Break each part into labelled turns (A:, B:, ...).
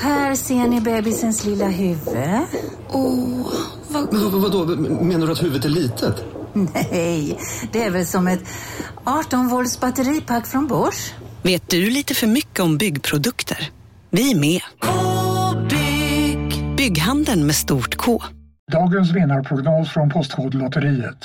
A: Här ser ni bebisens lilla huvud.
B: Åh, oh, vad...
C: Men, vadå, menar du att huvudet är litet?
A: Nej, det är väl som ett 18 volts batteripack från Bors.
D: Vet du lite för mycket om byggprodukter? Vi är med. -bygg. Bygghandeln med stort K.
E: Dagens vinnarprognos från Postkodlotteriet.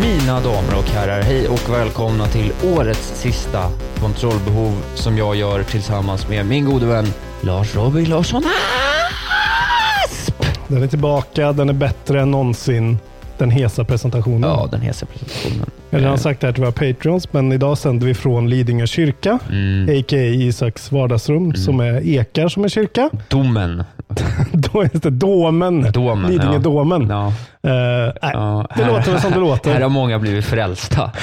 F: Mina damer och herrar, hej och välkomna till årets sista kontrollbehov som jag gör tillsammans med min gode vän Lars Robin Larsson Asp!
G: Den är tillbaka, den är bättre än någonsin. Den hesa presentationen.
F: Ja, den hesa presentationen. Eh.
G: Jag har redan sagt det här till våra patreons, men idag sänder vi från Lidingö kyrka, mm. a.k.a. Isaks vardagsrum, mm. som är ekar som är kyrka.
F: Domen.
G: Då är det domen.
F: domen
G: Lidingödomen. Ja. ja. Uh, nej, ja, här, det låter väl som det låter.
F: Här har många blivit frälsta.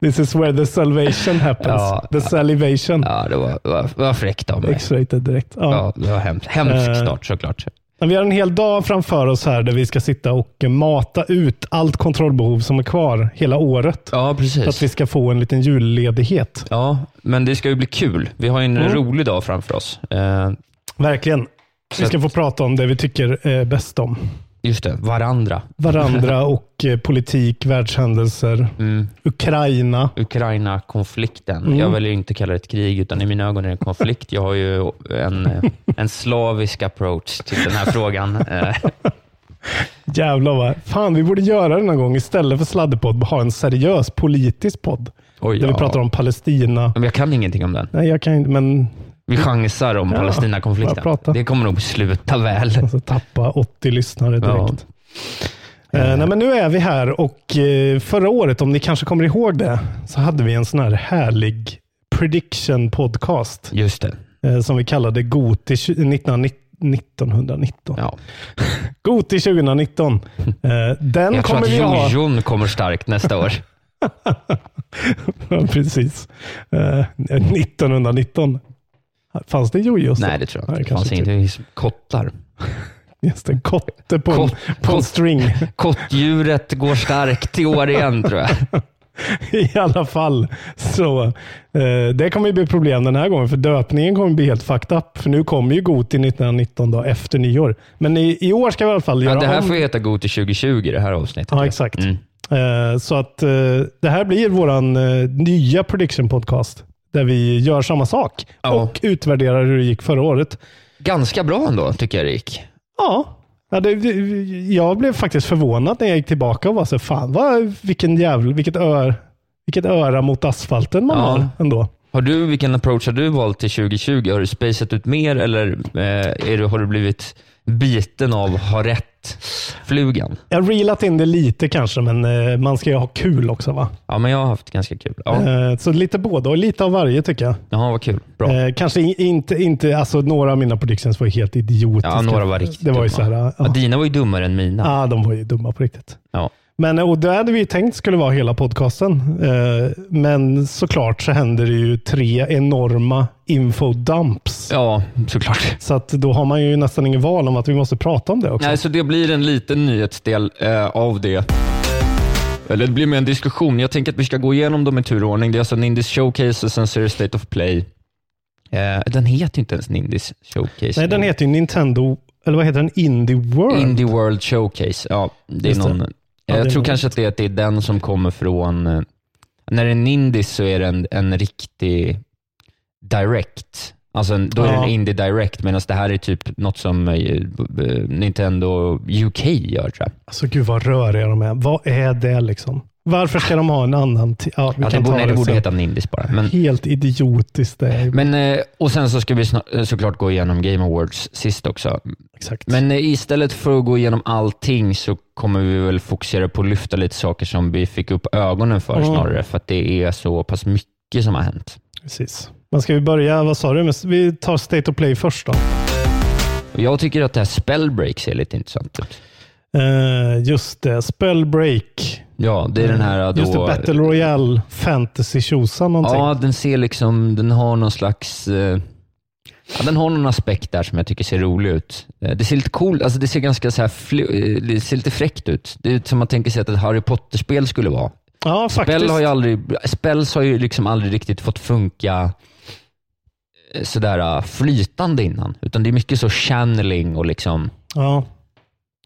G: This is where the salvation happens. Ja, the salivation.
F: Ja, det var, det var, det var fräckt av mig.
G: X-rated direkt. Eh,
F: Ja. det var hemskt. Hemsk start såklart.
G: Vi har en hel dag framför oss här där vi ska sitta och mata ut allt kontrollbehov som är kvar hela året.
F: Ja, precis.
G: Så att vi ska få en liten julledighet.
F: Ja, men det ska ju bli kul. Vi har en mm. rolig dag framför oss. Eh,
G: Verkligen. Vi ska att... få prata om det vi tycker eh, bäst om.
F: Just det, varandra.
G: Varandra och eh, politik, världshändelser, mm. Ukraina.
F: Ukraina-konflikten. Mm. Jag väljer inte kalla det ett krig, utan i mina ögon är det en konflikt. Jag har ju en, eh, en slavisk approach till den här frågan. Eh,
G: Jävlar vad... Fan, vi borde göra det någon gång. Istället för sladdepodd, ha en seriös politisk podd.
F: Oj,
G: där ja. vi pratar om Palestina.
F: Men jag kan ingenting om den.
G: Nej, jag kan inte, men
F: vi chansar om ja, Palestinakonflikten. Det kommer nog sluta väl.
G: Alltså, tappa 80 lyssnare direkt. Ja. Eh, nej, men nu är vi här och eh, förra året, om ni kanske kommer ihåg det, så hade vi en sån här härlig prediction podcast.
F: Just
G: det. Eh, som vi kallade Goti 1990. 1919. Ja. Goti 2019. Eh, Den
F: Jag
G: kommer
F: tror
G: vi
F: att Jon Jon kommer starkt nästa år.
G: ja, precis. 1919. Fanns det jojos?
F: Nej, det tror jag inte. Det fanns inte. Inget, kottar.
G: Just en kotte på, Kott, en, på en string.
F: Kottdjuret går starkt i år igen, tror jag.
G: I alla fall, så eh, det kommer bli problem den här gången, för döpningen kommer bli helt fucked up. För nu kommer ju Goti 1919 då, efter nyår. Men i, i år ska vi i alla fall göra
F: ja, Det här
G: om...
F: får heta Goti 2020, det här avsnittet.
G: Ja, exakt. Mm. Eh, så att eh, det här blir vår nya prediction podcast där vi gör samma sak ja. och utvärderar hur det gick förra året.
F: Ganska bra ändå, tycker jag det gick.
G: Ja. Ja, det, jag blev faktiskt förvånad när jag gick tillbaka och var så fan vad, vilken jävla, vilket, ör, vilket öra mot asfalten man ja. har ändå.
F: Har du, vilken approach har du valt till 2020? Har du spejsat ut mer eller eh, är du, har du blivit biten av ha rätt-flugan?
G: Jag har reelat in det lite kanske, men eh, man ska ju ha kul också va?
F: Ja, men jag har haft ganska kul. Ja.
G: Eh, så lite båda och lite av varje tycker jag. Eh,
F: Jaha, vad kul. Bra.
G: kanske in, inte, inte, alltså några av mina predictions var ju helt idiotiska.
F: Ja, några var riktigt
G: det var ju
F: dumma.
G: Så här,
F: ja. dina var ju dummare än mina.
G: Ja, de var ju dumma på riktigt.
F: Ja.
G: Men, eh, och det hade vi tänkt skulle vara hela podcasten. Eh, Men såklart så händer det ju tre enorma infodumps.
F: Ja, såklart.
G: Så att då har man ju nästan ingen val om att vi måste prata om det också.
F: Nej, så det blir en liten nyhetsdel eh, av det. Eller det blir mer en diskussion. Jag tänker att vi ska gå igenom dem i turordning. Det är alltså Nindis Showcase och Serious State of Play. Eh, Den heter inte ens Nindis Showcase.
G: Nej, den heter ju Nintendo, eller vad heter den? Indie World?
F: Indie World Showcase. Ja, det är Just någon... Det. Jag ja, tror kanske att det, att det är den som kommer från... eh, När det är en indis så är det en, en riktig direct.
G: Alltså, då är
F: Ja.
G: den indie direct, medan det här är typ något som eh, Nintendo UK gör tror jag.
F: Alltså gud vad röriga de är. Vad är det liksom? Varför ska de ha en annan? ti- Ja, vi
G: Ja, det
F: kan
G: borde,
F: ta
G: nej, det borde
F: sen.
G: heta Nindies bara. Men,
F: Helt idiotiskt det är.
G: men, eh, och sen så ska vi snar- eh, såklart gå igenom Game Awards sist också.
F: Exakt.
G: Men eh, istället för att gå igenom allting så kommer vi väl fokusera på att lyfta lite saker som vi fick upp ögonen för
F: Mm.
G: snarare, för att det är så pass mycket som har hänt.
F: Precis. Men ska vi börja, vad sa du? Men Vi tar State of Play först då.
G: Och jag tycker att det här Spellbreak ser lite intressant ut.
F: Eh, just det, Spellbreak.
G: Ja, det är den här eh, då...
F: Just det, Battle Royale fantasy tjosan någonting.
G: Ja, den ser liksom, den har någon slags... Eh, ja, den har någon aspekt där som jag tycker ser rolig ut. Eh, det ser lite coolt, alltså det ser ganska så här, flu- eh, det ser lite fräckt ut. Det är som man tänker sig att ett Harry Potter-spel skulle vara.
F: Ja,
G: Spel
F: faktiskt.
G: har ju aldrig, spells har ju liksom aldrig riktigt fått funka eh, sådär eh, flytande innan, utan det är mycket så channeling och liksom...
F: Ja.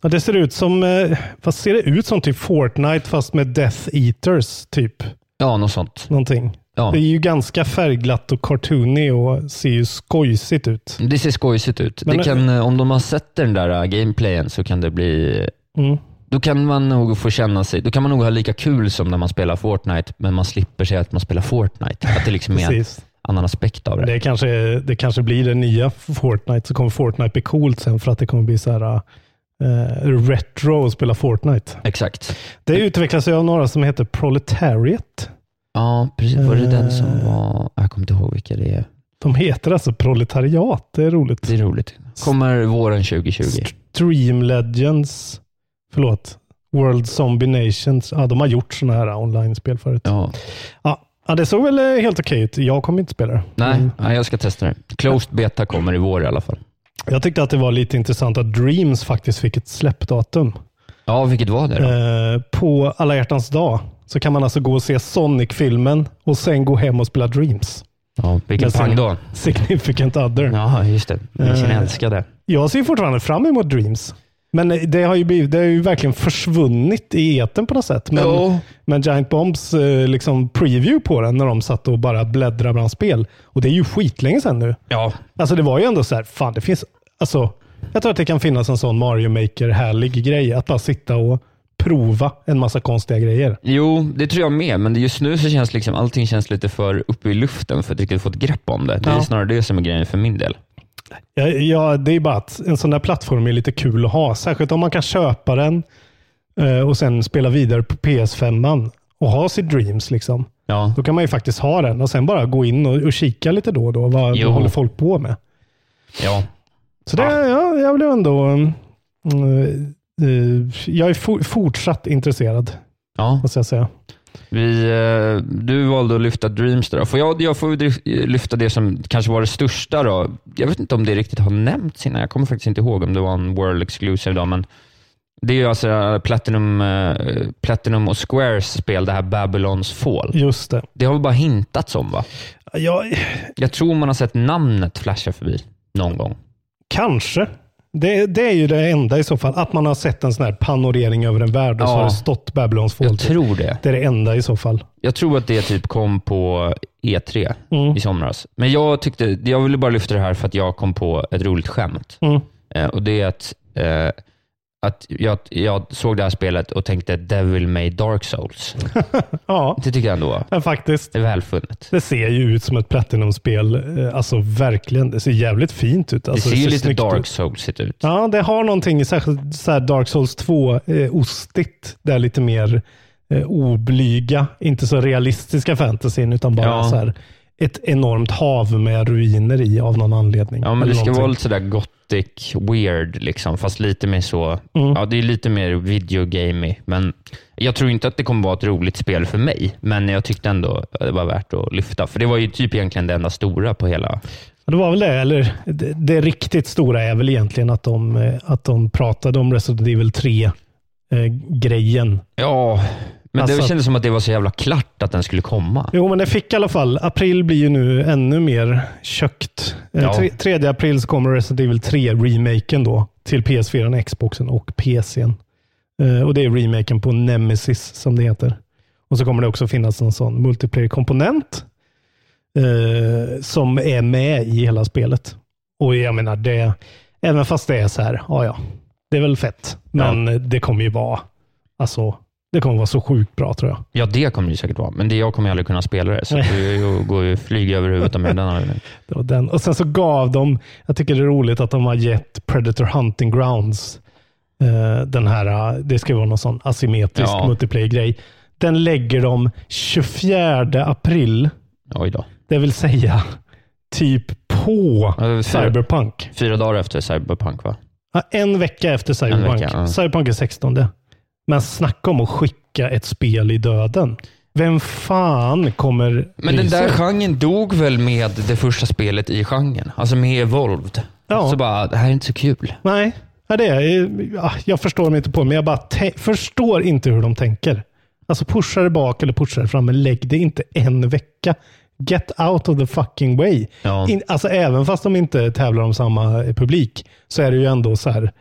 F: ja. Det ser ut som, eh, vad ser det ut som? Typ Fortnite fast med Death Eaters typ.
G: Ja, något sånt.
F: Någonting.
G: Ja.
F: Det är ju ganska färgglatt och cartoony och ser ju skojsigt ut.
G: Det ser skojsigt ut.
F: Men-
G: det kan, eh, om de har sett den där eh, gameplayen så kan det bli
F: Mm.
G: Då kan man nog få känna sig, då kan man nog ha lika kul som när man spelar Fortnite, men man slipper säga att man spelar Fortnite. Att det liksom är en
F: Precis.
G: annan aspekt av det.
F: Det kanske, det kanske blir det nya Fortnite, så kommer Fortnite bli coolt sen för att det kommer bli så här eh, retro att spela Fortnite.
G: Exakt.
F: Det utvecklas ju av några som heter Proletariat. Eh.
G: Ja, precis. Var det den som var... Jag kommer inte ihåg vilka det är.
F: De heter alltså Proletariat. Det är roligt.
G: Det är roligt. Kommer våren 2020.
F: Dream Legends, förlåt, World Zombie Nations. Ja, de har gjort sådana här online-spel förut. Ja.
G: Ja.
F: Ja, det såg väl eh, helt okej ut. Jag kommer inte spela det. Mm.
G: Nej, nej, jag ska testa det. Closed beta kommer i vår i alla fall.
F: Jag tyckte att det var lite intressant att Dreams faktiskt fick ett släppdatum.
G: Ja, vilket var det då?
F: Eh, på alla hjärtans dag så kan man alltså gå och se Sonic-filmen och sen gå hem och spela Dreams.
G: Ja, vilken
F: med sin-
G: pang då.
F: Significant other.
G: Ja, just det. Med sin
F: Eh.
G: älskade.
F: Jag ser fortfarande fram emot Dreams. Men det har ju, blivit, det har ju verkligen försvunnit i etern på något sätt. Men,
G: Ja.
F: men Giant Bombs eh, liksom preview på den när de satt och bara bläddrade bland spel. Och det är ju skitlänge sedan nu.
G: Ja,
F: Alltså det var ju ändå så här, fan det finns, alltså jag tror att det kan finnas en sån Mario Maker-härlig grej. Att bara sitta och prova en massa konstiga grejer.
G: Jo, det tror jag med, men det- just nu så känns liksom, allting känns lite för uppe i luften för att riktigt få ett grepp om det. Det är
F: Ja.
G: snarare det som är grejen för min del.
F: Ja, ja, det är bara att en sån där plattform är lite kul att ha. Särskilt om man kan köpa den eh, och sen spela vidare på PS5 och ha sitt Dreams. liksom.
G: Ja.
F: Då kan man ju faktiskt ha den och sen bara gå in och, och kika lite då och då. Vad,
G: Jo.
F: vad håller folk på med?
G: ja.
F: Så det, ja. jag blev ändå... mm, eh, eh, jag är for, fortsatt intresserad,
G: ja.
F: måste jag säga.
G: Vi, eh, du valde att lyfta Dreams. Där. Får jag, jag får väl dri- lyfta det som kanske var det största. Då. Jag vet inte om det riktigt har nämnts innan. Jag kommer faktiskt inte ihåg om det var en World Exclusive. Då, men det är ju alltså eh, Platinum, eh, Platinum och Squares spel, det här Babylons Fall.
F: Just det.
G: Det har vi bara hintats om, va?
F: Jag,
G: Jag tror man har sett namnet flasha förbi någon gång.
F: Kanske. Det, det är ju det enda i så fall. Att man har sett en sån här panorering över en värld och så
G: Ja.
F: har det stått Babylons fall.
G: Jag
F: typ.
G: tror det.
F: Det är det enda i så fall.
G: Jag tror att det typ kom på E3
F: Mm.
G: i somras. Men jag, tyckte, jag ville bara lyfta det här för att jag kom på ett roligt skämt.
F: Mm.
G: Eh, och Det är att, eh, att jag, jag såg det här spelet och tänkte Devil May Dark Souls.
F: Ja,
G: Det tycker jag ändå
F: men faktiskt.
G: är välfunnet.
F: Det ser ju ut som ett Platinum-spel. Eh, Alltså verkligen. Det ser jävligt fint ut.
G: Det
F: Alltså,
G: ser ju lite
F: snyggt
G: Dark
F: ut.
G: Soulsigt ut.
F: Ja, det har någonting särskilt så här Dark Souls eh, 2-ostigt. där lite mer eh, oblyga, inte så realistiska fantasin, utan bara
G: Ja.
F: så här ett enormt hav med ruiner i av någon anledning.
G: Ja, men
F: Eller
G: det ska
F: någonting.
G: vara lite sådär gothic weird, liksom, fast lite mer så...
F: Mm.
G: Ja, det är lite mer videogamey. Men jag tror inte att det kommer vara ett roligt spel för mig, men jag tyckte ändå att det var värt att lyfta. För det var ju typ egentligen det enda stora på hela...
F: Ja, Det var väl det, eller det, det riktigt stora är väl egentligen att de, eh, att de pratade om Resident Evil eh, 3-grejen.
G: Ja, men
F: Alltså-
G: det kändes som att det var så jävla klart att den skulle komma.
F: jo, men det fick i alla fall. April blir ju nu ännu mer kökt. Eh,
G: Ja.
F: tre- 3 april så kommer Resident Evil 3-remaken då till PS4, Xboxen och PCn. Eh, och det är remaken på Nemesis som det heter. Och så kommer det också finnas en sån multiplayer-komponent.
G: eh, som är med i hela spelet. Och jag menar, det, även fast det är så här, ja ja, det är väl fett, men det kommer ju vara, alltså, det kommer vara så sjukt bra tror jag.
F: Ja, det kommer det ju säkert vara, men det jag kommer ju aldrig kunna spela det, Eh, så
G: Nej.
F: det går ju flyga över huvudet om jag den anledningen.
G: Det var den. Och sen så gav de, jag tycker det är roligt att de har gett Predator Hunting Grounds eh, den här, eh, det ska ju vara någon sån asymmetrisk
F: Ja.
G: multiplayer-grej. Den lägger de 24 april,
F: Oj då.
G: det vill säga typ på
F: Ja, det vill säga-
G: Cyberpunk.
F: Fyra dagar efter Cyberpunk, va?
G: Ja, En vecka efter Cyberpunk.
F: vecka, ja.
G: Cyberpunk är 16. Men snacka om att skicka ett spel i döden. Vem fan kommer
F: Men
G: bry
F: den där
G: sig?
F: genren dog väl med det första spelet i genren? Alltså med Evolved.
G: Ja.
F: Så bara, det här är inte så kul.
G: Nej, ja, det är, ja, jag förstår mig inte på men jag bara tä- förstår inte hur de tänker. Alltså pusha det bak eller pusha det fram, men lägg det inte en vecka. Get out of the fucking way.
F: Ja.
G: In, alltså även fast de inte tävlar om samma eh, publik så är det ju ändå så här.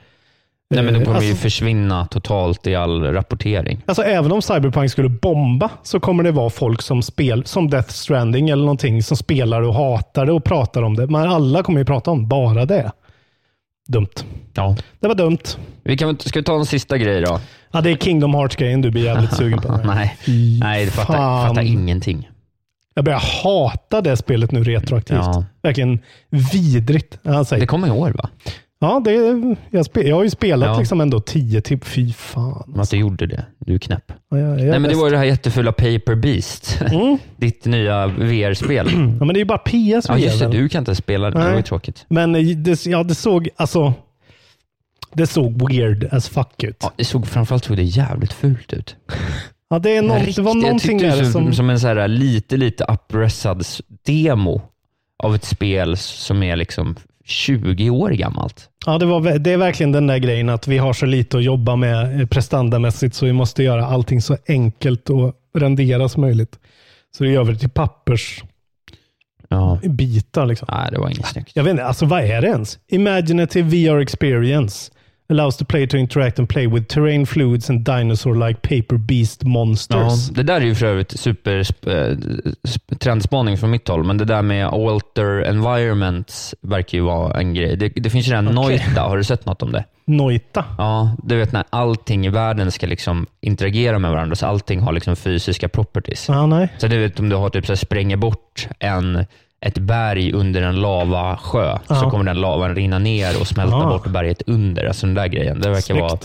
F: Nej, men
G: eh,
F: de kommer ju
G: alltså,
F: försvinna totalt i all rapportering.
G: alltså även om Cyberpunk skulle bomba så kommer det vara folk som spel, som Death Stranding eller någonting, som spelar och hatar det och pratar om det. Men alla kommer ju prata om bara det. Dumt.
F: Ja.
G: Det var dumt.
F: Vi kan, väl- ska vi ta en sista grej då?
G: Ja, det är Kingdom Hearts-grejen du blir jävligt sugen på.
F: Nej, Nej det fattar,
G: fan.
F: fattar ingenting.
G: Jag börjar hata det spelet nu retroaktivt.
F: Ja.
G: Verkligen vidrigt. Han
F: Det
G: säger,
F: kommer i år, va?
G: ja, det, är- jag, spe, jag har ju spelat
F: Ja.
G: liksom ändå tio till fy fan. alltså.
F: Men att du gjorde det. Du är knäpp.
G: Ja, jag- jag är
F: Nej, men det
G: bäst. Mm.
F: var ju det här jättefula Paper Beast. Ditt nya VR-spel.
G: ja, men det är ju bara PS
F: Ja, just det.
G: spelar.
F: Du kan inte spela det. Det var ju
G: Nej.
F: tråkigt.
G: Men eh, det, ja, det såg, alltså, det såg weird as fuck ut.
F: Ja, det såg, framförallt såg det jävligt fult ut.
G: Ja, det, är någon, det var
F: Riktigt, jag
G: någonting
F: tyckte det
G: där
F: såg
G: som...
F: som en så här lite, lite uppressad s- demo av ett spel som är liksom 20 år gammalt.
G: Ja, det, var, vä- det är verkligen den där grejen att vi har så lite att jobba med eh, prestandamässigt så vi måste göra allting så enkelt och rendera som möjligt. Så det gör vi till pappersbitar.
F: Ja.
G: Liksom.
F: Nej, det var inget snyggt.
G: Jag vet inte, alltså vad är det ens? Imaginative VR experience allows the player to interact and play with terrain fluids and dinosaur-like paper beast
F: Ja,
G: monsters.
F: det där är ju för övrigt super sp- eh, sp- trendspaning från mitt håll, men det där med alter environments verkar ju vara en grej. Det, det finns ju den här
G: Okej.
F: Noita, har du sett något om det?
G: Noita.
F: Ja, du vet när allting i världen ska liksom interagera med varandra, så allting har liksom fysiska properties.
G: Ja, nej.
F: Så du vet om du har typ så här, spränger bort en, ett berg under en lavasjö, så
G: Ja.
F: kommer den lavan rinna ner och smälta
G: Ah.
F: bort berget under. Alltså den där grejen. Det verkar
G: Snyggt.
F: vara...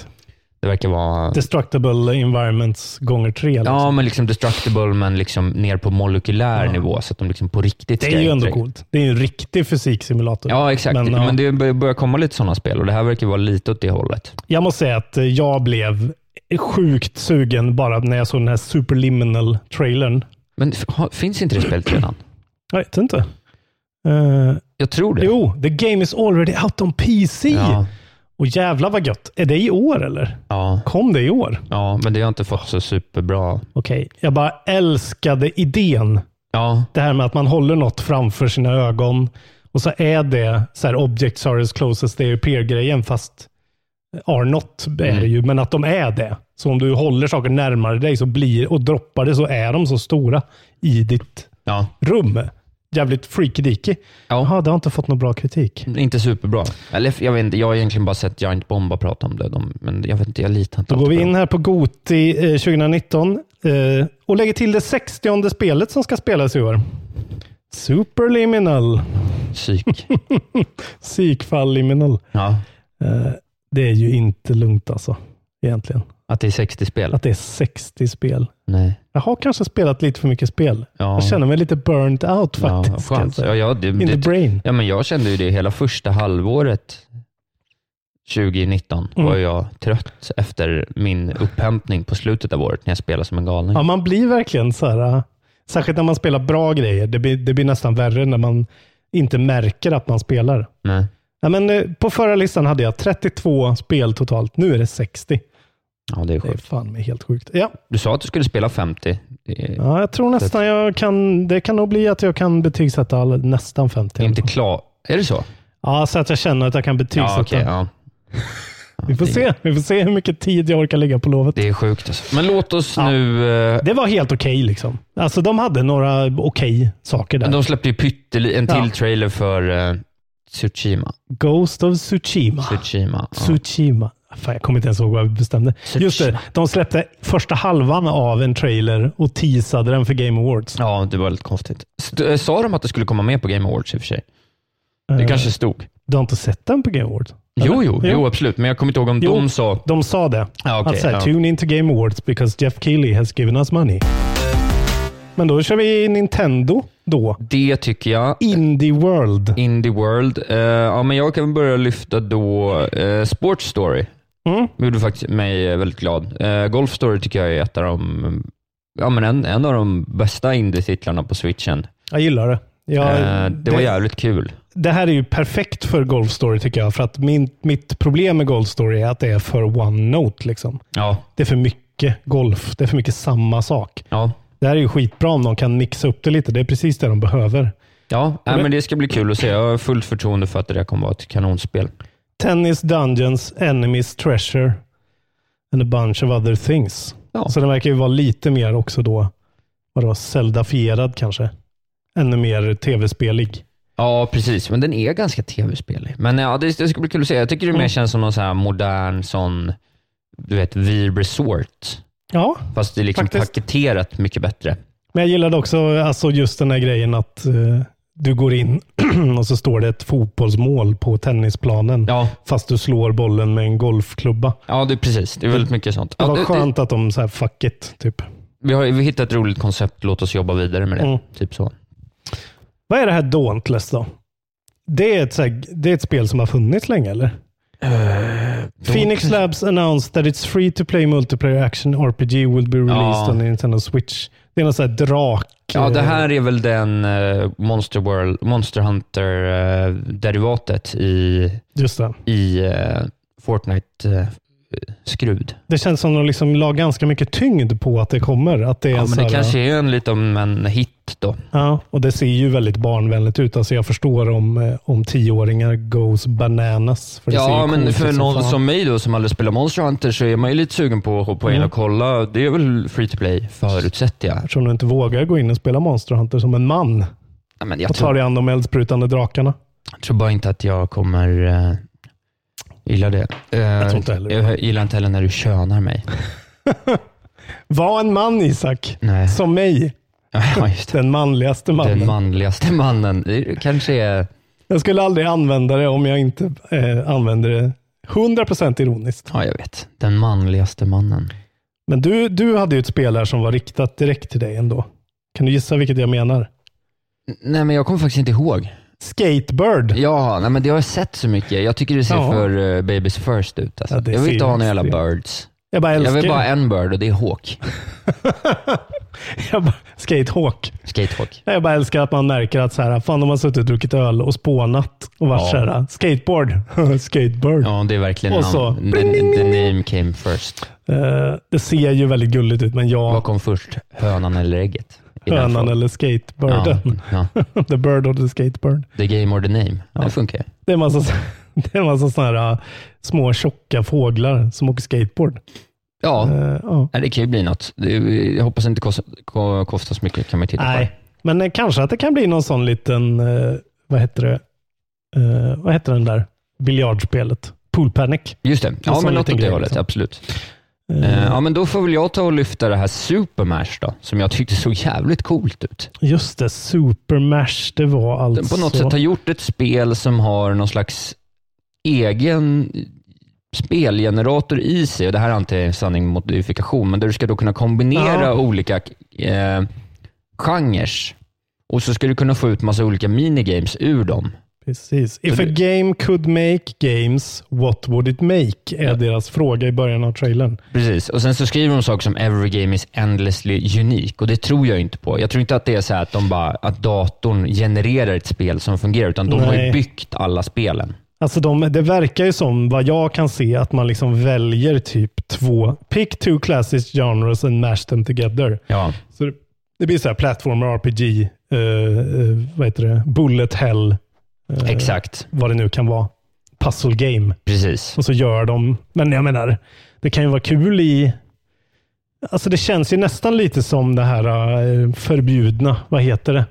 F: Det verkar vara
G: Destructible environments gånger tre. Liksom.
F: Ja, men liksom destructible, men liksom ner på molekylär nivå, så att de liksom på riktigt
G: det
F: ska
G: är ju ändå
F: interact-
G: coolt. Det är ju en riktig fysiksimulator.
F: Ja, exakt. Men,
G: Men, ja.
F: det bör- börjar komma lite sådana spel och det här verkar vara lite åt det hållet.
G: Jag måste säga att eh, jag blev sjukt sugen bara när jag såg den här Superliminal-trailern.
F: Men f- ha- finns inte det spelet redan?
G: Jag vet inte. Eh,
F: Jag tror det.
G: jo, the game is already out on PC.
F: Ja,
G: Och jävla vad gött. Är det i år eller?
F: ja,
G: Kom det i år?
F: ja, men det har inte fått så superbra...
G: Okej. Jag bara älskade idén.
F: Ja,
G: Det här med att man håller något framför sina ögon och så är det så här objects are as close as they appear-grejen fast are not
F: Mm.
G: är det ju, men att de är det. Så om du håller saker närmare dig så blir, och droppar det så är de så stora i ditt
F: ja.
G: rum. Jävligt freaky-deaky.
F: Ja.
G: Jaha, det har inte fått någon bra kritik.
F: Inte superbra. Eller jag vet inte, jag har egentligen bara sett Giant Bomba prata om det, de, men jag vet inte, jag litar inte
G: Då går
F: alltid
G: vi
F: på
G: in
F: dem.
G: här på Goti eh, 2019 eh, och lägger till det 60 spelet som ska spelas i år. Superliminal.
F: Psyk.
G: Psykfalliminal.
F: Ja,
G: Eh, Det är ju inte lugnt alltså, egentligen.
F: att det är 60 spel.
G: Att det är 60 spel.
F: Nej.
G: Jag har kanske spelat lite för mycket spel.
F: Ja.
G: Jag känner mig lite burnt out
F: Ja,
G: faktiskt. kan jag
F: skönt.
G: säga.
F: Ja, ja, det,
G: In the
F: det,
G: brain.
F: Ja, men jag kände ju det hela första halvåret 2019
G: Mm.
F: var jag trött efter min upphämtning på slutet av året när jag spelade som en galning.
G: Ja, man blir verkligen så här, äh, särskilt när man spelar bra grejer. Det blir, det blir nästan värre när man inte märker att man spelar.
F: Nej.
G: Ja, men eh, på förra listan hade jag 32 spel totalt. Nu är det 60.
F: Ja, det är
G: Det är
F: sjukt.
G: fan mig helt sjukt. Ja,
F: Du sa att du skulle spela 50. Det är
G: ja jag tror nästan jag kan, det kan nog bli att jag kan betygsätta all, nästan 50.
F: inte klart. Är det så?
G: Ja, så att jag känner att jag kan betygsätta.
F: Ja, okej. ja.
G: Vi får,
F: det-
G: se. Vi får se hur mycket tid jag orkar lägga på lovet.
F: Det är sjukt alltså. Men låt oss nu... eh,
G: Det var helt okej liksom. Alltså de hade några okej saker där.
F: De släppte ju pytteli, en till
G: Ja.
F: trailer för eh, Tsushima.
G: Ghost of Tsushima.
F: Tsushima. Ja.
G: Tsushima. Fan, jag kommer inte ens ihåg vad vi bestämde. Just det, de släppte första halvan av en trailer och teasade den för Game Awards.
F: ja, det var lite konstigt. St- eh, sa de att det skulle komma med på Game Awards i och för sig? Det
G: Eh,
F: kanske stod.
G: Du har inte sett den på Game Awards?
F: Jo,
G: Eller?
F: jo, jo, absolut. Men jag kommer inte ihåg om
G: Jo,
F: de sa...
G: De sa det.
F: Ja, okej,
G: att så här,
F: ja.
G: tune in to Game Awards because Jeff Keely has given us money. Men då kör vi Nintendo då.
F: Det tycker jag.
G: Indie World.
F: Indie World. Eh, ja, men jag kan börja lyfta då eh, Sports Story.
G: Mm.
F: Det gjorde faktiskt mig eh, väldigt glad. Eh, Golf Story tycker jag är ett av de, ja, men en, en av de bästa indie-titlarna på switchen.
G: Jag gillar det. Jag,
F: eh, det var jävligt kul.
G: det här är ju perfekt för Golf Story tycker jag. För att min, mitt problem med Golf Story är att det är för one note. Liksom.
F: Ja,
G: Det är för mycket golf. Det är för mycket samma sak.
F: ja.
G: Det här är ju skitbra om de kan mixa upp det lite. Det är precis det de behöver.
F: Ja, nej,
G: det-
F: men det ska bli kul att se. Jag har fullt förtroende för att det där kommer vara ett kanonspel.
G: Tennis, Dungeons, Enemies, Treasure and a bunch of other things.
F: Ja.
G: Så den verkar ju vara lite mer också då, vad det var, Zeldafierad kanske. Ännu mer tv-spelig.
F: Ja, precis. Men den är ganska tv-spelig. Men ja, det, det ska bli kul att se. Jag tycker det mer
G: Mm.
F: känns som någon så här modern sån, du vet, Vi Resort.
G: Ja,
F: Fast det är liksom
G: Faktiskt.
F: paketerat mycket bättre.
G: men jag gillade också alltså just den här grejen att eh, du går in och så står det ett fotbollsmål på tennisplanen.
F: Ja,
G: Fast du slår bollen med en golfklubba.
F: ja det är precis. Det är väldigt mycket sånt.
G: Det
F: Ja,
G: var
F: det, det,
G: skönt att de så här, fuck it, typ.
F: vi har vi har hittat ett roligt koncept. Låt oss jobba vidare med det.
G: Mm.
F: Typ så.
G: Vad är det här Dauntless då? Det är, ett, så här, det är ett spel som har funnits länge, eller?
F: Eh,
G: Phoenix Labs announced that its free to play multiplayer action RPG will be released
F: Ja.
G: on the Nintendo Switch. Det är någon sån här drak...
F: Ja, det
G: eh,
F: här är väl den eh, Monster, World, Monster Hunter-derivatet i,
G: Just det.
F: i eh, Fortnite-skrud.
G: Det känns som de liksom la ganska mycket tyngd på att det kommer. Att det är
F: Ja,
G: så
F: men det
G: här,
F: kanske är en liten en hit då.
G: ja, och det ser ju väldigt barnvänligt ut. Alltså jag förstår om, eh, om tioåringar goes bananas. För det ser
F: Ja,
G: ju
F: men
G: coolt
F: för
G: ut
F: någon
G: fan.
F: som mig då som aldrig spelar Monster Hunter så är man ju lite sugen på att hoppa in
G: Mm.
F: och kolla. Det är väl free to play förutsätter jag.
G: Eftersom du inte vågar gå in och spela Monster Hunter som en man
F: Ja, men jag
G: och ta
F: tror,
G: dig an de eldsprutande drakarna.
F: jag tror bara inte att jag kommer eh, gilla det. Eh, jag
G: tror inte heller det.
F: Jag gillar inte heller när du könar mig.
G: Var en man Isak.
F: Nej.
G: Som mig.
F: Ja, just det.
G: Den manligaste mannen.
F: Den manligaste mannen. Det kanske är...
G: Jag skulle aldrig använda det om jag inte eh, använder det 100% ironiskt.
F: Ja, jag vet. Den manligaste mannen.
G: Men du, du hade ju ett spel här som var riktat direkt till dig ändå. Kan du gissa vilket jag menar?
F: N- Nej, men jag kommer faktiskt inte ihåg.
G: Skatebird.
F: Ja, nej, men det har jag sett så mycket. Jag tycker det ser
G: Ja.
F: för eh, Babies First ut. Alltså.
G: Ja, det
F: jag vill
G: ser
F: inte ha
G: ju
F: några jävla
G: extremt.
F: birds.
G: Jag bara
F: Jag
G: älskar
F: vill bara ha
G: det.
F: en bird och det är hawk.
G: jag bara, skatehawk.
F: Skatehawk.
G: Jag bara älskar att man märker att så här, fan de har suttit och druckit öl och spånat och varit
F: Ja.
G: så här, skateboard, skatebird.
F: Ja, det är verkligen
G: Och
F: namn.
G: så-
F: The, the name came first.
G: Eh, det ser ju väldigt gulligt ut, men
F: Vad
G: jag,
F: kom först? Hönan eller ägget? I den
G: hönan
F: frågan.
G: eller skatebirden.
F: Ja, ja.
G: the bird or the skatebird.
F: The game or the name. Det funkar.
G: Det är en massa, det är en massa såna här äh, små tjocka fåglar som åker skateboard.
F: Ja,
G: Eh, ja.
F: nej, det kan ju bli något. Det, jag hoppas det inte kosta- ko- kostar så mycket. kan man ju titta på.
G: Nej, men eh, kanske att det kan bli någon sån liten, eh, vad heter det, Eh, vad heter den där biljardspelet? Pool Panic.
F: Just det. Ja,
G: sån
F: men något
G: liten
F: åt det
G: grej,
F: hållet.
G: liksom.
F: Absolut.
G: Eh,
F: Eh, Ja, men då får väl jag ta och lyfta det här Supermash då, som jag tyckte såg jävligt coolt ut.
G: Just det, Super Mash. Det var
F: Den
G: alltså...
F: på något sätt har gjort ett spel som har någon slags egen spelgenerator i sig. Och det här är inte en sanning modifikation, men där du ska då kunna kombinera
G: Ja.
F: olika eh, genrer. Och så ska du kunna få ut massa olika minigames ur dem.
G: Precis. If
F: Så
G: a
F: det-
G: game could make games, what would it make? Är
F: Ja.
G: deras fråga i början av trailern.
F: Precis, och sen så skriver de saker som “Every game is endlessly unique” och det tror jag inte på. Jag tror inte att det är så här att, de bara, att datorn genererar ett spel som fungerar, utan de har ju
G: Nej.
F: byggt alla spelen.
G: Alltså de, det verkar ju som, vad jag kan se, att man liksom väljer typ två, pick two classic genres and mash them together.
F: Ja,
G: Så det, det blir så här platformer, RPG, eh, eh, vad heter det, bullet hell,
F: exakt.
G: vad det nu kan vara. puzzle game.
F: Precis.
G: Och så gör de, men jag menar, det kan ju vara kul i... Alltså det känns ju nästan lite som det här eh, förbjudna, vad heter det?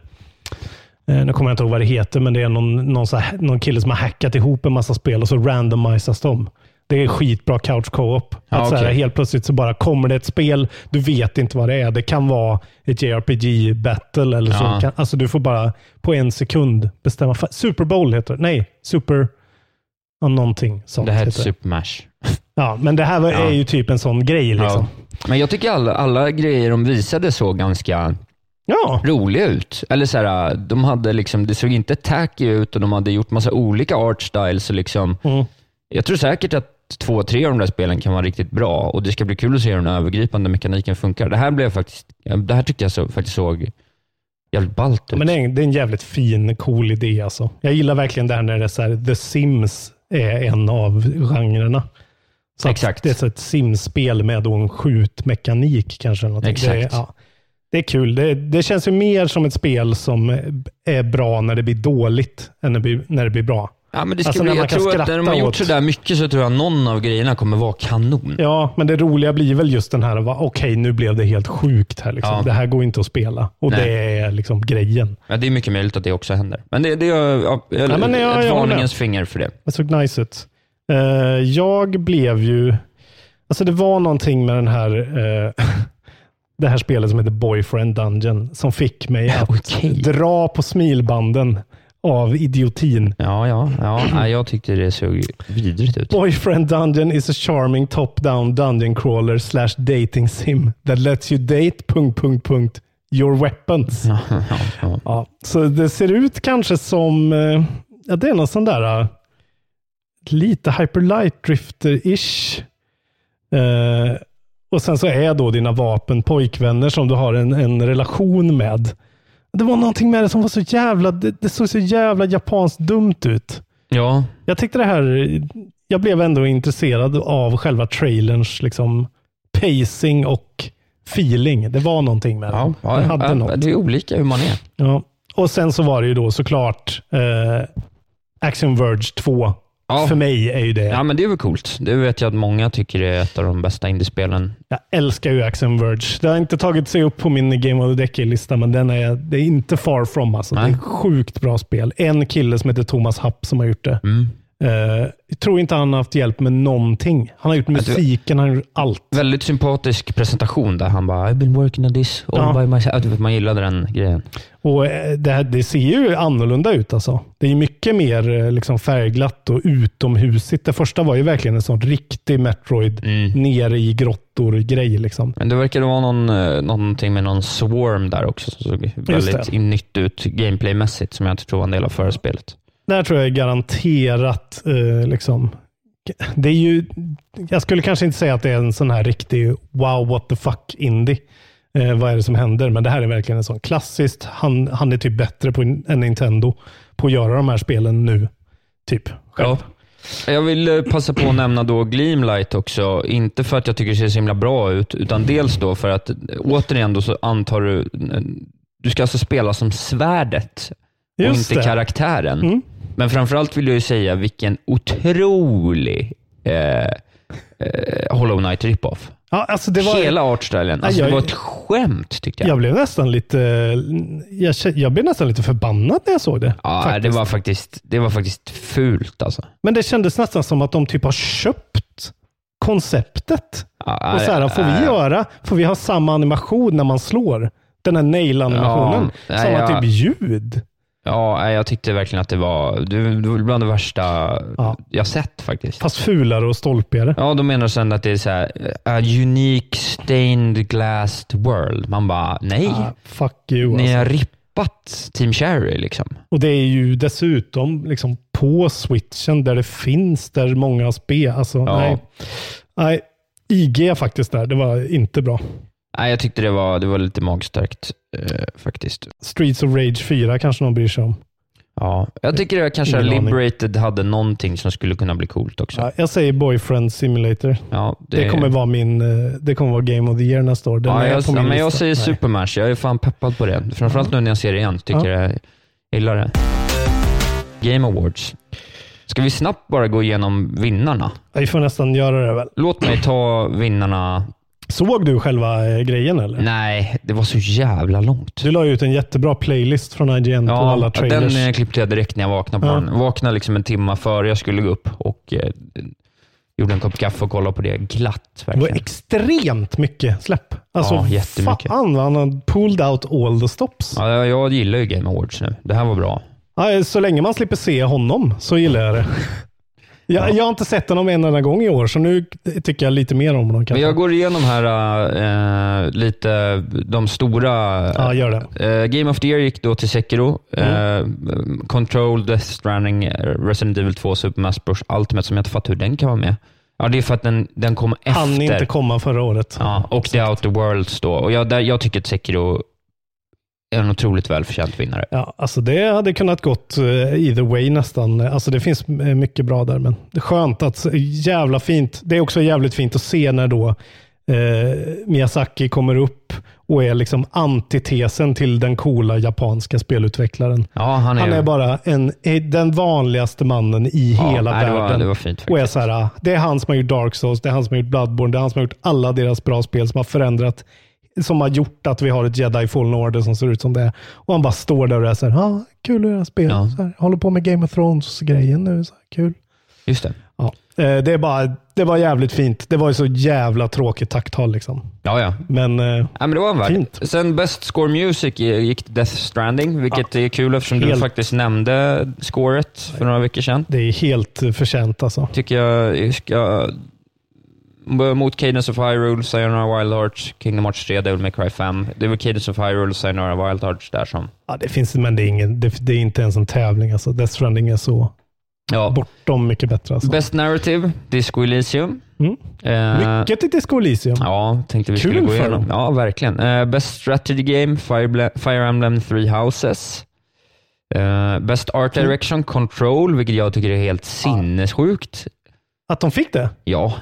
G: Eh, Nu kommer jag inte ihåg vad det heter, men det är någon, någon, så här, någon kille som har hackat ihop en massa spel och så randomisas de. Det är skitbra couch co-op.
F: Ja,
G: att så här,
F: okej.
G: helt plötsligt så bara kommer det ett spel, du vet inte vad det är. Det kan vara ett JRPG-battle eller så.
F: Ja.
G: Kan, alltså du får bara på en sekund bestämma. fa- Super Bowl heter det. Nej, Super... Ja, någonting sånt.
F: Det här är ett
G: heter det.
F: Super Mash.
G: Ja, men det här var,
F: Ja.
G: är ju typ en sån grej. Liksom.
F: Ja. Men jag tycker alla, alla grejer de visade såg ganska
G: Ja.
F: roliga ut. Eller så här, de hade liksom, det såg inte tacky ut och de hade gjort massa olika art styles. och Liksom.
G: Mm.
F: Jag tror säkert att två, tre av de där spelen kan vara riktigt bra och det ska bli kul att se hur den övergripande mekaniken funkar. Det här, blev faktiskt, det här tyckte jag så, faktiskt såg jävligt ballt ut.
G: Men det är, en, det är en jävligt fin, cool idé. Alltså. Jag gillar verkligen det här när det är så här, The Sims är en av genrerna. Så att
F: Exakt.
G: Det är så ett Sims-spel med då en skjutmekanik kanske. eller någonting. Det, är,
F: Exakt.
G: ja, det är kul. Det, det känns ju mer som ett spel som är bra när det blir dåligt än när det blir, när det blir bra.
F: Ja, men det ska
G: Alltså, när
F: bli,
G: man
F: jag
G: kan
F: tror att när de har
G: skratta
F: gjort
G: åt-
F: sådär mycket så tror jag någon av grejerna kommer vara kanon.
G: Ja, men det roliga blir väl just den här, va, okej nu blev det helt sjukt här. Liksom.
F: Ja.
G: Det här går inte att spela. Och
F: Nej.
G: det är liksom grejen.
F: Ja, det är mycket möjligt att det också händer. Men det, det är ja, jag-
G: Ja, men jag- jag
F: ett
G: håller
F: varningens finger för det.
G: Det såg nice ut. Eh, jag blev ju... Alltså det var någonting med den här... eh, det här spelet som heter Boyfriend Dungeon som fick mig att
F: Okej.
G: dra på smilbanden av idiotin.
F: Ja, ja, ja. Nej, jag tyckte det såg vidrigt ut.
G: Boyfriend Dungeon is a charming top-down dungeon crawler slash dating sim that lets you date... Punkt, punkt, punkt, your weapons.
F: Ja, ja, ja.
G: Ja, så det ser ut kanske som, eh, ja det är någon sån där eh, lite hyperlight drifter-ish. Eh, och sen så är då dina vapen pojkvänner som du har en, en relation med. Det var någonting med det som var så jävla, det, det såg så jävla japanskt dumt ut.
F: ja.
G: Jag tyckte det här, jag blev ändå intresserad av själva trailerns liksom pacing och feeling. Det var någonting med
F: ja,
G: den. Den hade något.
F: det är olika hur man är.
G: Ja. Och sen så var det ju då såklart eh, Action Verge 2.
F: Ja.
G: För mig är ju det.
F: Ja, men det är väl coolt. Det vet jag att många tycker är ett av de bästa indiespelen.
G: Jag älskar ju Action Verge. Det har inte tagit sig upp på min Game of the Decade-lista, men den är, det är inte far from. Alltså. Det är
F: Nej.
G: ett sjukt bra spel. En kille som heter Thomas Happ som har gjort det.
F: Mm.
G: Eh, jag tror inte han har haft hjälp med någonting. Han har gjort
F: det var-
G: musiken, han har gjort allt.
F: Väldigt sympatisk presentation där han bara “I've been working on this all
G: Ja.
F: by myself”. Ja, du vet, Man gillade den grejen.
G: Och eh, det, här, det ser ju annorlunda ut. Alltså. Det är mycket mer eh, liksom färgglatt och utomhusigt. Det första var ju verkligen en sån riktig Metroid,
F: Mm.
G: nere i grottor-grej. Liksom.
F: Men det verkade vara någon, eh, någonting med någon swarm där också som såg väldigt
G: det.
F: nytt ut gameplaymässigt som jag inte tror var en del av förspelet.
G: Där tror jag är garanterat, eh, liksom, det är ju, jag skulle kanske inte säga att det är en sån här riktig wow what the fuck indie. Eh, vad är det som händer? Men det här är verkligen en sån klassiskt, han, han är typ bättre på, än Nintendo på att göra de här spelen nu. Typ. Själv.
F: Jag vill eh, passa på att nämna då Gleamlight också. Inte för att jag tycker det ser så himla bra ut, utan dels då för att eh, återigen då så antar du... eh, Du ska alltså spela som svärdet och
G: Just
F: inte
G: det.
F: karaktären.
G: Mm.
F: Men framförallt vill jag ju säga vilken otrolig eh, eh, Hollow Knight rip-off.
G: Ja, alltså det var,
F: Hela artstylen. Alltså,
G: jag-
F: det var ett skämt tyckte jag.
G: Jag blev nästan lite eh, jag, kä- jag blev nästan lite förbannad när jag såg det.
F: ja,
G: faktiskt.
F: det, var faktiskt, det var faktiskt fult alltså.
G: Men det kändes nästan som att de typ har köpt konceptet.
F: Ja,
G: och så här,
F: nej,
G: får
F: nej.
G: vi göra, får vi ha samma animation när man slår? Den här nail-animationen.
F: Ja, nej,
G: samma
F: jag-
G: typ ljud.
F: Ja, nej, jag tyckte verkligen att det var, det det var bland det värsta
G: Ja.
F: jag sett faktiskt.
G: Fast fulare och stolpigare.
F: Ja, de menar sen att det är så här, eh, a unique stained glass world. Man bara, nej,
G: Ah, fuck you
F: ni
G: alltså.
F: har rippat Team Cherry liksom.
G: Och det är ju dessutom liksom på switchen där det finns, där många har spel. Alltså,
F: Ja.
G: nej. nej. IG faktiskt där, det var inte bra.
F: Nej, jag tyckte det var, det var lite magstarkt eh, faktiskt.
G: Streets of Rage 4 kanske någon bryr sig om.
F: Ja, jag tycker att kanske
G: Ingen aning.
F: Liberated hade någonting som skulle kunna bli coolt också.
G: Ja, jag säger Boyfriend Simulator.
F: Ja, det,
G: Det, kommer vara min, eh, det kommer vara Game of the Year nästa år. Den
F: Ja,
G: är
F: jag,
G: på
F: ja,
G: min
F: men jag
G: lista.
F: säger
G: Nej.
F: Supermash. Jag är fan peppad på det. Framförallt nu när jag ser det igen. Tycker jag gillar det. Game Awards. Ska vi snabbt bara gå igenom vinnarna?
G: Vi får nästan göra det väl.
F: Låt mig ta vinnarna.
G: Såg du själva eh, grejen eller?
F: Nej, det var så jävla långt.
G: Du la ju ut en jättebra playlist från IGN på alla trailers.
F: den eh, klippte jag direkt när jag vaknade på
G: Ja.
F: den. Vaknade liksom en timma före jag skulle gå upp och eh, gjorde en kopp kaffe och kollade på det glatt.
G: Det var
F: Verkligen.
G: extremt mycket släpp. Alltså,
F: Ja, jättemycket.
G: fan vad han har pulled out all the stops.
F: Ja, jag- jag gillar ju Game Awards nu. Det här var bra.
G: Ja, Så länge man slipper se honom så gillar jag det. Jag, jag har inte sett honom en enda gång i år, så nu tycker jag lite mer om honom.
F: Men
G: Kanske.
F: jag går igenom här eh, lite de stora.
G: Ja, gör det. Mm.
F: Eh, Game of the Year gick då till Sekiro. Eh, Control, Death Stranding, eh, Resident Evil 2, Super Smash Bros Ultimate, som jag inte fattar hur den kan vara med. Ja, det är för att den, den kom efter.
G: Han inte komma förra året.
F: Ja, och The Outer Worlds då. Och jag, där, jag tycker att Sekiro är en otroligt välförtjänt vinnare.
G: Ja, alltså det hade kunnat gått eh, either way nästan. Alltså det finns eh, mycket bra där, men det är skönt att eh, jävla fint. Det är också jävligt fint att se när då eh, Miyazaki kommer upp och är liksom antitesen till den coola japanska spelutvecklaren.
F: Ja, han är,
G: Han är bara en, eh, den vanligaste mannen i
F: Ja,
G: hela
F: nej, det var-
G: världen.
F: det var fint
G: och är så här, ah, det är han som har gjort Dark Souls, det är han som har gjort Bloodborne, det är han som har gjort alla deras bra spel som har förändrat, som har gjort att vi har ett Jedi Fallen Order som ser ut som det är. Och han bara står där och är så här, ah, kul att göra spel.
F: Ja.
G: Så här, håller på med Game of Thrones-grejen nu. Så här, kul.
F: Just det.
G: Ja. Eh, det, är bara, det var jävligt fint. Det var ju så jävla tråkigt takttal liksom.
F: Ja, ja.
G: Men eh,
F: Ja, men det var en värld.
G: Fint.
F: Sen Best Score Music gick till Death Stranding, vilket är kul eftersom du
G: Helt.
F: faktiskt nämnde scoret för några veckor sedan.
G: det är helt eh, förtjänt alltså.
F: Tycker jag ska... Mot Cadence of Hyrule, Sayonara Wild Hearts, Kingdom Hearts 3, Devil May Cry 5. Det var Cadence of Hyrule och Sayonara Wild Hearts där som...
G: Ja, det finns, men det är, ingen, det, det är inte ens en tävling. Alltså. Death Stranding är så
F: Ja.
G: bortom mycket bättre. Alltså.
F: Best Narrative, Disco Elysium.
G: Mm.
F: Eh,
G: Mycket till Disco Elysium.
F: Ja, tänkte vi
G: Kul
F: skulle gå
G: för
F: igenom.
G: dem.
F: Ja, verkligen. Eh, best Strategy Game, Fire, Ble- Fire Emblem Three Houses. Eh, best Art Direction, Control, vilket jag tycker är helt sinnessjukt.
G: Att de fick det?
F: Ja,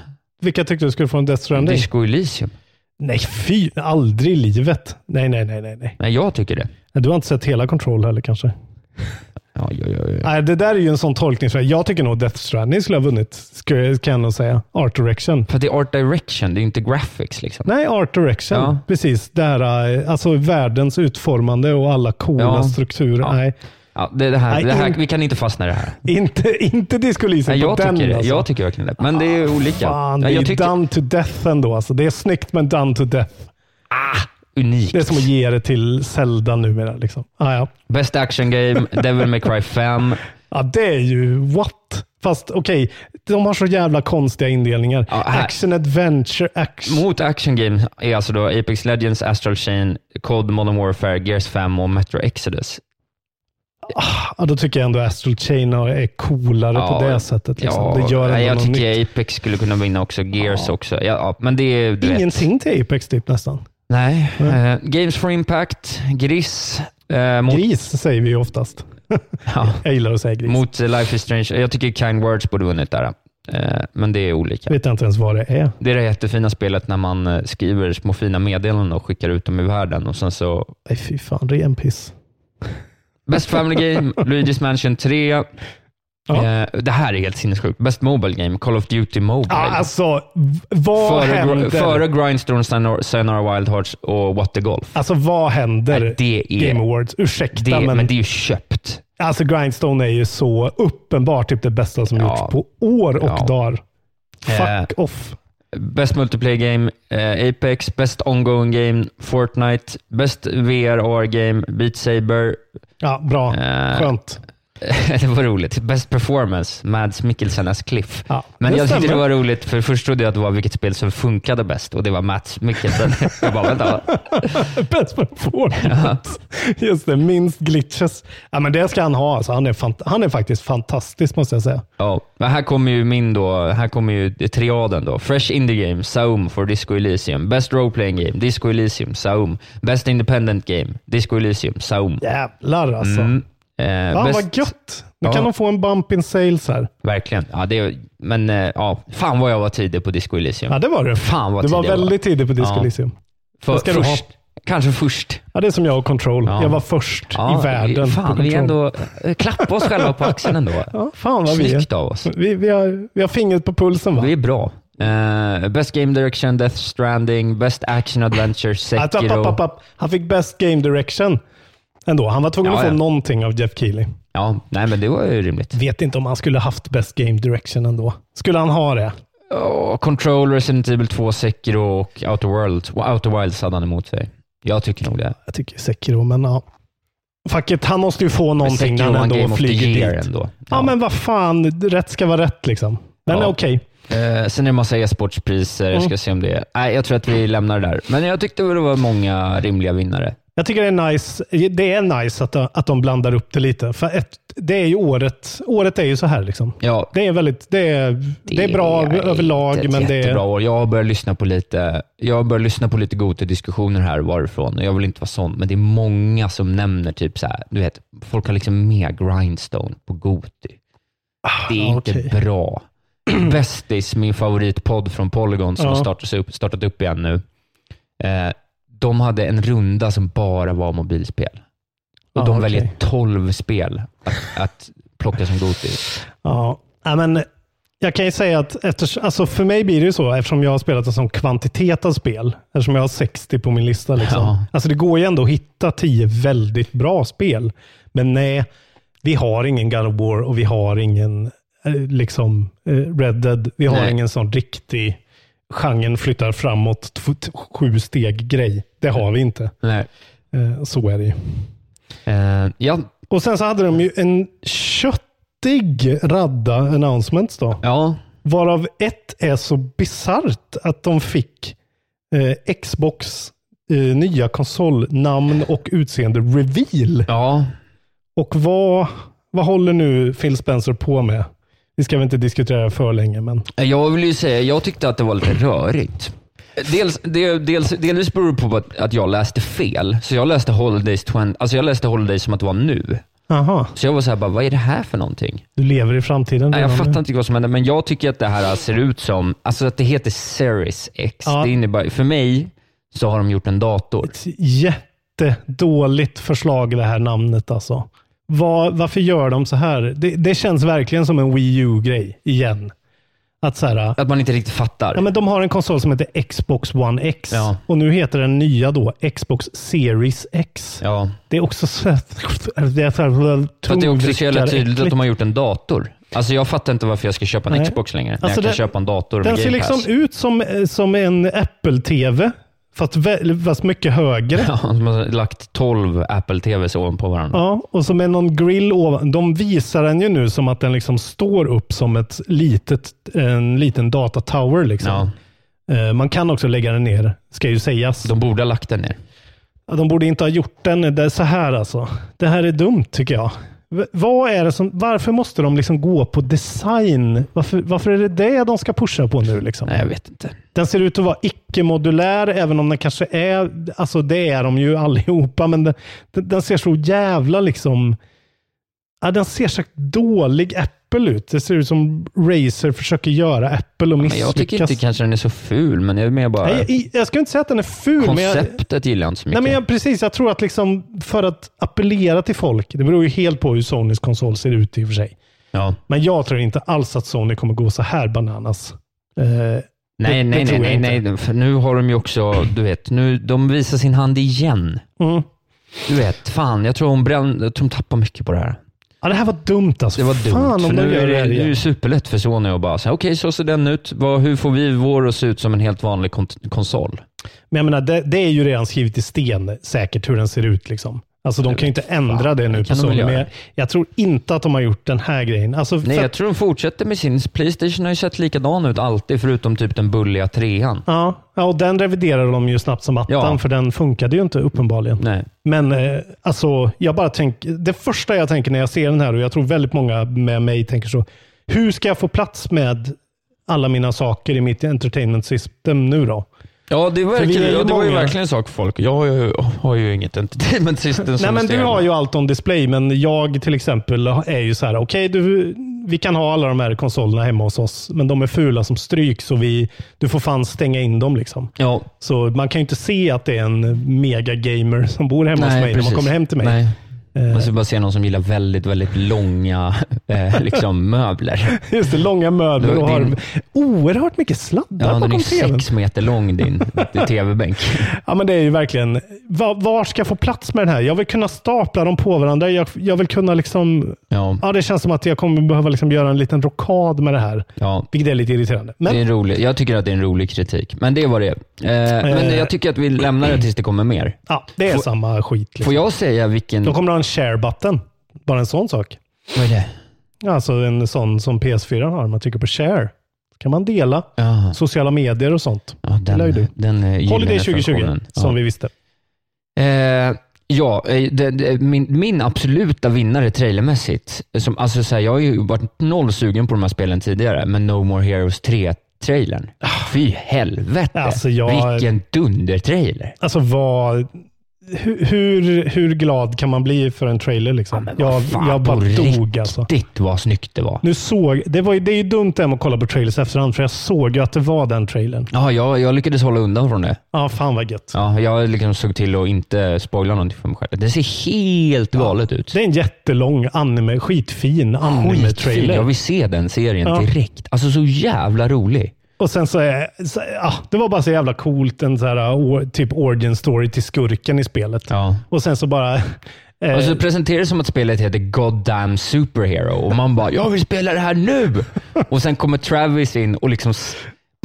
G: Vilka tyckte du skulle få en Death Stranding?
F: Disco Elysium.
G: nej, fy. Aldrig i livet. Nej, nej, nej, nej. nej.
F: Nej, jag tycker det.
G: Du har inte sett hela Control heller kanske?
F: Ja, ja, ja, ja.
G: Nej, det där är ju en sån tolkning. som jag- Jag tycker nog Death Stranding skulle ha vunnit, ska jag- kan jag nog säga. Art Direction.
F: För att det är Art Direction, det är inte Graphics. liksom.
G: Nej, Art Direction.
F: Ja.
G: Precis. Det här, eh, alltså världens utformande och alla coola
F: Ja.
G: strukturer.
F: Ja.
G: Nej,
F: Ja, det, det här,
G: Nej,
F: det här,
G: in-
F: vi kan inte fastna i det här.
G: inte, inte Disco Elysium
F: Nej, jag,
G: på den.
F: tycker det.
G: alltså.
F: jag tycker verkligen det. Men det är olika.
G: Ah, Fan, det
F: Nej,
G: är
F: jag
G: ju done to death ändå. Alltså. Det är snyggt, men done to death.
F: unikt.
G: Det är som att ge det till Zelda numera. Liksom. Ah, ja.
F: Best Action Game, Devil May Cry 5.
G: ja, det är ju what? Fast okej, de har så jävla konstiga indelningar.
F: Ja, här-
G: action adventure, action.
F: Mot action game är alltså då Apex Legends, Astral Chain, Cold Modern Warfare, Gears 5 och Metro Exodus.
G: Ja, då tycker jag ändå Astral Chain är coolare på det sättet. Liksom. det gör
F: nej,
G: ändå
F: jag
G: något
F: tycker
G: nytt.
F: Apex skulle kunna vinna också, Gears också. Ja, ja, men det är du vet.
G: Ingenting till Apex typ nästan.
F: Nej. Eh, Games for Impact, Gris, eh, mot,
G: Gris säger vi ju oftast.
F: Ja,
G: Jag gillar att säga gris.
F: mot eh, Life is Strange. Jag tycker Kind Words borde vunnit där. Eh, men det är olika.
G: Vet jag inte ens vad det är.
F: Det är det jättefina spelet när man eh, skriver små fina meddelanden och skickar ut dem i världen och sen så
G: Nej, fy fan. Ren piss.
F: Best Family Game, Luigi's Mansion 3.
G: Ja.
F: Eh, det här är helt sinnessjukt. Best Mobile Game, Call of Duty Mobile.
G: Ja, alltså, v- vad
F: före,
G: händer?
F: gr- före Grindstone, Sayonara- Sayonara Wild Hearts och What the Golf.
G: Alltså vad händer?
F: Nej, det är-
G: Game Awards. Ursäkta,
F: Det,
G: men,
F: men, det är ju köpt.
G: alltså Grindstone är ju så uppenbart typ det bästa som
F: Ja.
G: gjorts på år och
F: Ja.
G: dagar. Fuck
F: Eh.
G: off.
F: Best Multiplayer Game, eh, Apex. Best Ongoing Game, Fortnite. Best VR Game, Beat Saber.
G: Ja, bra.
F: Eh.
G: Skönt.
F: det var roligt. Best Performance, Mads Mikkelsenas Cliff.
G: Ja,
F: men
G: det
F: jag tyckte det
G: stämmer.
F: var roligt, för först trodde jag att det var vilket spel som funkade bäst och det var Mads Mikkelsen. jag bara, vänta. va?
G: Best performance. Just det, minst glitches. Ja, men det ska han ha. Alltså, han, är fant- han är faktiskt fantastisk måste jag säga.
F: Ja, men här kommer ju min då, här kommer ju triaden då. Fresh Indie Game, Saum for Disco Elysium. Best Role Playing Game, Disco Elysium, Saum. Best Independent Game, Disco Elysium, Saum.
G: Jävlar alltså.
F: Mm. Eh,
G: Fan
F: bäst-
G: vad gött. Nu
F: Ja.
G: kan de få en bump in sales här.
F: Verkligen. Ja, det, är- men eh, ja, fan vad jag var tidig på Disco Elysium.
G: Ja, det var du.
F: Fan vad
G: Du var
F: tidig jag
G: väldigt tidig på Disco
F: Ja.
G: Elysium.
F: För,
G: Vad ska du ha?
F: först, Kanske först.
G: Ja, det är som jag och Control.
F: Ja.
G: Jag var först
F: Ja,
G: i världen.
F: vi- Fan,
G: på
F: vi
G: Control.
F: ändå eh, klappa oss själva på axeln ändå.
G: Ja, fan vad vi är.
F: Snyggt av oss.
G: Vi, vi, har, vi har fingret på pulsen va?
F: Vi är bra. Eh, best Game Direction, Death Stranding, Best Action Adventure,
G: Att, app, app, app,
F: Sekiro.
G: app. Han fick bäst game direction ändå. Han var tvungen
F: Ja,
G: att få
F: ja.
G: någonting av Jeff Keely.
F: Ja, nej men det var ju rimligt.
G: Vet inte om han skulle haft bäst game direction ändå. Skulle han ha det?
F: Oh, Control, Resident Evil 2, Sekiro och Outer Worlds. Och Outer Wilds hade han emot sig. Jag tycker nog det.
G: Jag tycker Sekiro, men ja. Fuck it, han måste ju få någonting när
F: Sekiro
G: han
F: var en Game
G: ändå
F: of the
G: flyger
F: Year
G: dit.
F: ändå.
G: Ja, men vad fan. Rätt ska vara rätt liksom. Men
F: Ja.
G: okej. Mm.
F: Eh, sen är det massa e-sportspriser. Jag ska se om det är... Nej, jag tror att vi lämnar det där. Men jag tyckte väl det var många rimliga vinnare.
G: Jag tycker det är nice, det är nice att, att de blandar upp det lite. För ett, det är ju året, året är ju så här liksom.
F: Ja,
G: Det är väldigt, det är, det är bra överlag,
F: ett
G: men det
F: jättebra
G: är...
F: år. Jag börjar lyssna på lite, jag börjar lyssna på lite Gote-diskussioner här varifrån. Jag vill inte vara sån, men det är många som nämner typ så här, du vet, folk har liksom med grindstone på Gote. Det är inte
G: Ah, okej.
F: bra. Bästis, min favoritpodd från Polygon som
G: Ja.
F: har startats upp, startat upp igen nu. Eh, de hade en runda som bara var mobilspel. Och
G: Ja,
F: de
G: Ah, okej.
F: väljer 12 spel att, att plocka som Gote.
G: Ja, ja, men jag kan ju säga att efter, alltså för mig blir det ju så, eftersom jag har spelat en sån kvantitet av spel, eftersom jag har 60 på min lista. Liksom.
F: Ja.
G: Alltså det går ju ändå att hitta 10 väldigt bra spel, men nej, vi har ingen God of War och vi har ingen eh, liksom, eh, Red Dead. Vi har
F: Nej.
G: ingen sån riktig genren flyttar framåt tw- t- sju steg-grej. Det har vi inte.
F: Nej.
G: Eh, Så är det ju.
F: Eh, ja,
G: Och sen så hade de ju en köttig radda announcements då.
F: ja,
G: Varav ett är så bisarrt att de fick eh, Xbox eh, nya konsol, namn och utseende reveal.
F: ja.
G: Och vad, vad håller nu Phil Spencer på med? Vi ska väl inte diskutera det för länge, men
F: Jag vill ju säga, jag tyckte att det var lite rörigt. Dels, det, dels, delvis beror det på att, att jag läste fel. Så jag läste Holidays 20, alltså jag läste Holidays som att det var nu.
G: aha,
F: Så jag var så här, bara, vad är det här för någonting?
G: du lever i framtiden.
F: Nej, jag
G: redan nu.
F: fattar inte vad som hände, men jag tycker att det här ser ut som, alltså att det heter Series X.
G: Ja.
F: Det innebär, för mig så har de gjort en dator.
G: Ett jättedåligt förslag det här namnet alltså. Var, varför gör de så här? Det, det känns verkligen som en Wii U-grej igen. Att så här, äh,
F: Att man inte riktigt fattar.
G: ja, men de har en konsol som heter Xbox One X
F: Ja.
G: och nu heter den nya då Xbox Series X.
F: ja.
G: Det är också så här, det är så här
F: För att det är också så jävla tydligt att
G: tungvrickaräckligt.
F: de har gjort en dator. Alltså jag fattar inte varför jag ska köpa en
G: Nej.
F: Xbox längre, när
G: Alltså,
F: jag kan
G: den-
F: köpa en dator
G: Den
F: med
G: ser
F: Game Pass.
G: liksom ut som, eh, som en Apple-TV, fast, vä- fast mycket högre.
F: Ja, de har lagt 12 Apple TVs ovanpå varandra.
G: Ja, och så med någon grill ovan. De visar den ju nu som att den liksom står upp som ett litet, en liten datatower. Liksom.
F: Ja,
G: Eh, Man kan också lägga den ner, ska ju sägas. De,
F: de borde ha lagt den ner.
G: de borde inte ha gjort den det är så här alltså. Det här är dumt tycker jag. V- Vad är det som, varför måste de liksom gå på design? Varför, varför är det det de ska pusha på nu? Liksom?
F: Nej, jag vet inte.
G: Den ser ut att vara icke-modulär, även om den kanske är, alltså det är de ju allihopa, men den, den, den ser så jävla liksom, ja, den ser så dålig Apple ut. Det ser ut som Razer försöker göra Apple och
F: Men
G: misslyckas.
F: jag tycker inte kanske den är så ful, men jag är mer bara...
G: Nej, jag, jag ska inte säga att den är ful, men jag,
F: konceptet gillar jag inte så
G: nej,
F: mycket.
G: men jag, precis, jag tror att liksom för att appellera till folk, det beror ju helt på hur Sonys konsol ser ut i och för sig.
F: ja.
G: Men jag tror inte alls att Sony kommer gå så här bananas. Eh,
F: nej,
G: det
F: nej,
G: tror
F: nej,
G: jag
F: nej, nej, För nu har de ju också, du vet, nu, de visar sin hand igen.
G: mm.
F: Du vet, fan, jag tror hon bränn, jag tror de tappar mycket på det här.
G: Ja, det här var dumt alltså.
F: Det var
G: Fan
F: dumt,
G: om
F: för
G: de
F: nu
G: gör
F: är
G: det
F: det,
G: här
F: nu är
G: igen.
F: det superlätt för Sony att bara säga, okej, så ser den ut. Vad, hur får vi vår att se ut som en helt vanlig kont- konsol?
G: Men jag menar, det, det är ju redan skrivet i sten säkert hur den ser ut. Liksom. Alltså, de
F: Jag
G: kan ju inte
F: vet
G: ändra
F: fan,
G: det nu
F: det
G: på
F: kan de
G: Sony,
F: väl
G: men
F: göra.
G: jag, jag tror inte att de har gjort den här grejen. Alltså,
F: Nej,
G: för,
F: jag tror de fortsätter med sin. Playstation har ju sett likadan ut alltid, förutom typ den bulliga trean.
G: ja, ja, och den reviderade de ju snabbt som attan,
F: Ja.
G: för den funkade ju inte uppenbarligen.
F: Nej.
G: Men eh, alltså, jag bara tänker, det första jag tänker när jag ser den här, och jag tror väldigt många med mig tänker så, hur ska jag få plats med alla mina saker i mitt entertainment system nu då?
F: Ja, det,
G: För vi är
F: verkar,
G: ju
F: ja, det var ju
G: många.
F: verkligen en sak för folk. Jag har ju, har ju inget entertainment system som
G: Nej, men
F: är
G: du har ju allt on display, men jag till exempel är ju så här, okej, du vi kan ha alla de här konsolerna hemma hos oss, men de är fula som stryk, så vi, du får fan stänga in dem. Liksom.
F: Ja.
G: Så man kan ju inte se att det är en megagamer som bor hemma hos
F: Nej,
G: mig när man
F: precis.
G: kommer hem till mig.
F: Nej. Man ska bara se någon som gillar väldigt, väldigt långa eh, liksom, möbler.
G: Just det, långa möbler
F: Då-
G: och har
F: din-
G: oerhört mycket sladdar
F: Ja, den är
G: bakom tvn.
F: sex meter lång din, din tv-bänk.
G: Ja, men det är ju verkligen, var, var ska jag få plats med den här? Jag vill kunna stapla dem på varandra. Jag, jag vill kunna liksom...
F: Ja.
G: Ja, det känns som att jag kommer behöva liksom göra en liten rockad med det här,
F: Ja.
G: vilket är lite irriterande.
F: Det är
G: Men
F: en rolig, jag tycker att det är en rolig kritik, men det var det. Eh, men
G: Eh.
F: jag tycker att vi lämnar det tills det kommer mer.
G: ja, det är
F: Får-
G: samma skit. Liksom.
F: Får jag säga vilken...
G: De kommer ha en share button. Bara en sån sak.
F: Vad är det?
G: Alltså en sån som PS4 har. Man trycker på share. Så kan man dela
F: Ja,
G: sociala medier och sånt.
F: ja, den,
G: Gillar ju
F: den,
G: du.
F: eh, gyllene
G: Holiday 2020,
F: funktionen.
G: som vi visste.
F: Eh, ja, eh, det, det, min, min absoluta vinnare trailermässigt. Som, alltså, så här, jag har ju varit noll sugen på de här spelen tidigare, men No More Heroes 3-trailern. Fy helvete!
G: Alltså, jag-
F: Vilken dunder-trailer!
G: Alltså vad... Hur, hur, hur glad kan man bli för en trailer? Liksom? jag,
F: Fan,
G: jag
F: på
G: bara dog
F: riktigt
G: alltså.
F: vad snyggt det var.
G: Nu såg, det, var ju, det är ju dumt det här med att kolla på trailers efterhand, för jag såg ju att det var den trailern.
F: Ja, jag, jag lyckades hålla undan från det.
G: Ja, fan vad gött.
F: Ja, jag liksom såg till att inte spoila någonting för mig själv. Det ser helt galet ut.
G: Det är en jättelång anime, skitfin
F: Skitfin. Jag
G: anime-trailer.
F: vill se den serien
G: Ja.
F: direkt. Alltså så jävla rolig.
G: Och sen så är, så, ja, det var bara så jävla coolt, en så här, o- typ origin story till skurken i spelet.
F: Ja.
G: Och sen så bara... Eh,
F: Och så presenterar det som att spelet heter Goddamn Superhero och man bara “Jag vill spela det här nu!” Och sen kommer Travis in och liksom s-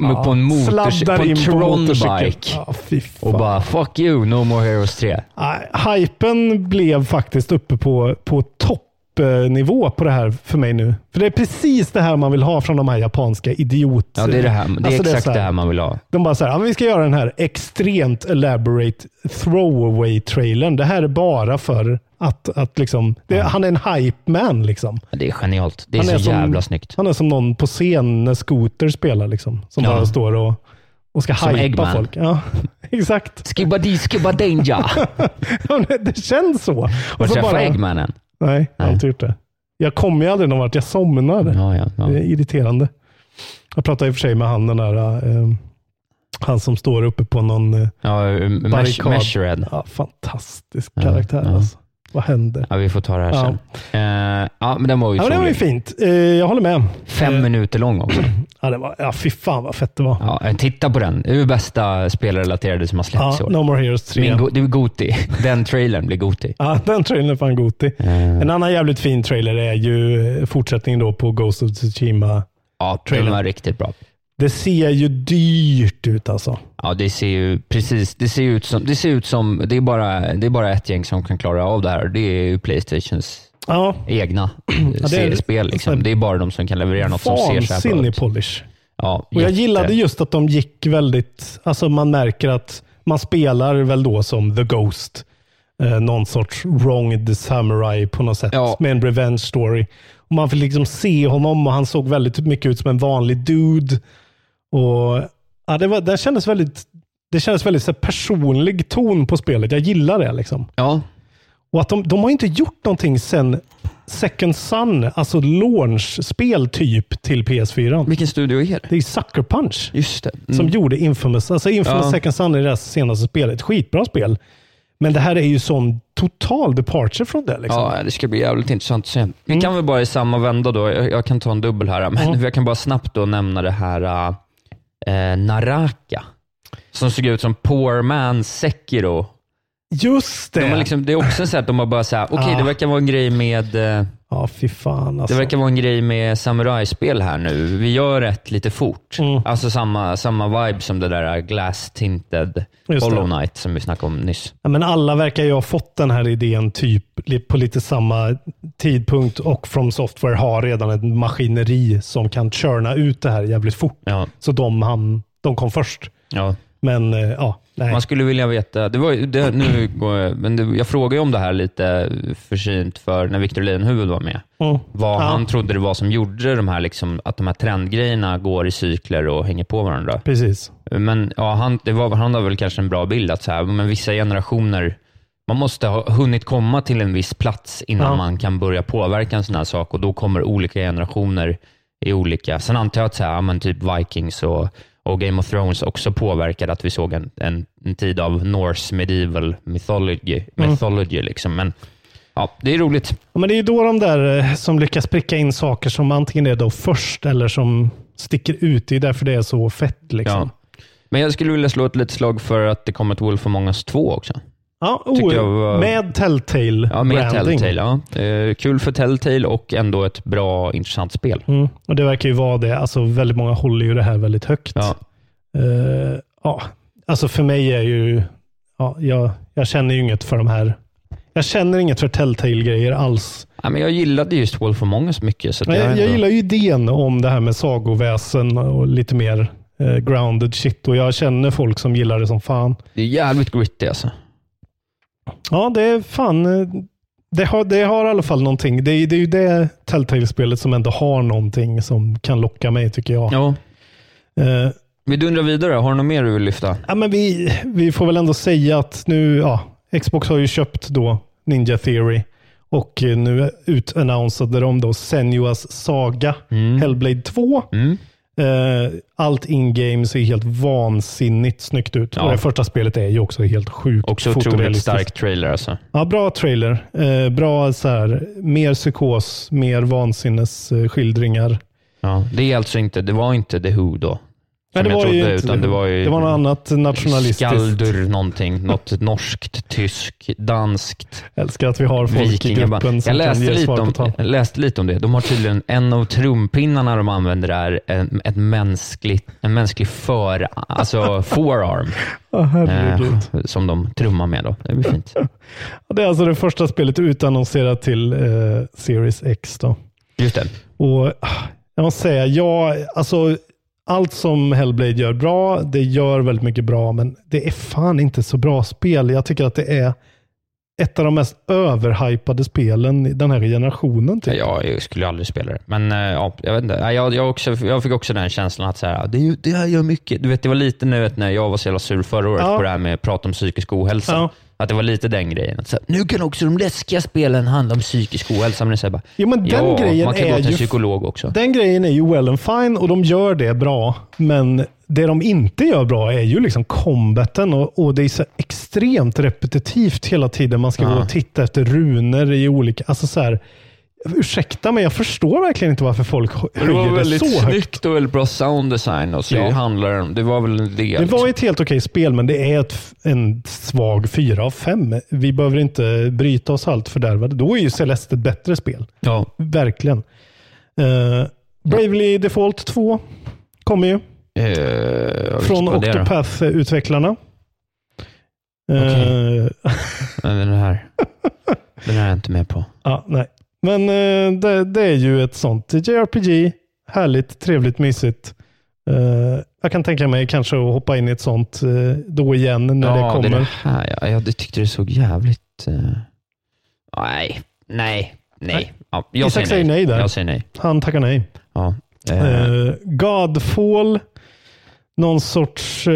G: ja,
F: på en, motors-
G: sladdar
F: på en
G: in på motorcykeln.
F: Tron-bike
G: Ja, fy
F: och
G: fan.
F: bara “Fuck you, No More Heroes 3”.
G: Nej, Hypen blev faktiskt uppe på, på toppnivå på det här för mig nu. För det är precis det här man vill ha från de här japanska idiot...
F: Ja, det är, det här, det är
G: Alltså,
F: exakt
G: så
F: det,
G: här,
F: här man vill ha.
G: De bara så här, ja, men vi ska göra den här extremt elaborate throwaway-trailern. Det här är bara för att, att liksom... Det, Han är en hype man liksom.
F: Det är genialt. Det är
G: han
F: så jävla snyggt.
G: Han är som någon på scen när Scooter spelar liksom. Som
F: Ja.
G: bara står och, och ska
F: Som
G: hypa
F: Eggman.
G: folk. Ja, exakt.
F: Skibba-di, skibba-danger.
G: Ja, men det känns så. Och
F: Har du
G: så
F: träffat
G: bara-
F: Eggmanen?
G: Nej, jag har inte gjort det. Jag kommer ju aldrig någon vart. Jag somnar.
F: Ja, ja, ja.
G: Det är irriterande. Jag pratade i och för sig med han den där, eh, han som står uppe på någon eh,
F: ja mesh,
G: barrikad.
F: Meshred.
G: Ja, fantastisk
F: Ja,
G: karaktär
F: ja.
G: alltså. Vad händer?
F: Ja, vi får ta det här
G: Ja.
F: sen. Eh, ja, men den var ju
G: Ja, men det var ju
F: otrolig.
G: fint. Eh, jag håller med. Eh,
F: Fem minuter lång också.
G: Ja, det var, ja, fy fan vad fett det var.
F: Ja, eh, titta på den. Det är ju bästa spelrelaterade som har
G: Ja,
F: släppts i år.
G: no More Heroes 3.
F: Min go- det är Goti. Den trailern blir Goti.
G: Ja, den trailern är fan gotig.
F: Eh.
G: En annan jävligt fin trailer är ju eh, fortsättningen då på Ghost of Tsushima.
F: Ja, den
G: trailern.
F: var riktigt bra.
G: Det ser ju dyrt ut alltså.
F: Ja, det ser ju precis, det ser ut som, det ser ut som, det är bara, det är bara ett gäng som kan klara av det här. Det är ju Playstations
G: Ja,
F: egna ja,
G: det är-
F: spel. Liksom. Det är bara de som kan leverera något som ser så här bra
G: vansinnig
F: ut.
G: polish.
F: Ja,
G: Och jag
F: jätte-
G: gillade just att de gick väldigt, alltså man märker att man spelar väl då som The Ghost. Eh, någon sorts wronged samurai på något sätt
F: Ja.
G: med en revenge story. Och man fick liksom se honom och han såg väldigt mycket ut som en vanlig dude. Och ja, det, var, det kändes väldigt det kändes väldigt så här, personlig ton på spelet. Jag gillar det. liksom.
F: Ja,
G: Och att de, de har inte gjort någonting sen Second Sun, alltså launch-spel typ till PS4.
F: vilken studio är det?
G: Det är Sucker Punch
F: Just det. Mm.
G: som gjorde Infamous. Alltså Infamous
F: Ja.
G: Second Sun är deras senaste spel. Ett skitbra spel. Men det här är ju sån total departure från det. Liksom. Mm.
F: Ja, det ska bli jävligt intressant att se. Vi kan väl bara i samma vända då, jag, jag kan ta en dubbel här, men jag kan bara snabbt då nämna det här eh, Naraka, som såg ut som Poor Man Sekiro.
G: Just det!
F: De har liksom, det är också så här att de har bara så här, okej
G: Ah.
F: det verkar vara en grej med eh,
G: Ja, fy fan
F: det
G: alltså.
F: verkar vara en grej med samurajspel här nu. Vi gör ett lite fort.
G: Mm.
F: Alltså samma, samma vibe som det där glass tinted
G: Just det.
F: Hollow Knight som vi snackade om nyss.
G: Ja, men alla verkar ju ha fått den här idén typ li- på lite samma tidpunkt och From Software har redan ett maskineri som kan körna ut det här jävligt fort.
F: Ja.
G: Så de, han, de kom först.
F: Ja.
G: Men eh, ja, nej.
F: Man skulle vilja veta, det var, ju- det, nu går jag, men det, jag frågade ju om det här lite försynt för när Victor Leijonhufvud var med.
G: Mm.
F: Vad
G: Ja.
F: han trodde det var som gjorde de här, liksom, att de här trendgrejerna går i cykler och hänger på varandra.
G: Precis.
F: Men ja, han, det var, han har väl kanske en bra bild att så här, men vissa generationer man måste ha hunnit komma till en viss plats innan man kan börja påverka en sån här sak och då kommer olika generationer i olika... Sen antar jag att så här, ja, men typ Vikings och, och Game of Thrones också påverkade att vi såg en, en, en tid av Norse medieval mythology. mythology liksom. Men ja, det är roligt.
G: Mm. Ja, men det är ju då de där eh, som lyckas pricka in saker som antingen är då först eller som sticker ut. Det är därför det är så fett. Liksom.
F: Ja. Men jag skulle vilja slå ett litet slag för att det kommer ett Wolf Among Us 2 också.
G: Ja,
F: Tycker
G: oh,
F: jag var-
G: Med Telltale
F: Ja, med
G: branding.
F: Telltale. Ja. Eh, kul för Telltale och ändå ett bra, intressant spel.
G: Mm. Och Det verkar ju vara det. Alltså, väldigt många håller ju det här väldigt högt.
F: Ja.
G: Eh, ja. Alltså för mig är ju... Ja, jag, jag känner ju inget för de här... Jag känner inget för Telltale-grejer alls.
F: Ja, men jag gillade just Wolf Among Us mycket. Så att
G: Men
F: jag,
G: jag, jag
F: ändå-
G: gillar ju idén om det här med sagoväsen och lite mer eh, grounded shit. Och Jag känner folk som gillar det som fan.
F: Det är jävligt gritty alltså.
G: Ja, det är fan... eh, Det har, det har i alla fall någonting. Det är, det är ju det Telltale-spelet som ändå har någonting som kan locka mig, tycker jag.
F: Ja.
G: Eh,
F: Vi dundrar vidare. Har du något mer du vill lyfta?
G: Ja, men vi, vi får väl ändå säga att nu, ja, Xbox har ju köpt då Ninja Theory och eh, nu utannonsade de då Senuas Saga
F: Mm.
G: Hellblade 2. Eh, Allt in-game ser helt vansinnigt snyggt ut.
F: Ja.
G: Och det första spelet är ju också helt sjukt
F: Också otroligt
G: fotorealistiskt.
F: stark trailer alltså.
G: Ja, bra trailer. Eh, Bra så här, mer psykos, mer vansinnesskildringar.
F: Ja. Det är alltså inte, det var inte The Who då. Som jag trodde,
G: inte
F: utan det var ju...
G: det var något annat nationalistiskt.
F: Skaldur någonting. Något norskt, tyskt, danskt.
G: Älskar att vi har folk i
F: Vikingaband.
G: gruppen som
F: Jag läste,
G: kan ge
F: lite
G: svar på
F: om,
G: tal.
F: jag läste lite om det. De har tydligen en av trumpinnarna de använder är en, ett mänskligt, en mänsklig för, alltså forearm.
G: Ja, herregud.
F: eh, som de trummar med. Då. Det blir fint.
G: Ja, Det är alltså det första spelet utannonserat till eh, Series X. Då.
F: Just det.
G: Och ah, Jag måste säga, jag, alltså, allt som Hellblade gör bra, det gör väldigt mycket bra, men det är fan inte så bra spel. Jag tycker att det är ett av de mest överhypade spelen i den här generationen. Typ.
F: Ja, jag skulle aldrig spela det. Men eh, ja, jag vet inte. Nej, Jag, jag, också, jag fick också den känslan att så här, det, är ju- det här gör mycket. Du vet, det var lite nu vet, när jag var så jävla sur förra året
G: Ja.
F: på det här med att prata om psykisk ohälsa.
G: Ja.
F: Att det var lite den grejen. Att så här, nu kan också de läskiga spelen handla om psykisk ohälsa. Men det är så här bara,
G: Jo, men den
F: ja,
G: grejen
F: man kan
G: är
F: gå till
G: ju-
F: en psykolog också.
G: Den grejen är ju well and fine och de gör det bra, men det de inte gör bra är ju liksom combaten och, och det är så extremt repetitivt hela tiden. Man ska gå och titta efter runor i olika... Alltså så här, ursäkta mig, jag förstår verkligen inte varför folk hö-
F: Det var
G: höjer det,
F: väldigt
G: så högt.
F: snyggt och väldigt bra sound design. Och så
G: Ja.
F: det, handlar, om- det var väl en del. liksom.
G: Det var ett helt okej spel, men det är ett, f- en svag fyra av fem. Vi behöver inte bryta oss allt fördärvade. Då är ju Celeste ett bättre spel.
F: ja.
G: Verkligen. Eh, Bravely Default 2 kommer ju.
F: Eh, vilket
G: Från
F: var det då?
G: Octopath-utvecklarna.
F: Okej.
G: Eh,
F: Nej, men Den här. Den här är jag inte med på.
G: ja, nej. Men eh, det, det är ju ett sånt JRPG. Härligt, trevligt, mysigt. Eh, jag kan tänka mig kanske att hoppa in i ett sånt eh, då igen när det
F: är
G: kommer.
F: här, ja, jag tyckte det såg jävligt... eh, Nej, nej, nej. Ja, jag
G: Isak säger nej där.
F: Jag säger nej.
G: Han tackar nej.
F: Ja. Eh,
G: Eh, Godfall. Någon sorts... eh,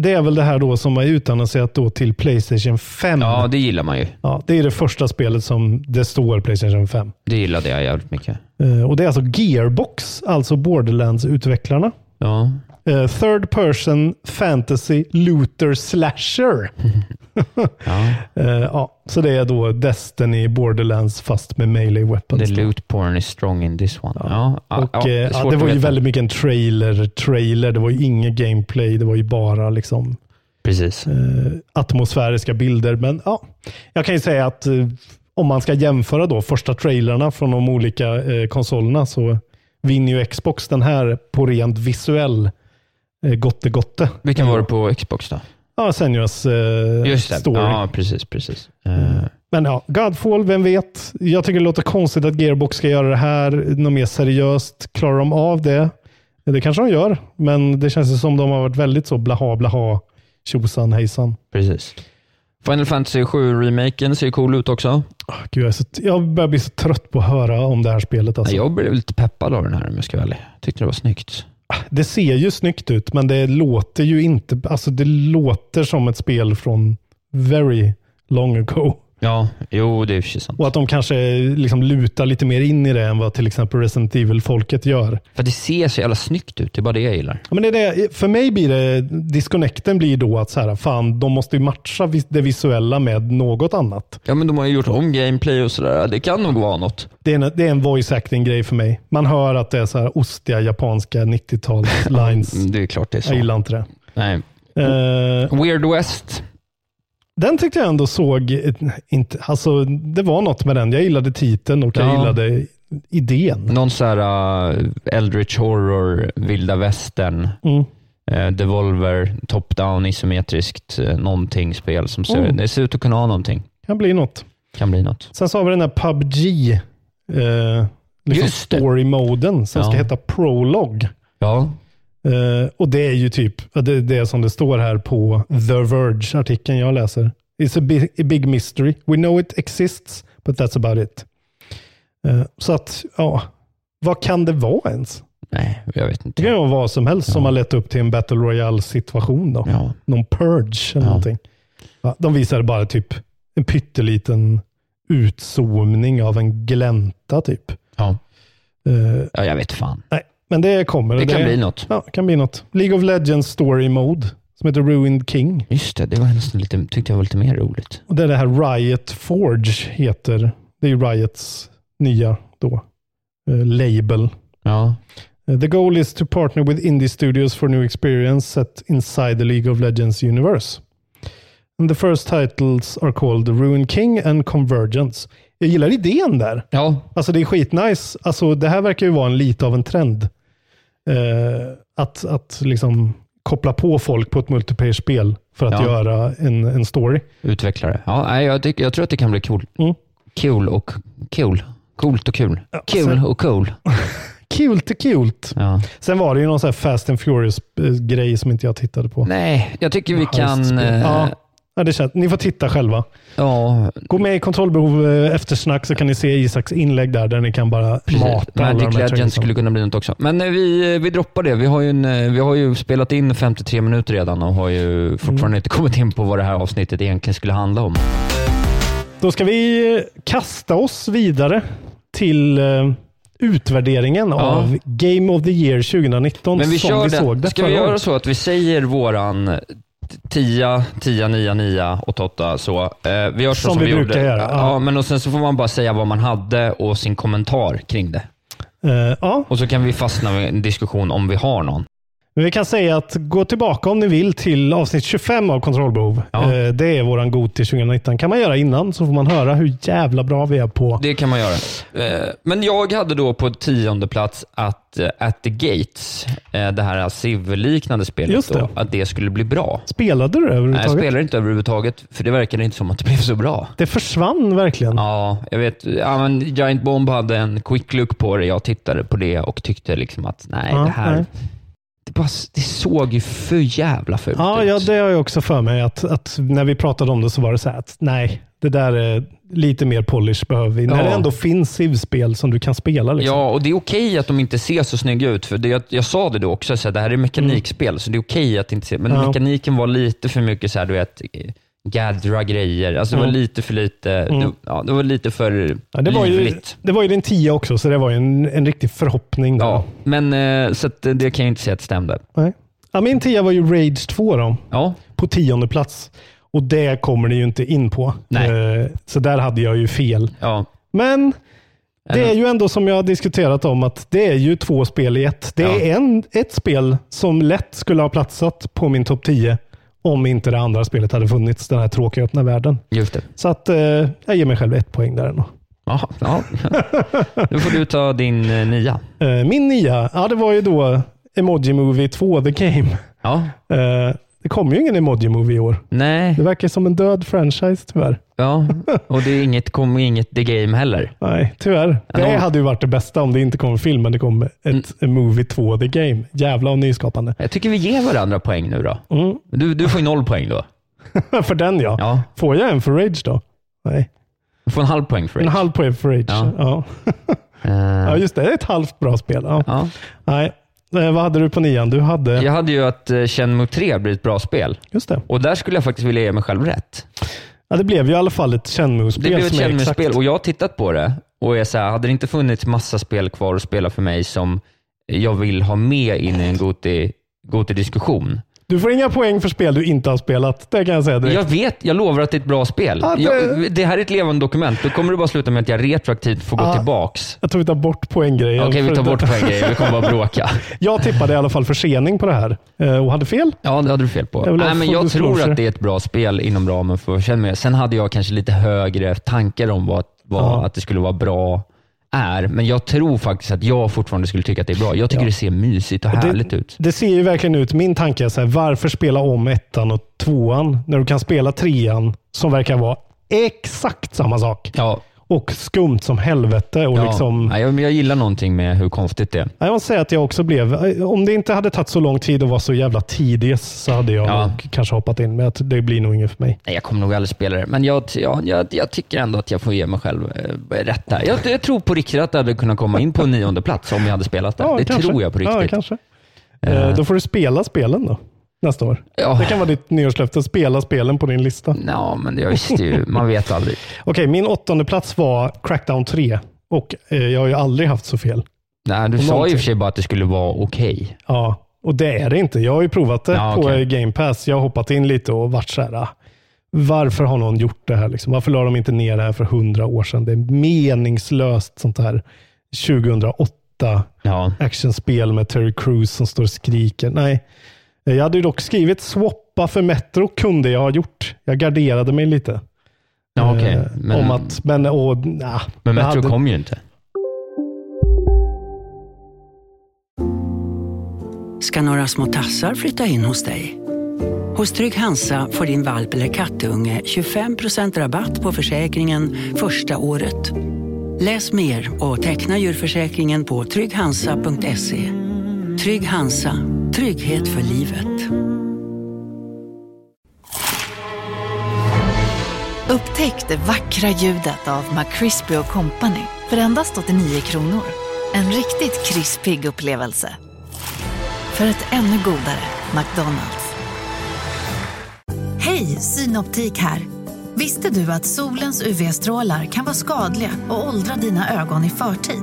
G: det är väl det här då som är utannonserat då till Playstation 5.
F: ja, det gillar man ju.
G: Ja, det är det första spelet som det står Playstation 5.
F: Det gillade jag jävligt mycket.
G: Eh, Och Det är alltså Gearbox, alltså Borderlands-utvecklarna.
F: Ja.
G: Eh, Third person fantasy looter slasher.
F: ja.
G: Eh, ja, så det är då Destiny Borderlands fast med melee
F: The
G: weapons. då.
F: loot porn is strong in this one. Ja, ja,
G: Och,
F: ja,
G: eh,
F: svårt
G: ja, det
F: att
G: var ju
F: veta.
G: väldigt mycket en trailer, trailer. Det var ju inget gameplay. Det var ju bara liksom
F: Precis.
G: eh, atmosfäriska bilder. Men ja, jag kan ju säga att eh, om man ska jämföra då första trailerna från de olika eh, konsolerna så vinner ju Xbox den här på rent visuell eh, gotte gotte.
F: Vilken var det på Xbox då?
G: Ja, Senuas eh,
F: Just det.
G: story.
F: Ja, precis, precis. Eh,
G: Men ja, Godfall, vem vet? Jag tycker det låter konstigt att Gearbox ska göra det här något mer seriöst. Klarar de av det? Det kanske de gör, men det känns ju som de har varit väldigt så blaha blaha, tjosan hejsan.
F: precis. Final Fantasy 7-remaken ser ju cool ut också.
G: Ah, Gud, jag, är så, jag börjar bli så trött på att höra om det här spelet. Alltså.
F: Jag blev lite peppad av den här om jag ska vara ärlig. Tyckte det var snyggt.
G: Det ser ju snyggt ut, men det låter ju inte... Alltså det låter som ett spel från very long ago.
F: Ja, jo det är ju sant.
G: Och att de kanske liksom lutar lite mer in i det än vad till exempel Resident Evil-folket gör.
F: För det ser så jävla snyggt ut, det är bara det jag gillar.
G: Ja, men det är det, för mig blir det, disconnecten blir då att så här, fan, de måste ju matcha vis- det visuella med något annat.
F: Ja, men de har ju gjort om gameplay och sådär. Det kan nog vara något.
G: Det är en, det är en voice acting-grej för mig. Man hör att det är så här ostiga japanska 90-tals lines.
F: Mm, Det är klart det är så.
G: Jag gillar inte det.
F: Nej.
G: Eh,
F: Weird West.
G: Den tyckte jag ändå såg, eh, inte, alltså det var något med den. Jag gillade titeln och jag
F: Ja.
G: gillade idén.
F: Någon sån här äh, Eldritch Horror, vilda västern,
G: Mm.
F: eh, Devolver, top-down, isometriskt, uh, någonting spel som ser,
G: Mm.
F: det ser ut att kunna ha någonting.
G: Kan bli något.
F: Kan bli något.
G: Sen så har vi den här PubG, eh, liksom
F: Just det.
G: story-moden som ska
F: Ja.
G: heta Prolog.
F: Ja,
G: Eh, och det är ju typ det, det är som det står här på The Verge-artikeln jag läser. It's a big, a big mystery. We know it exists, but that's about it. Eh, så att, ja, vad kan det vara ens?
F: nej, jag vet
G: Det
F: inte.
G: kan ju vara vad som helst som har lett upp till en Battle Royale-situation. Då.
F: Ja.
G: Någon purge eller
F: Ja.
G: någonting. Ja, de visade bara typ en pytteliten utzoomning av en glänta typ.
F: Ja.
G: Eh,
F: ja, jag vet fan.
G: nej, men det kommer.
F: Det kan bli något.
G: Ja, kan bli något. League of Legends Story Mode, som heter Ruined King.
F: Just det, det var nästan lite, tyckte jag var lite mer roligt.
G: Och det är det här Riot Forge heter. Det är ju Riots nya då, eh, label.
F: Ja,
G: Eh, The goal is to partner with indie studios for new experience set inside the League of Legends universe. And the first titles are called Ruined King and Convergence. Jag gillar idén där.
F: ja
G: Alltså det är skitnice. Alltså det här verkar ju vara en, lite av en trend. Eh, att, att liksom koppla på folk på ett multiplayer-spel för att
F: Ja.
G: göra en, en story.
F: utvecklare. Ja, nej, jag, tycker, jag tror att det kan bli kul.
G: Mm.
F: Kul och kul. Coolt och kul. Kul
G: sen-
F: och cool.
G: Kul till kul.
F: Ja.
G: Sen var det ju någon sån här Fast and Furious-grej som inte jag tittade på.
F: Nej, jag tycker vi kan...
G: Heist-spel.
F: eh,
G: Ja, ja det känns, ni får titta själva.
F: ja,
G: Gå med i kontrollbehov eh, eftersnack så kan ni se Isaks inlägg där, där ni kan bara
F: precis.
G: mata alla de
F: Magic
G: här
F: Legends
G: trailersen.
F: skulle kunna bli något också. Men eh, vi, vi droppar det. Vi har, ju en, eh, vi har ju spelat in 53 minuter redan och har ju fortfarande inte kommit in på vad det här avsnittet egentligen skulle handla om.
G: Då ska vi eh, kasta oss vidare till eh, utvärderingen av Game of the Year 2019
F: Men vi
G: som
F: kör
G: vi
F: den.
G: såg det
F: Ska vi
G: förra
F: göra
G: året.
F: så att vi säger våran 10, 10, 9, 9, 8, 8 så. Eh, vi gör så
G: Som
F: som,
G: vi brukar
F: gjorde.
G: göra,
F: Ja.
G: ja.
F: men och sen så får man bara säga vad man hade och sin kommentar kring det.
G: Eh, ja,
F: Och så kan vi fastna i en diskussion om vi har någon.
G: men vi kan säga att gå tillbaka om ni vill till avsnitt 25 av Kontrollbehov.
F: Ja.
G: Eh, det är våran god till 2019. kan man göra innan så får man höra hur jävla bra vi är på.
F: Det kan man göra. Eh, Men jag hade då på tionde plats att eh, At the Gates, eh, det här Civ-liknande spelet,
G: Just det.
F: Då, att det skulle bli bra.
G: Spelade du det
F: Nej,
G: överhuvudtaget?
F: jag spelar inte överhuvudtaget, för det verkade inte som att det blev så bra.
G: Det försvann verkligen.
F: Ja, jag vet. Ja, men Giant Bomb hade en quick look på det. Jag tittade på det och tyckte liksom att nej,
G: Ja,
F: det här...
G: nej.
F: Det, bara, det såg ju för jävla fult
G: Ja,
F: ut.
G: ja, det har jag också för mig. Att, att när vi pratade om det så var det så här att nej, det där är lite mer polish behöver vi. När
F: Ja.
G: det ändå finns Civ-spel som du kan spela. Liksom.
F: Ja, och det är okej att de inte ser så snygga ut. För det, jag, jag sa det då också, så här, det här är mekanikspel, så det är okej att inte se. Men
G: Mm. Ja.
F: mekaniken var lite för mycket så här, du vet, eh, gaddra grejer. Alltså det var
G: Mm.
F: lite för lite, det, ja, det var lite för
G: Ja, det, var ju,
F: livligt.
G: det var ju din 10 också, så det var ju en, en riktig förhoppning. Där.
F: Ja, men eh, så att, eh, det kan jag inte säga att det stämde.
G: Nej. Ja, min 10 var ju Rage 2 då,
F: Ja,
G: på tionde plats. Och det kommer det ju inte in på.
F: Nej.
G: Eh, Så där hade jag ju fel.
F: ja.
G: Men det
F: Eller-
G: är ju ändå som jag har diskuterat om att det är ju två spel i ett. Det
F: Ja.
G: är en, ett spel som lätt skulle ha platsat på min topp 10 om inte det andra spelet hade funnits, den här tråkiga öppna världen.
F: just det.
G: Så att eh, jag ger mig själv ett poäng där ändå.
F: Jaha, ja. Nu får du ta din eh, nia.
G: Eh, min nia, ja det var ju då Emoji Movie 2 The Game.
F: Ja.
G: Eh, det kommer ju ingen Emoji Movie i år.
F: Nej,
G: Det verkar som en död franchise tyvärr.
F: ja. och det är inget, kom inget The Game heller.
G: Nej, tyvärr. Det
F: Ja. Mm.
G: hade ju varit det bästa om det inte kom en film, men det kom ett Movie 2 The Game. Jävla och nyskapande.
F: Jag tycker vi ger varandra poäng nu då.
G: Mm.
F: Du, du får ju noll poäng då.
G: för den ja.
F: Ja.
G: Får jag en för Rage då? Nej.
F: Du får en halv poäng för
G: En
F: det.
G: halv poäng för Rage. Ja.
F: Ja.
G: Ja.
F: Eh,
G: just det. Det är ett halvt bra spel. Ja.
F: ja.
G: Nej. Eh, vad hade du på nian? Du hade...
F: Jag hade ju att eh, Shenmue 3 blir ett bra spel.
G: Just det.
F: Och där skulle jag faktiskt vilja ge mig själv rätt.
G: Ja, det blev ju i alla fall ett
F: Det
G: Shenmue-spel.
F: blev ett
G: som är exakt-
F: Chelmers-spel och jag har tittat på det och är så här, hade det inte funnits massa spel kvar att spela för mig som jag vill ha med in i en Goti- Goti-diskussion.
G: Du får inga poäng för spel du inte har spelat. Det kan jag säga direkt.
F: Jag vet, jag lovar att det är ett bra spel.
G: Ja, det-
F: Jag, det här är ett levande dokument. Då kommer det bara sluta med att jag retroaktivt får gå
G: Ja.
F: tillbaks.
G: Jag tror vi tar bort poänggrejer.
F: Okej, vi tar
G: För-
F: bort poänggrejer. Vi kommer bara bråka.
G: jag tippade i alla fall försening på det här eh, och hade fel.
F: Ja, det hade du fel på.
G: Jag vill ha
F: Nej, men
G: full
F: jag tror
G: disclosure.
F: att det är ett bra spel inom ramen för vad jag känner mig. Sen hade jag kanske lite högre tankar om vad, vad
G: Ja.
F: att det skulle vara bra är, men jag tror faktiskt att jag fortfarande skulle tycka att det är bra. Jag tycker det ser mysigt och härligt ut.
G: Det ser ju verkligen ut, min tanke är så här, varför spela om ettan och tvåan när du kan spela trean som verkar vara exakt samma sak.
F: Ja,
G: Och skumt som helvete. Och
F: ja.
G: liksom,
F: Nej, jag, jag gillar någonting med hur konstigt det är.
G: Jag måste säga att jag också blev, om det inte hade tagit så lång tid och var så jävla tidig så hade jag
F: Ja.
G: nog kanske hoppat in. Men att det blir nog inget för mig.
F: Nej, jag kommer nog aldrig spela det, men jag, jag, jag, jag tycker ändå att jag får ge mig själv eh, rätt där. Jag, jag tror på riktigt att jag hade kunnat komma in på en nionde plats om jag hade spelat det.
G: Ja,
F: det
G: kanske.
F: tror jag på
G: Ja,
F: riktigt.
G: kanske. Eh, Då får du spela spelen då. Nästa år.
F: Ja.
G: Det kan vara ditt nyårslöfte. Spela spelen på din lista. Okej,
F: Ja, men jag visste ju. Man vet aldrig.
G: min åttonde plats var Crackdown 3. Och eh, jag har ju aldrig haft så fel.
F: Nej, du
G: Och
F: sa ju i
G: någonting.
F: och för sig bara att det skulle vara okej.
G: Ja, och det är det inte. Jag har ju provat det
F: Ja,
G: på
F: okej.
G: eh, Game Pass. Jag har hoppat in lite och varit så här. ah, Varför har någon gjort det här? Liksom? Varför la de inte ner det här för hundra år sedan? Det är meningslöst sånt här 2008
F: Ja.
G: actionspel med Terry Crews som står och skriker. Nej, Eh, jag hade ju dock skrivit swappa för Metro kunde jag ha gjort. Jag garderade mig lite.
F: Ja, okej.
G: Eh,
F: Men-
G: om att, men, och, nah,
F: Men
G: jag
F: Metro
G: hade-
F: kom ju inte.
H: ska några små tassar flytta in hos dig. Hos Trygg Hansa får din valp eller kattunge 25% rabatt på försäkringen första året. Läs mer och teckna djurförsäkringen på trygghansa.se. Trygg Hansa, trygghet för livet.
I: Upptäck det vackra ljudet av McCrispy Company för endast 89 kronor. En riktigt krispig upplevelse. För ett ännu godare McDonalds. Hej, Synoptik här. Visste du att solens UV-strålar kan vara skadliga och åldra dina ögon i förtid?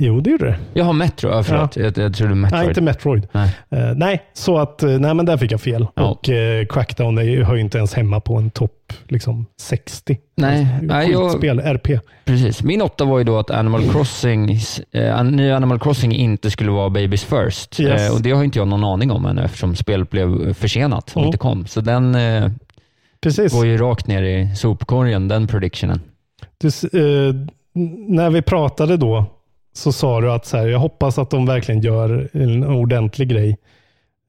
G: Jo, det gjorde det.
F: Jaha, Metro. Ja, förlåt. Jag, jag trodde Metroid.
G: Nej, inte Metroid.
F: Nej.
G: Eh, nej, så att, eh, nej, men där fick jag fel.
F: Ja.
G: Och eh, Crackdown är, ju- hör ju inte ens hemma på en topp liksom, 60.
F: Nej, nej, jag-
G: Skitspel, RP.
F: Precis. Min åtta var ju då att Animal Crossing, eh, nya Animal Crossing inte skulle vara Babies First.
G: Yes.
F: Eh, och Det har inte jag någon aning om ännu eftersom spelet blev försenat och
G: Mm.
F: inte kom. Så den eh,
G: Precis.
F: går ju rakt ner i sopkorgen, den predictionen.
G: Du, s- eh, n- när vi pratade då så sa du att så här, jag hoppas att de verkligen gör en ordentlig grej.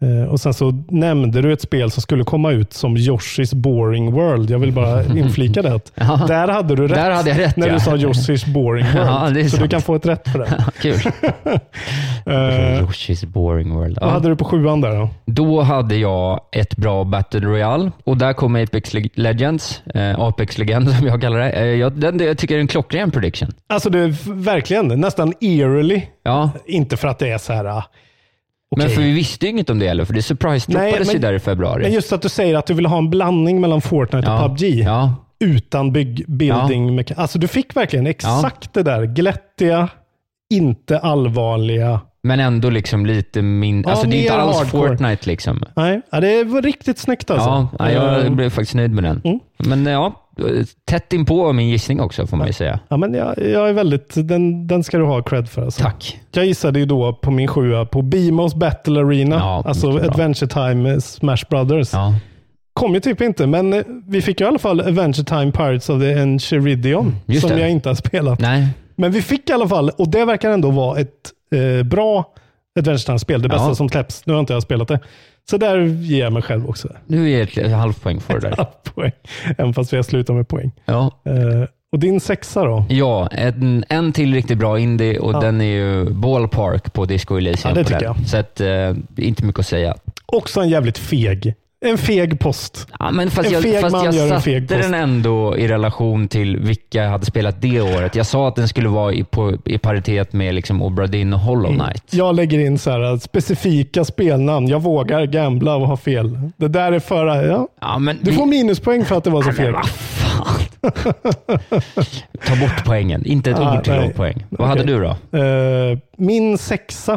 G: Eh, och Sen så nämnde du ett spel som skulle komma ut som Yoshi's Boring World. Jag vill bara inflika det. att
F: Ja.
G: Där hade du rätt.
F: Där hade jag rätt,
G: När
F: ja.
G: du sa Yoshi's Boring World.
F: Ja, det är
G: så du
F: sant.
G: kan få ett rätt för det.
F: Kul.
G: Eh,
F: Yoshi's boring world. Ja.
G: Vad hade du på sjuan där då?
F: Då hade jag ett bra Battle Royale och där kom Apex Leg- Legends, eh, Apex Legend som jag kallar det. Eh, jag, den, det- jag tycker är en klockren prediction.
G: Alltså det är f- verkligen nästan eerily.
F: Ja,
G: Inte för att det är så här... ah, okej.
F: men för vi visste ju inget om det heller, för det
G: Nej,
F: surprise-droppades
G: men-
F: ju där i februari.
G: Men just att du säger att du vill ha en blandning mellan Fortnite
F: Ja,
G: och PubG.
F: ja.
G: Utan bygg, building. mecha- Alltså du fick verkligen exakt det där glättiga, inte allvarliga.
F: Men ändå liksom lite min...
G: Ja,
F: alltså det är inte
G: mer
F: alls
G: hardcore.
F: Fortnite liksom.
G: Nej, ja, det var riktigt snyggt alltså.
F: Ja, nej, jag
G: Eh,
F: blev faktiskt nöjd med den.
G: Mm.
F: Men eh, ja, tätt inpå min gissning också får man ju säga.
G: Ja, men jag, jag är väldigt, den, den ska du ha cred för. Alltså.
F: Tack.
G: Jag gissade ju då på min sjua på Bimos Battle Arena,
F: Ja,
G: alltså
F: mycket bra.
G: Adventure Time eh, Smash Brothers.
F: Ja.
G: Kom ju typ inte, men eh, vi fick ju i alla fall Adventure Time Pirates of the Enchiridion,
F: Mm, just
G: som
F: det.
G: jag inte har spelat.
F: Nej,
G: Men vi fick i alla fall, och det verkar ändå vara ett eh, bra Adventure Time-spel. Det bästa
F: Ja.
G: som släpps. Nu har inte jag spelat det. Så där ger jag mig själv också
F: nu är det ett halvt poäng för det där.
G: poäng. Även fast vi har slutat med poäng.
F: Ja.
G: Eh, och din sexa då?
F: Ja, en, en till riktigt bra indie och
G: Ja.
F: den är ju Ballpark på Disco Elysium.
G: Ja, det
F: på
G: tycker
F: den.
G: jag.
F: Så att, eh, det är inte mycket att säga.
G: Också en jävligt feg En feg post.
F: Ja, men fast
G: en
F: jag,
G: feg
F: fast
G: man
F: jag
G: gör en
F: satte
G: feg post.
F: den ändå i relation till vilka jag hade spelat det året. Jag sa att den skulle vara i, på, i paritet med liksom Obra Dinn och Hollow Knight.
G: Mm. Jag lägger in så här, äh, specifika spelnamn. Jag vågar gambla och ha fel. Det där är förra... Ja. du får minuspoäng för att det var så fel.
F: Ta bort poängen. Inte ett
G: Ah,
F: ord till
G: nej.
F: av poäng. Vad hade
G: Okej.
F: du då? Mm.
G: Eh, min sexa.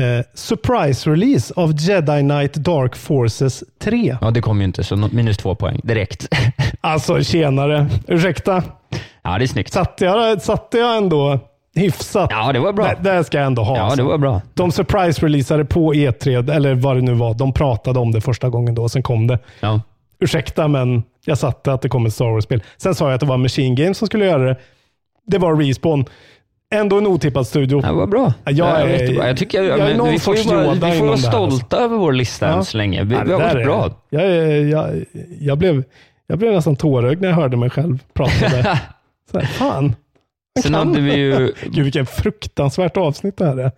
G: Eh, surprise release av Jedi Knight Dark Forces 3.
F: Ja, det kom ju inte, så nå- minus två poäng direkt.
G: Alltså tjenare. Ursäkta.
F: Ja, det är snyggt.
G: Satte jag, satte jag ändå hyfsat?
F: Ja, det var bra.
G: Det, det ska jag ändå ha.
F: Ja,
G: alltså.
F: det var bra.
G: De surprise-releasade på E3, eller vad det nu var. De pratade om det första gången då, sen kom det.
F: Ja.
G: Ursäkta, men jag satte att det kom ett Star Wars-spel. Sen sa jag att det var Machine Games som skulle göra det. Det var Respawn. Ändå en otippad studio.
F: Ja, vad bra.
G: Jag,
F: Ja,
G: är,
F: jättebra. jag tycker
G: jag är
F: men
G: någon
F: vi får ju
G: sorts
F: vara,
G: Yoda
F: vi får
G: inom
F: vara
G: det här, alltså.
F: stolta över vår lista än så länge. Vi,
G: Ja,
F: vi
G: det
F: har
G: där
F: varit
G: är-
F: bra.
G: Jag, är- jag, jag, blev, jag blev nästan tårögd när jag hörde mig själv prata där. Så här, fan. jag
F: Sen
G: kan.
F: hade vi ju...
G: Gud, vilken fruktansvärt avsnitt det här är.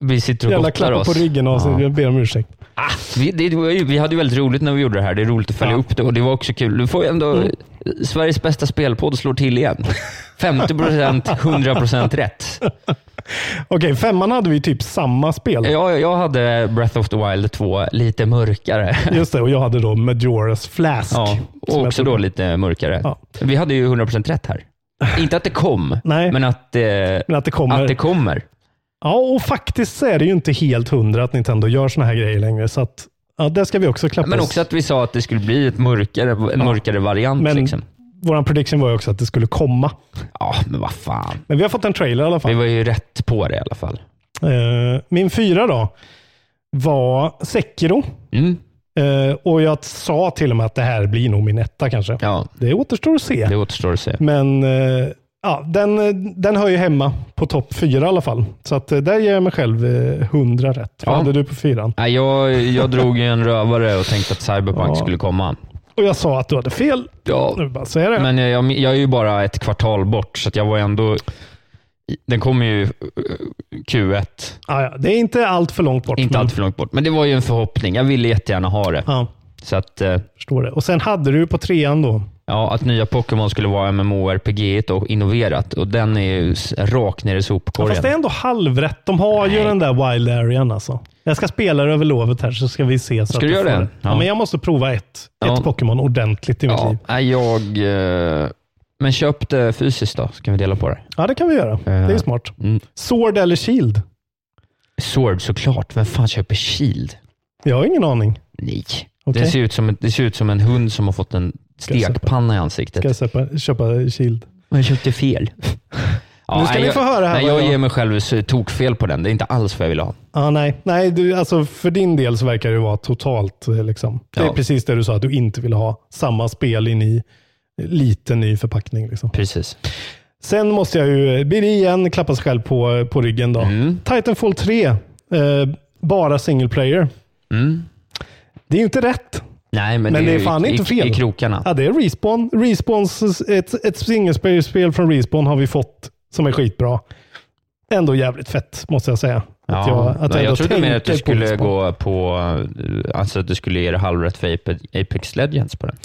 F: Vi sitter och
G: Jävla
F: gottar
G: klappar
F: oss.
G: på ryggen av sig.
F: Ja.
G: Jag ber om ursäkt.
F: Ah, vi, det, var ju- vi hade ju väldigt roligt när vi gjorde det här. Det är roligt att följa upp det och det var också kul. Du får ju ändå... Sveriges bästa spelpodd slår till igen. 50 procent, 100 procent rätt.
G: Okej, femman hade vi typ samma spel.
F: Jag, jag hade Breath of the Wild 2 lite mörkare.
G: Just det, och jag hade då Majora's Flask.
F: Ja,
G: Som
F: och
G: jag
F: också
G: tog.
F: då lite mörkare. Vi hade ju 100 procent rätt här. Inte att det kom, men, att, eh,
G: men att det kommer.
F: att det kommer.
G: Ja, och faktiskt så är det ju inte helt hundra att Nintendo gör såna här grejer längre. Så att, ja, det ska vi också klappa
F: Men
G: oss.
F: också att vi sa att det skulle bli ett mörkare, en mörkare variant.
G: Men
F: liksom.
G: vår prediction var ju också att det skulle komma.
F: Ja, men vad fan.
G: Men vi har fått en trailer i alla fall.
F: Vi var ju rätt på det i alla fall.
G: Eh, Min fyra då var Sekiro.
F: Mm.
G: Eh, Och jag sa till och med att det här blir nog min etta kanske. Det återstår att se.
F: Det återstår att se.
G: Men eh, ja, den, eh, den hör ju hemma på topp fyra i alla fall. Så att, eh, där ger jag mig själv eh, 100 rätt. Vad
F: Ja.
G: hade du på fyran?
F: Nej, jag, jag drog ju en rövare och tänkte att Cyberpunk
G: Ja.
F: skulle komma.
G: Och jag sa att du hade fel.
F: Ja.
G: Nu bara säga det.
F: Men jag, jag, jag är ju bara ett kvartal bort, så att jag var ändå... Den kommer ju eh, Q1.
G: Ja, ja, det är inte allt för långt bort.
F: Inte
G: men-
F: allt för långt bort, men det var ju en förhoppning. Jag ville jättegärna ha det.
G: Ja.
F: Så att, eh,
G: Förstår det. Och sen hade du på trean då.
F: ja, att nya Pokémon skulle vara MMORPG och innoverat och den är ju s- rakt ner i
G: Ja, fast det är
F: sopkorgen.
G: ändå halvrätt. De har ju den där wild arean alltså. Jag ska spela det över lovet här så ska vi se. Så
F: Ska
G: att
F: du
G: jag
F: göra
G: får
F: det?
G: Ja.
F: Ja.
G: men jag måste prova ett,
F: Ja.
G: ett Pokémon ordentligt i mitt
F: Ja,
G: liv.
F: nej, jag... eh, Men köp det fysiskt då, så kan vi dela på det. Eh, mm.
G: Ja, det kan vi göra. Det är smart. Sword eller Shield?
F: Sword såklart. Vem fan köper Shield?
G: Jag har ingen aning.
F: Nej.
G: Okej.
F: Det, ser ut som en, det ser ut som en hund som har fått en stekpanna i ansiktet.
G: Ska jag köpa, köpa Shield?
F: Men jag köpte fel. Ja,
G: Nu ska
F: nej,
G: ni
F: jag,
G: få höra här
F: Nej,
G: vad
F: jag
G: jag-
F: ger mig själv så- tokfel på den. Det är inte alls vad jag vill ha.
G: Ah, nej, nej du, alltså, för din del så verkar det vara totalt. eh, Liksom. Det är
F: Ja.
G: precis det du sa, att du inte vill ha samma spel i ny, liten ny förpackning. Liksom.
F: Precis.
G: Sen måste jag ju, eh, blir det igen, klappa sig själv på, på ryggen. Då.
F: Mm.
G: Titanfall 3, eh, bara single player.
F: Mm.
G: Det är inte rätt.
F: Nej, men,
G: Men det är
F: ju
G: fan
F: i,
G: inte fel.
F: I, i krokarna.
G: Ja, det är Respawn. Respawns, ett, ett single player-spel från Respawn har vi fått som är skitbra. Ändå jävligt fett, måste jag säga.
F: Ja, men jag,
G: ändå
F: trodde mer att du
G: tänker på
F: skulle
G: Respawn.
F: gå på, eh, alltså att du skulle ge det halvrätt för Ape- Apex Legends på den.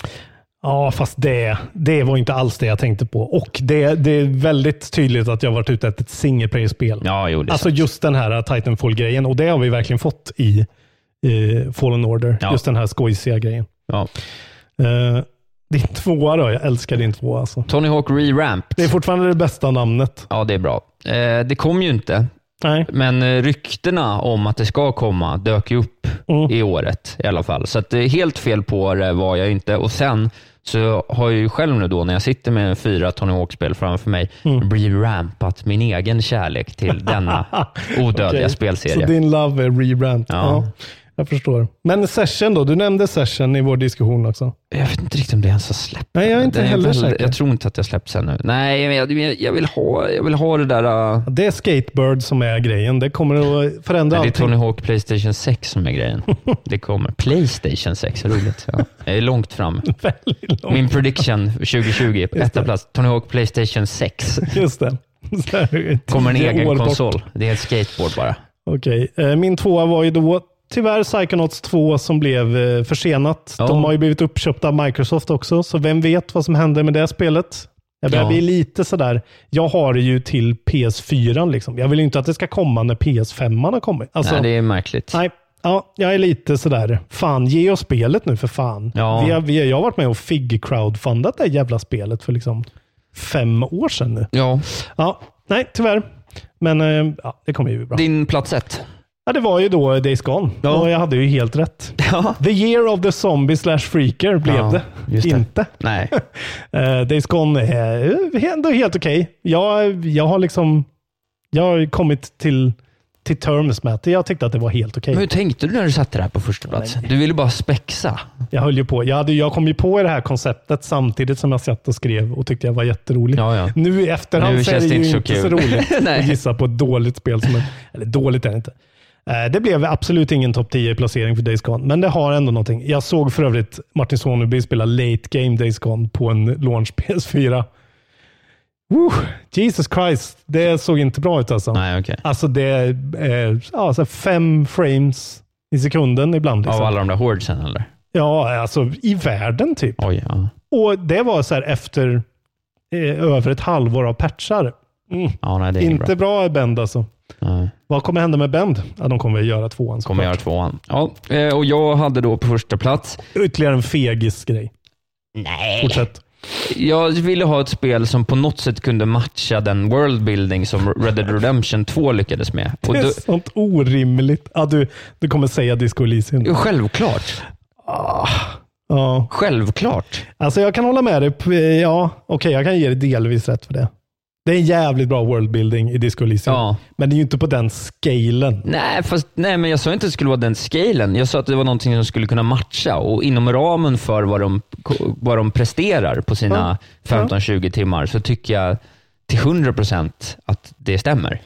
G: Ja, fast det, det var inte alls det jag tänkte på. Och det, det är väldigt tydligt att jag varit ute efter ett single player-spel.
F: Ja, jo, det är
G: Alltså
F: sant.
G: just den här Titanfall-grejen. Och det har vi verkligen fått i eh, Fallen Order.
F: Ja.
G: Just den här skojsiga grejen.
F: Ja.
G: Eh, din tvåa då? Jag älskar din tvåa alltså.
F: Tony Hawk Re-Ramped.
G: Det är fortfarande det bästa namnet.
F: Ja, det är bra. Eh, det kom ju inte,
G: Nej.
F: men eh, ryktena om att det ska komma dök ju upp
G: Mm.
F: i året i alla fall. Så att, eh, helt fel på det var jag inte. Och Sen så har jag ju själv nu då, när jag sitter med fyra Tony Hawk-spel framför mig, re-rampat min egen kärlek till denna odödliga
G: Okej.
F: spelserie.
G: Så din love är rebrand. Ja.
F: Ja.
G: jag förstår. Men session då? Du nämnde session i vår diskussion också.
F: Jag vet inte riktigt om det ens har släppt.
G: Nej, jag är inte
F: Den är
G: heller
F: väl-
G: säker.
F: Jag tror inte att jag släppts ännu. Nej, men jag, jag- jag, vill, ha, jag vill ha det där... äh,
G: Det är Skatebird som är grejen. Det kommer att förändra
F: Nej, det är
G: allting.
F: Tony Hawk Playstation 6 som är grejen. Det kommer. Playstation 6, roligt. Ja. Jag är långt fram.
G: långt
F: Min prediction 2020, etta plats. Tony Hawk Playstation 6.
G: Just det. Så här,
F: Kommer en
G: tio år
F: egen
G: bort.
F: konsol. Det är ett skateboard bara.
G: Okej. Eh, Min tvåa var ju då tyvärr Psychonauts 2 som blev eh, försenat.
F: Ja.
G: De har ju blivit uppköpta av Microsoft också, så vem vet vad som händer med det spelet? Jag börjar
F: Ja.
G: bli lite sådär, jag har det ju till PS4. Liksom. Jag vill ju inte att det ska komma när PS5 har kommit. Alltså,
F: Nej, det är märkligt.
G: Nej, ja, jag är lite sådär, fan ge oss spelet nu för fan.
F: Ja.
G: Vi har, vi har, jag har varit med och FIG-crowdfundat det här jävla spelet för liksom fem år sedan nu.
F: Ja.
G: ja nej, tyvärr. Men eh, ja, det kommer ju bli bra.
F: Din plats ett.
G: Ja, det var ju då Days Gone. Och jag hade ju helt rätt. The year of the zombie slash freaker blev
F: Ja,
G: det.
F: just det.
G: Inte.
F: Nej.
G: Eh, Days Gone är eh, ändå helt okej. Jag, jag har liksom... Jag har ju kommit till, till terms med att jag tyckte att det var helt okej.
F: Men hur tänkte du när du satte det här på första platsen? Du ville bara spexa.
G: Jag höll ju på. Jag, hade, jag kom ju på i det här konceptet samtidigt som jag satt och skrev och tyckte jag var jätterolig. Nu i efterhand
F: Nu
G: så är
F: känns
G: det
F: det
G: ju
F: inte
G: inte
F: så
G: så,
F: kul.
G: roligt
F: Nej.
G: att gissa på ett dåligt spel. Som ett, eller dåligt är det inte. Eh, Det blev absolut ingen topp 10-placering för Days Gone, men det har ändå någonting. Jag såg för övrigt Martin Soneby spela late game Days Gone på en launch PS4. Woo, Jesus Christ, det såg inte bra ut alltså.
F: Nej, okay.
G: Alltså det är eh, ja, så här fem frames i sekunden ibland.
F: Av
G: liksom.
F: alla de där hårdsen eller?
G: Ja, alltså i världen typ.
F: Oj, ja.
G: Och det var så här efter eh, över ett halvår av patchar. Mm.
F: ja nej, det är
G: Inte
F: inte bra.
G: bra Bend alltså.
F: Nej.
G: Vad kommer hända med Bend? Ja, de kommer väl göra tvåan.
F: Kommer göra tvåan. Ja, eh, och jag hade då på första plats
G: Ytterligare en fegis grej.
F: Nej.
G: Fortsätt.
F: Jag ville ha ett spel som på något sätt kunde matcha den worldbuilding som Red Dead Redemption 2 lyckades med. Och
G: Det är
F: då,
G: sånt orimligt. Ja, du, du kommer säga Disco Elysium. Ah,
F: Jo, självklart.
G: Ja.
F: Självklart.
G: Alltså jag kan hålla med dig. på- Ja, okej, jag kan ge dig delvis rätt för det. Det är en jävligt bra worldbuilding i Disco Elysium. Men det är ju inte på den scalen.
F: Nej, fast, nej, men jag sa inte att det skulle vara den scalen. Jag sa att det var någonting som skulle kunna matcha och inom ramen för vad de, vad de presterar på sina 15-20 timmar så tycker jag till 100% att det stämmer.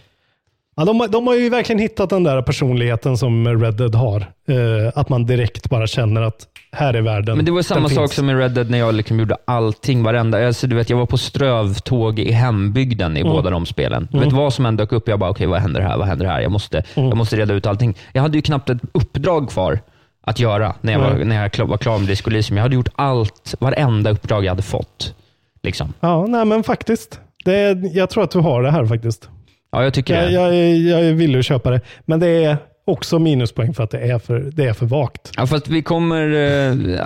G: Ja, de, har- de har ju verkligen hittat den där personligheten som Red Dead har. Eh, att man direkt bara känner att här är världen.
F: Men det var samma
G: Den
F: sak
G: finns.
F: som i Red Dead när jag liksom gjorde allting, varenda. Alltså, du vet, jag var på strövtåg i hembygden i
G: Mm.
F: båda de spelen. Du
G: Mm.
F: vet, vad som än dök upp, jag bara okej, vad händer här? Vad händer här? Jag måste, jag måste reda ut allting. Jag hade ju knappt ett uppdrag kvar att göra när jag, var,
G: Nej.
F: när jag kla- var klar med Disco Elysium. Jag hade gjort allt, varenda uppdrag jag hade fått. Liksom.
G: Ja, nej men faktiskt. Det är, jag tror att du har det här faktiskt.
F: Ja, jag tycker
G: Jag,
F: det.
G: jag, jag är villig att köpa det. Men det är också minuspoäng för att det är för, det är för vagt.
F: Ja, fast vi kommer, eh,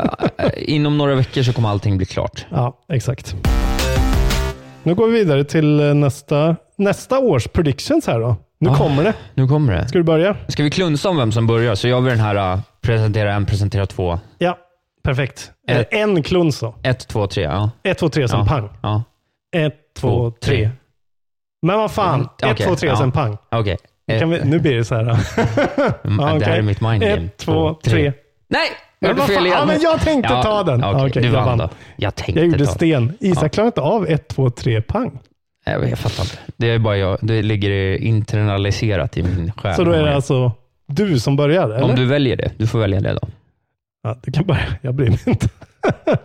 F: inom några veckor så kommer allting bli klart.
G: Ja, exakt. Nu går vi vidare till eh, nästa, nästa års predictions här då. Nu
F: Ah.
G: kommer det.
F: Nu kommer det.
G: Ska du börja?
F: Ska vi klunsa om vem som börjar? Så gör vi den här eh, presentera en, presentera två.
G: Ja, perfekt.
F: Eh.
G: En kluns då.
F: Ett, två, tre. Ja.
G: Ett, två, tre, sen
F: ja.
G: pang.
F: Ja.
G: Ett, två, tre. Men vad fan. Ett,
F: Mm, Okej,
G: två, tre,
F: ja.
G: sen pang.
F: Okej.
G: Nu Kan vi,
F: Eh,
G: nu blir det så här. ja,
F: Det
G: okej.
F: här är mitt mindgame.
G: Ett, två, tre.
F: Nej!
G: Men
F: Jag gjorde
G: vad
F: fel
G: fan?
F: igen.
G: Ja, men jag tänkte ta den.
F: ja,
G: Ja,
F: okej,
G: okej,
F: du
G: jag
F: vann,
G: vann.
F: då. Jag tänkte
G: Jag gjorde
F: ta
G: sten. Isak
F: Ja.
G: klarar inte av ett, två, tre, pang.
F: Jag, jag fattar inte. Det är bara jag. Det ligger internaliserat i min själ.
G: Så då är det alltså du som börjar, eller?
F: Om du väljer det. Du får välja det då.
G: Ja, du kan börja. Jag bryr mig inte.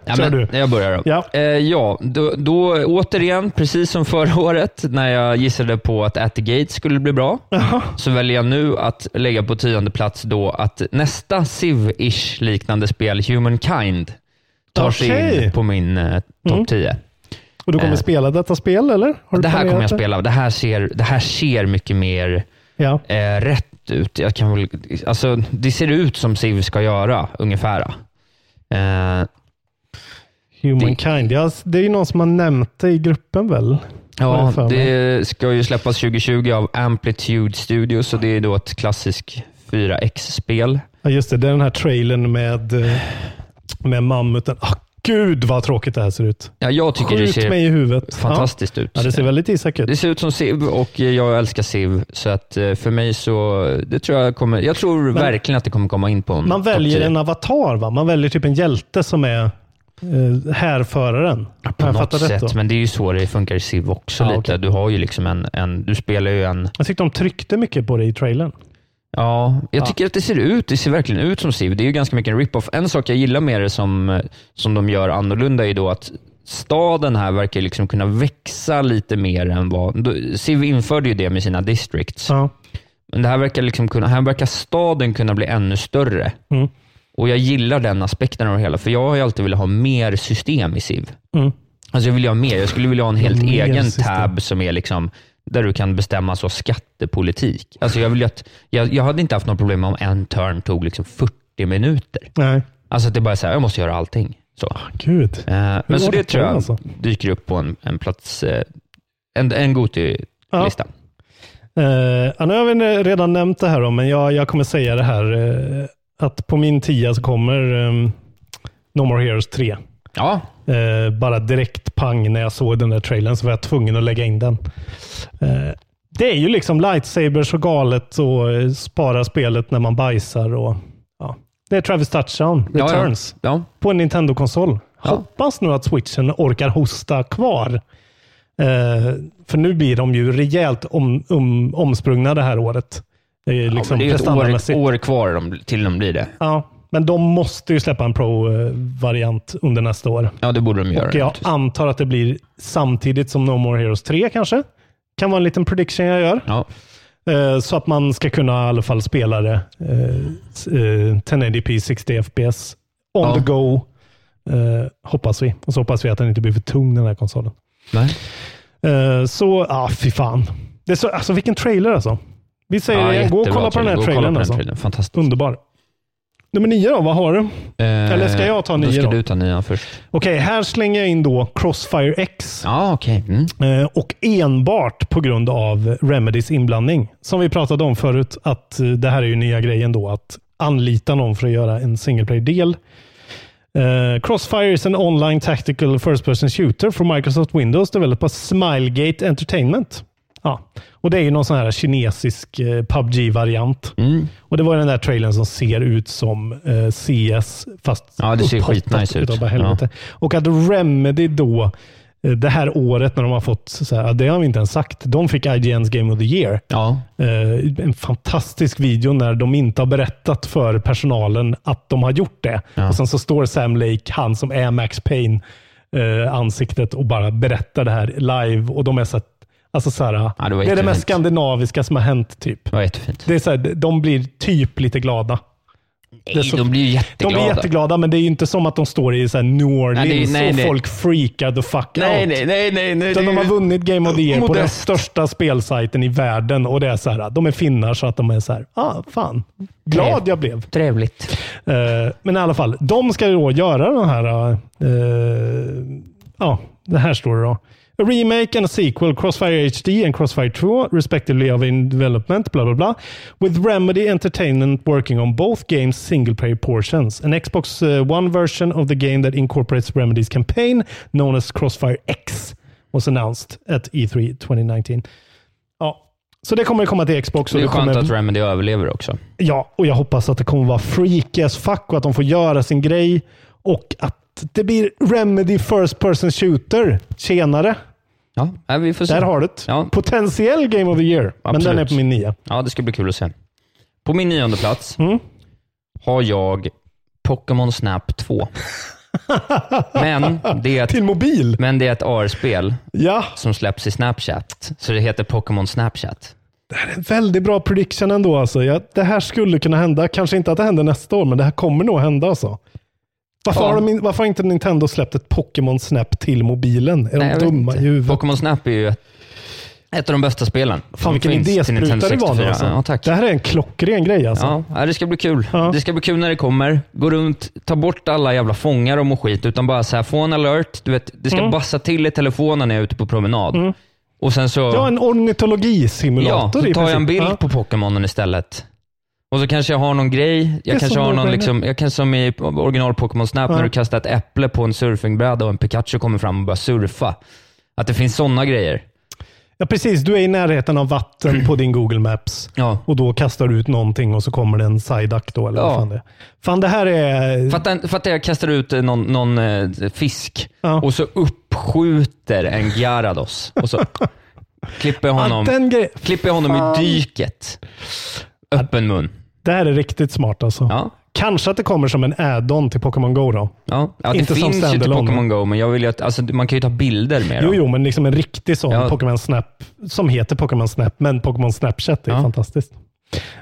F: Ja,
G: Kör du.
F: men, jag börjar då.
G: Ja.
F: Eh, ja, då, då återigen, precis som förra året när jag gissade på att At the Gate skulle bli bra, så väljer jag nu att lägga på tionde plats då att nästa Civ-ish liknande spel, Humankind, tar sig
G: Okej. Mm.
F: in på min eh, topp 10.
G: Och du kommer
F: Eh.
G: spela detta spel, eller? Har du
F: Det här
G: planerat
F: kommer jag spela. Det här ser, det här ser mycket mer
G: Ja.
F: eh, rätt ut. Jag kan väl, alltså, det ser ut som Civ ska göra, ungefär. Eh,
G: Humankind. Det... Ja, alltså, det är ju någon som har nämnt det i gruppen väl? Har
F: Ja,
G: jag för mig.
F: det ska ju släppas 2020 av Amplitude Studios och det är då ett klassiskt 4X-spel.
G: ja, just det. Det är den här trailern med, eh, med mammuten. Ah, gud vad tråkigt det här ser ut.
F: Ja, jag tycker det
G: Skjut
F: ser
G: mig i huvudet.
F: fantastiskt ut.
G: Ja. Ja, det ser väldigt Isak ut.
F: Det ser ut som Civ och jag älskar Civ, så att eh, för mig så, det tror jag kommer, jag tror verkligen att det kommer komma in på typ- en
G: Man
F: topp
G: väljer
F: 10.
G: en avatar, va? Man väljer typ en hjälte som är eh, härföraren.
F: på
G: Har jag
F: något
G: fattat rätt
F: sätt,
G: då?
F: men det är ju så det funkar i Civ också
G: Ja,
F: lite.
G: okej.
F: Du har ju liksom en, en, du spelar ju en,
G: Jag tyckte de tryckte mycket på det i trailern. Ah.
F: Ja, jag
G: Ja.
F: tycker att det ser ut, det ser verkligen ut som Civ. Det är ju ganska mycket en rip-off. En sak jag gillar med det som, som de gör annorlunda är ju då att staden här verkar liksom kunna växa lite mer än vad... då- Civ införde ju det med sina districts.
G: Ja.
F: Men det här verkar, liksom kunna, här verkar staden kunna bli ännu större.
G: Mm.
F: Och jag gillar den aspekten av det hela, för jag har ju alltid velat ha mer system i SIV.
G: Mm.
F: Alltså jag vill ju ha mer. Jag skulle vilja ha en helt
G: Mer
F: egen
G: system.
F: tab som är liksom där du kan bestämma så skattepolitik. Alltså jag, vill ju att, jag, jag hade inte haft något problem om en turn tog liksom 40 minuter.
G: Nej. Ah,
F: Alltså att det bara är så här, jag måste göra allting. Så.
G: Gud.
F: Eh,
G: Hur
F: men så
G: var
F: det
G: det
F: tror jag
G: alltså?
F: dyker upp på en, en plats, eh, en, en Goti-lista.
G: Eh, ja, nu har vi redan nämnt det här, då, men jag, jag kommer säga det här. eh, att på min tia så kommer ehm, No More Heroes 3.
F: Ja.
G: Eh, bara direkt pang när jag såg den där trailern så var jag tvungen att lägga in den. Eh, det är ju liksom lightsabers och galet och eh, spara spelet när man bajsar. Och, ja. Det är Travis Touchdown
F: Ja, ja.
G: Returns på en Nintendo-konsol. Hoppas nu att switchen orkar hosta kvar. Eh, för nu blir de ju rejält om, om, omsprungna det här året. Det är liksom
F: det är ju ett år,
G: prestandamässigt.
F: år kvar de, till de blir det.
G: Ja, men de måste ju släppa en Pro-variant under nästa år.
F: Ja, det borde de göra.
G: Och jag antar att det blir samtidigt som No More Heroes 3 kanske. Kan vara en liten prediction jag gör.
F: Ja.
G: Eh, Så att man ska kunna i alla fall spela det eh, s- eh, 1080p 60 fps on
F: Ja.
G: the go. eh, Hoppas vi. Och så hoppas vi att den inte blir för tung den här konsolen.
F: Nej.
G: Eh, Så, ja ah, fy fan. Det är så, alltså vilken trailer alltså. Vi säger
F: Ja,
G: det igen, gå och
F: jättebra
G: kolla på
F: trailer.
G: den
F: Gå och kolla
G: här
F: på
G: trailern.
F: den
G: Alltså.
F: trailern. Fantastiskt. Eh,
G: Underbar. Nummer nio då, vad har du? Eller ska jag ta
F: då?
G: nio
F: ska
G: då?
F: du ta nian först.
G: Okej, här slänger jag in då Crossfire X.
F: Ja, okej. Mm.
G: Eh, Och enbart på grund av Remedys inblandning. Som vi pratade om förut, att eh, det här är ju nya grejen då, att anlita någon för att göra en single player-del. Eh, Crossfire is an online tactical first person shooter for Microsoft Windows developed by Smilegate Entertainment. Ja, och det är ju någon sån här kinesisk eh, PubG-variant.
F: Mm.
G: Och det var ju den där trailern som ser ut som eh, CS, fast
F: Ja, det ser
G: upphottat
F: skitnice ut.
G: utav bara helvete. Och att Remedy då, eh, det här året när de har fått, så här, det har vi inte ens sagt, de fick IGNs Game of the Year. Eh, En fantastisk video när de inte har berättat för personalen att de har gjort det.
F: Ja.
G: Och Sen så står Sam Lake, han som är Max Payne, eh, ansiktet och bara berättar det här live. Och de är så, att- alltså så här,
F: var
G: det är det
F: jättefint.
G: mest skandinaviska som har hänt. typ.
F: Det var jättefint.
G: Det är så här, de blir typ lite glada. Det är så-
F: de blir ju
G: De
F: jätteglada.
G: blir jätteglada, men det är ju inte som att de står i så här New Orleans
F: Nej, det är- nej,
G: och
F: nej.
G: folk freakar the fuck
F: Nej,
G: out.
F: nej, nej, nej, nej.
G: Utan
F: det är
G: de har
F: ju-
G: vunnit Game of the Year på den
F: Modest.
G: största spelsajten i världen och det är så här, de är finnar så att de är så här, ah, fan, glad jag blev.
F: Trevligt.
G: Eh, men i alla fall, de ska då göra den här, eh, ja, det här står det då. A remake and a sequel, Crossfire HD and Crossfire 2, respectively of in development, bla bla bla. With Remedy Entertainment working on both games' single player portions. An Xbox eh, One version of the game that incorporates Remedy's campaign, known as Crossfire X, was announced at E E3 2019. Ja, så det kommer komma till Xbox. och
F: det är skönt
G: kommer...
F: att Remedy överlever också.
G: Ja, och jag hoppas att det kommer vara freaky as fuck och att de får göra sin grej. Och att det blir Remedy First Person Shooter senare.
F: Ja, nej, vi får se.
G: Där har du det.
F: Ja.
G: Potentiell Game of the Year,
F: Absolut.
G: men den är på min nia.
F: Ja, det ska bli kul att se. På min nionde plats har jag Pokémon Snap 2. Men det är ett,
G: Till mobil?
F: Men det är ett AR-spel
G: Ja.
F: som släpps i Snapchat, så det heter Pokémon Snapchat.
G: En väldigt bra prediction ändå. Alltså. Ja, det här skulle kunna hända. Kanske inte att det händer nästa år, men det här kommer nog hända. Alltså. Varför,
F: Ja.
G: har de, in- varför har inte Nintendo släppt ett Pokémon Snap till mobilen? Är
F: Nej, jag vet
G: de dumma i
F: inte.
G: huvudet?
F: Pokémon Snap är ju ett, ett av de bästa spelen.
G: Fan vilken idéspruta det var. nu, Alltså.
F: Ja,
G: det här är en klockren grej alltså.
F: Ja, ja, det ska bli kul. Det ska bli kul när det kommer. Gå runt, ta bort alla jävla fångar om och skit, utan bara så här, få en alert. Du vet, det ska
G: Mm.
F: bassa till i telefonen när jag är ute på promenad.
G: Mm.
F: Och sen så...
G: Ja, en
F: Ja,
G: ornitologisimulator
F: så
G: i
F: tar jag en
G: princip.
F: bild
G: Ja.
F: på Pokémonen istället. Och så kanske jag har någon grej.
G: Det är
F: Jag kanske
G: som
F: har någon,
G: Wolverine.
F: liksom, jag kanske som i original Pokémon Snap,
G: Ja.
F: när du kastar ett äpple på en surfingbräda och en Pikachu kommer fram och börjar surfa. Att det finns sådana grejer.
G: Ja, precis. Du är i närheten av vatten på din Google Maps. Och då kastar du ut någonting och så kommer det en Psyduck då. Eller vad
F: Ja.
G: fan, det. är. fan, det här är...
F: Fatta, fatta jag kastar ut eh, någon, någon eh, fisk och så uppskjuter en Gyarados. Och så klipper jag honom,
G: Ja, den grej-
F: klipper jag honom i
G: Fan.
F: dyket. Öppen mun.
G: Det här är riktigt smart alltså. Kanske att det kommer som en add-on till Pokémon Go då.
F: Ja, ja, det
G: Inte som
F: finns ju till
G: standalone.
F: Pokémon Go, men jag vill ju att, alltså, man kan ju ta bilder med dem.
G: Jo, jo, men liksom en riktig sån
F: Ja.
G: Pokémon Snap som heter Pokémon Snap, men Pokémon Snapchat är
F: Ja.
G: fantastiskt.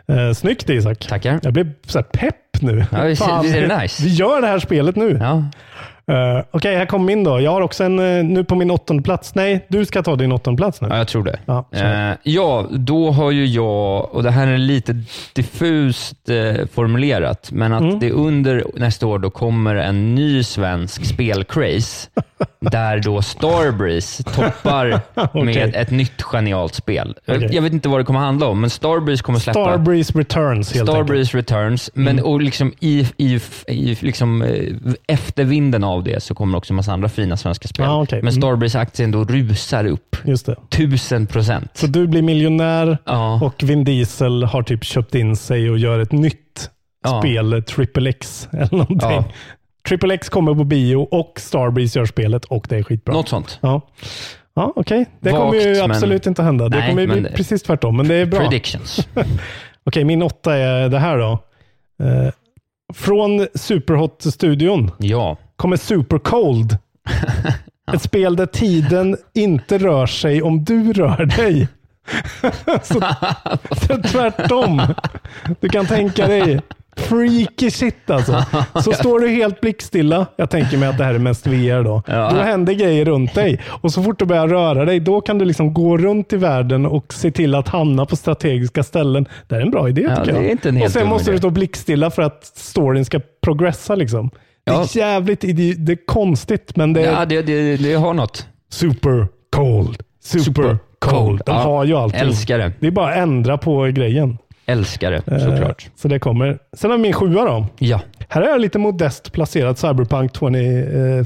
G: Eh, snyggt Isak.
F: Tackar.
G: Jag blev så här pepp nu.
F: Ja, visst-
G: Fan,
F: visst är det nice?
G: Vi gör det här spelet nu.
F: Ja.
G: Eh, Okej, här kommer min då. Jag har också en eh, nu på min åttonde plats. Nej, du ska ta din åttonde plats nu.
F: Ja, jag tror det.
G: Ja, kör.
F: Eh, ja, då har ju jag, och det här är lite diffust eh, formulerat, men att
G: Mm.
F: det under nästa år då kommer en ny svensk spelcraze, där då Starbreeze toppar med ett nytt genialt spel. Jag-
G: Okej.
F: Jag vet inte vad det kommer handla om, men Starbreeze kommer släppa...
G: Starbreeze Returns helt enkelt. Mm.
F: Starbreeze Returns, men och liksom i, i, i liksom, eh, efter vinden av det så kommer också en massa andra fina svenska spel.
G: Ja, okej.
F: Men
G: Mm.
F: Starbreeze-aktien då rusar upp
G: Just det.
F: tusen procent.
G: Så du blir miljonär och Vin Diesel har typ köpt in sig och gör ett nytt
F: Ja.
G: spel, Triple X eller
F: Ja.
G: någonting. Triple X kommer på bio och Starbreeze gör spelet och det är skitbra.
F: Något sånt.
G: Ja, ja okej. Det
F: Vagt,
G: kommer ju
F: men-
G: absolut inte hända. Det
F: Nej,
G: kommer ju bli
F: men det-
G: precis tvärtom, men det är bra.
F: Predictions.
G: Okej, min åtta är det här då. Eh, från Superhot-studion
F: Ja.
G: kommer Supercold. Ett spel där tiden inte rör sig om du rör dig. så, så tvärtom. Du kan tänka dig. Freaky shit alltså. Så står du helt blickstilla. Jag tänker mig att det här är mest VR då. Då händer grejer runt dig. Och så fort du börjar röra dig, då kan du liksom gå runt i världen och se till att hamna på strategiska ställen. Det här är en bra idé
F: Ja, det
G: tycker jag.
F: är inte en helt
G: och sen
F: dum
G: måste du
F: idé.
G: stå blickstilla för att storyn ska progressa. Liksom. Det
F: Ja.
G: är jävligt idi- det är konstigt, men det är
F: Ja, det, det, det har något.
G: super cold. Super, cold. De
F: Ja,
G: har ju allting.
F: älskar det.
G: Det är bara att ändra på grejen.
F: Älskar det,
G: Eh,
F: såklart.
G: Så det kommer. Sen har vi min sjua då.
F: Ja.
G: Här är jag lite modest placerat Cyberpunk eh,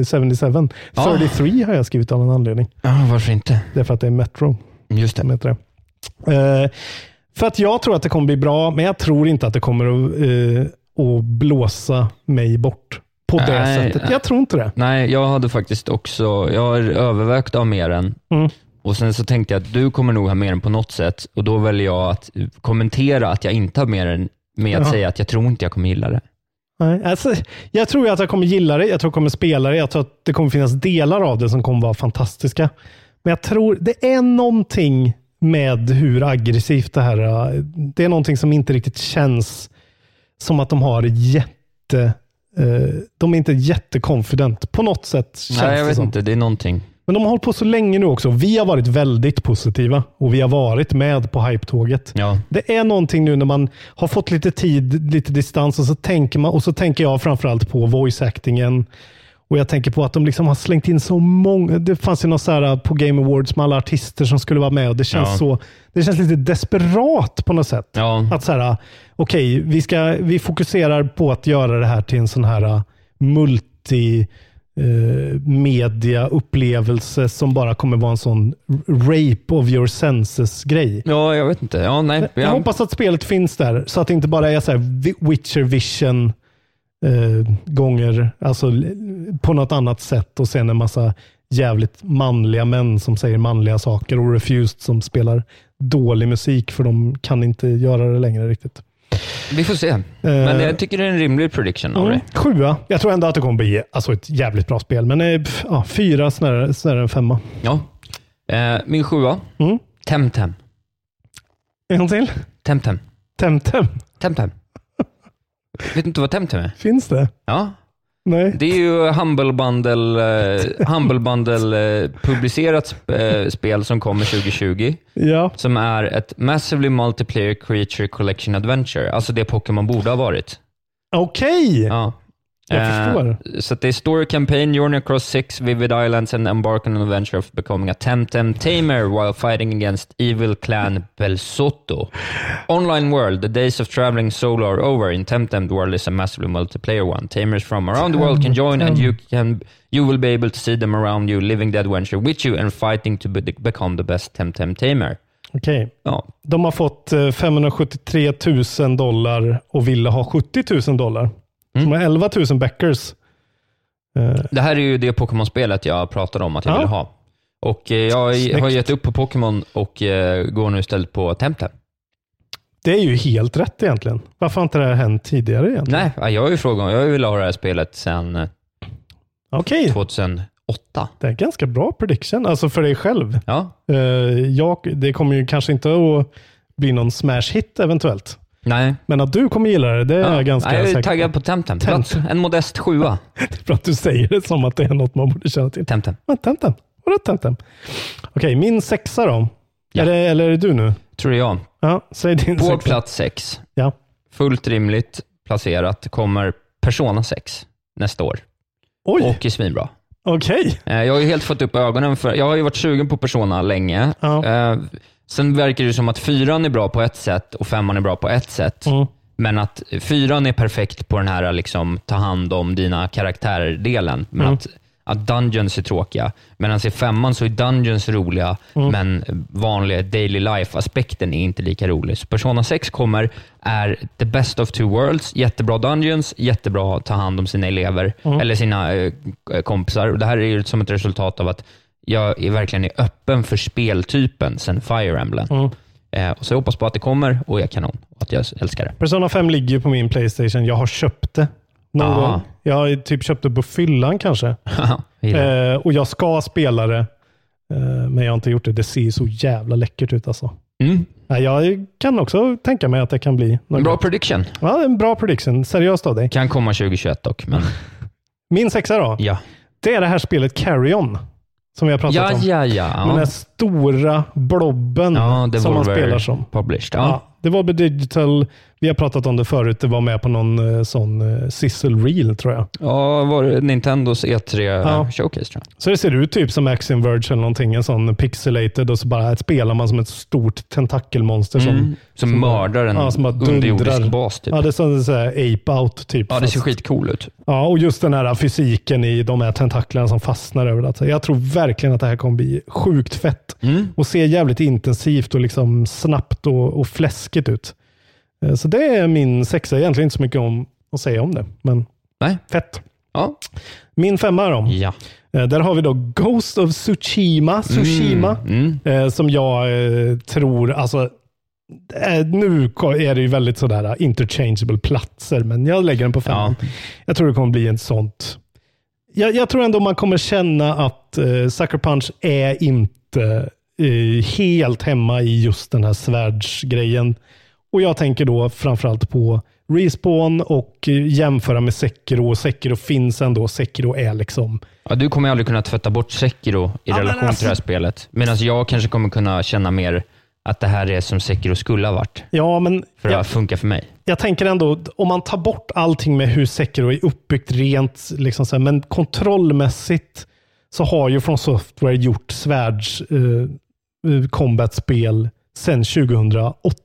G: 2077.
F: Ja.
G: 33 har jag skrivit av någon anledning.
F: ja, varför inte?
G: Därför att det är Metro.
F: Just det.
G: som heter det. Eh, för att jag tror att det kommer bli bra, men jag tror inte att det kommer att, eh, att blåsa mig bort på det
F: Nej,
G: sättet.
F: nej.
G: Jag tror inte det.
F: Nej, jag hade faktiskt också, jag har övervägt av mer än
G: Mm.
F: och sen så tänkte jag att du kommer nog ha med den på något sätt och då väljer jag att kommentera att jag inte har med den med att
G: Ja.
F: säga att jag tror inte jag kommer gilla det.
G: Nej, alltså, jag tror ju att jag kommer gilla det. Jag tror jag kommer spela det. Jag tror att det kommer finnas delar av det som kommer vara fantastiska. Men jag tror det är någonting med hur aggressivt det här är. Det är någonting som inte riktigt känns som att de har jätte... eh, de är inte jättekonfident. På något sätt känns
F: Nej, jag
G: det
F: vet
G: som.
F: inte. Det är någonting.
G: Men de har hållit på så länge nu också. Vi har varit väldigt positiva och vi har varit med på hype-tåget.
F: Ja.
G: Det är någonting nu när man har fått lite tid, lite distans och så tänker man och så tänker jag framförallt på voice-actingen. Och jag tänker på att de liksom har slängt in så många. Det fanns ju något så här uh, på Game Awards med alla artister som skulle vara med och det känns,
F: Ja.
G: så, det känns lite desperat på något sätt.
F: Ja.
G: Att så här, uh, okej, vi, ska, vi fokuserar på att göra det här till en sån här uh, multi eh, media upplevelse som bara kommer vara en sån rape of your senses-grej.
F: Ja, jag vet inte. Ja, nej.
G: Jag
F: Ja.
G: hoppas att spelet finns där, så att det inte bara är så här Vi- Witcher vision eh, gånger, alltså l- på något annat sätt och sen en massa jävligt manliga män som säger manliga saker och Refused som spelar dålig musik för de kan inte göra det längre riktigt. Eh,
F: Vi får se. Men jag tycker det är en rimlig prediction av
G: Mm,
F: dig.
G: sjua. Jag tror ändå att det kommer bli alltså ett jävligt bra spel, men eh, pff, ja, fyra snarare, snarare än femma.
F: Ja. Eh, min sjua.
G: Mm.
F: Temtem.
G: En till?
F: Temtem.
G: Temtem.
F: Temtem. Vet du inte vad Temtem är?
G: Finns det?
F: Ja.
G: Nej.
F: Det är ju Humble Bundle, eh, Humble Bundle eh, publicerat eh, spel som kommer 2020.
G: Ja.
F: Som är ett Massively Multiplayer Creature Collection Adventure. Alltså det Pokémon borde ha varit.
G: Okej!
F: Ja. Eh,
G: Jag förstår.
F: Så att det är Story Campaign, Journey Across Six Vivid Islands and Embark on an Adventure of Becoming a Temtem Tamer while fighting against Evil Clan Belsotto. Online World, the days of traveling solo are over. In Temtem, the world is a massively multiplayer one. Tamers from around the world can join and you can you will be able to see them around you, living the adventure with you and fighting to be, become the best Temtem Tamer.
G: Okej.
F: Ja,
G: De har fått eh, 573 000 dollar och ville ha 70 000 dollar. De har 11 000 backers. Eh,
F: Mm. Det här är ju det Pokémon-spelet jag pratade om att jag
G: Ja.
F: ville ha. Och eh, jag
G: Snyggt.
F: har gett upp på Pokémon och eh, går nu istället på Temtem.
G: Det är ju helt rätt egentligen. Varför har inte det här hänt tidigare? Egentligen?
F: Nej, jag har ju frågat Jag har ju velat ha det här spelet sedan eh,
G: Okej,
F: 2008.
G: det är en ganska bra prediction, alltså för dig själv.
F: Ja,
G: Eh, jag, det kommer ju kanske inte att blir någon smash hit eventuellt.
F: Nej.
G: Men att du kommer gilla det, det är
F: Ja.
G: jag ganska
F: Nej, jag är
G: säker
F: taggad på Temtem. Plats, en modest sjua.
G: det är bra att du säger det som att det är något man borde känna till.
F: Temtem.
G: Men Temtem. Vadå Temtem? Okej, min sexa då. Är det, eller är det du nu?
F: Tror det jag.
G: Ja, säg din
F: På
G: sexa.
F: plats sex,
G: Ja.
F: fullt rimligt placerat, kommer Persona 6 nästa år.
G: Oj.
F: Och är svinbra.
G: Okej.
F: Eh, Jag har ju helt fått upp ögonen för, jag har ju varit sugen på Persona länge. Eh, Sen verkar det som att fyran är bra på ett sätt och femman är bra på ett sätt.
G: Mm.
F: Men att fyran är perfekt på den här liksom, ta hand om dina karaktärer-delen. Men
G: Mm.
F: att, att dungeons är tråkiga. Medan i femman så är dungeons roliga,
G: Mm.
F: men vanliga daily life-aspekten är inte lika rolig. Så Persona 6 kommer, är the best of two worlds. Jättebra dungeons, jättebra att ta hand om sina elever,
G: Mm.
F: eller sina eh, kompisar. Och Det här är ju som ett resultat av att jag är verkligen är öppen för speltypen sen Fire Emblem.
G: Mm.
F: Eh, och så jag hoppas på att det kommer och är kanon och att jag älskar det.
G: Persona 5 ligger ju på min Playstation. Jag har köpt det. Någon
F: Ah.
G: gång. Jag har ju typ köpt det på fyllan kanske.
F: Gillar
G: eh, och jag ska spela det, eh, men jag har inte gjort det. Det ser ju så jävla läckert ut alltså.
F: Mm.
G: Nej, jag kan också tänka mig att det kan bli något
F: En bra
G: gott.
F: prediction.
G: Ja, en bra prediction. Seriöst av dig.
F: Kan komma 2021 dock, men
G: Min sexa då?
F: ja.
G: Det är det här spelet Carry On. Som vi har pratat
F: Ja,
G: om.
F: ja, ja.
G: Den här
F: ja.
G: stora blobben
F: ja
G: som man
F: Devolver
G: spelar som.
F: Published.
G: Ja.
F: Ja.
G: det var på Digital. Vi har pratat om det förut. Det var med på någon eh, sån eh, sizzle reel tror jag.
F: Ja, var det Nintendos E3
G: Ja.
F: showcase tror jag.
G: Så det ser ut typ som Axiom Verge eller någonting. En sån pixelated och så bara spelar man som ett stort tentakelmonster
F: Mm.
G: som,
F: Som mördar en
G: bara
F: underjordisk
G: dundrar.
F: bas, typ.
G: Ja, det är som så här ape out typ.
F: Ja, det ser
G: fast-
F: skitcool ut.
G: Ja, och just den här fysiken i de här tentaklerna som fastnar överallt. Jag tror verkligen att det här kommer bli sjukt fett
F: Mm.
G: och se jävligt intensivt och liksom snabbt och, och fläskigt ut. Eh, Så det är min sexa. Egentligen inte så mycket om att säga om det, men
F: Nej.
G: fett.
F: Ja.
G: Min femma då.
F: Ja.
G: Eh, Där har vi då Ghost of Tsushima, Tsushima
F: Mm.
G: eh, som jag eh, tror, alltså eh, nu ko- är det ju väldigt sådär eh, interchangeable platser, men jag lägger den på femman. Jag tror det kommer bli ett sånt. Jag, jag tror ändå man kommer känna att eh, Sucker Punch är inte eh, helt hemma i just den här svärdsgrejen. Och jag tänker då framförallt på Respawn och eh, jämföra med Sekiro. Sekiro finns ändå. Sekiro är liksom
F: Ja, du kommer aldrig kunna tvätta bort Sekiro i
G: men
F: relation till det här spelet. Medan jag kanske kommer kunna känna mer att det här är som Sekiro skulle ha varit.
G: Ja, men
F: För
G: jag,
F: att funka för mig.
G: jag tänker ändå, om man tar bort allting med hur Sekiro är uppbyggt rent, liksom så här, men kontrollmässigt så har ju From Software gjort svärds eh, eh, combat-spel sedan 2008.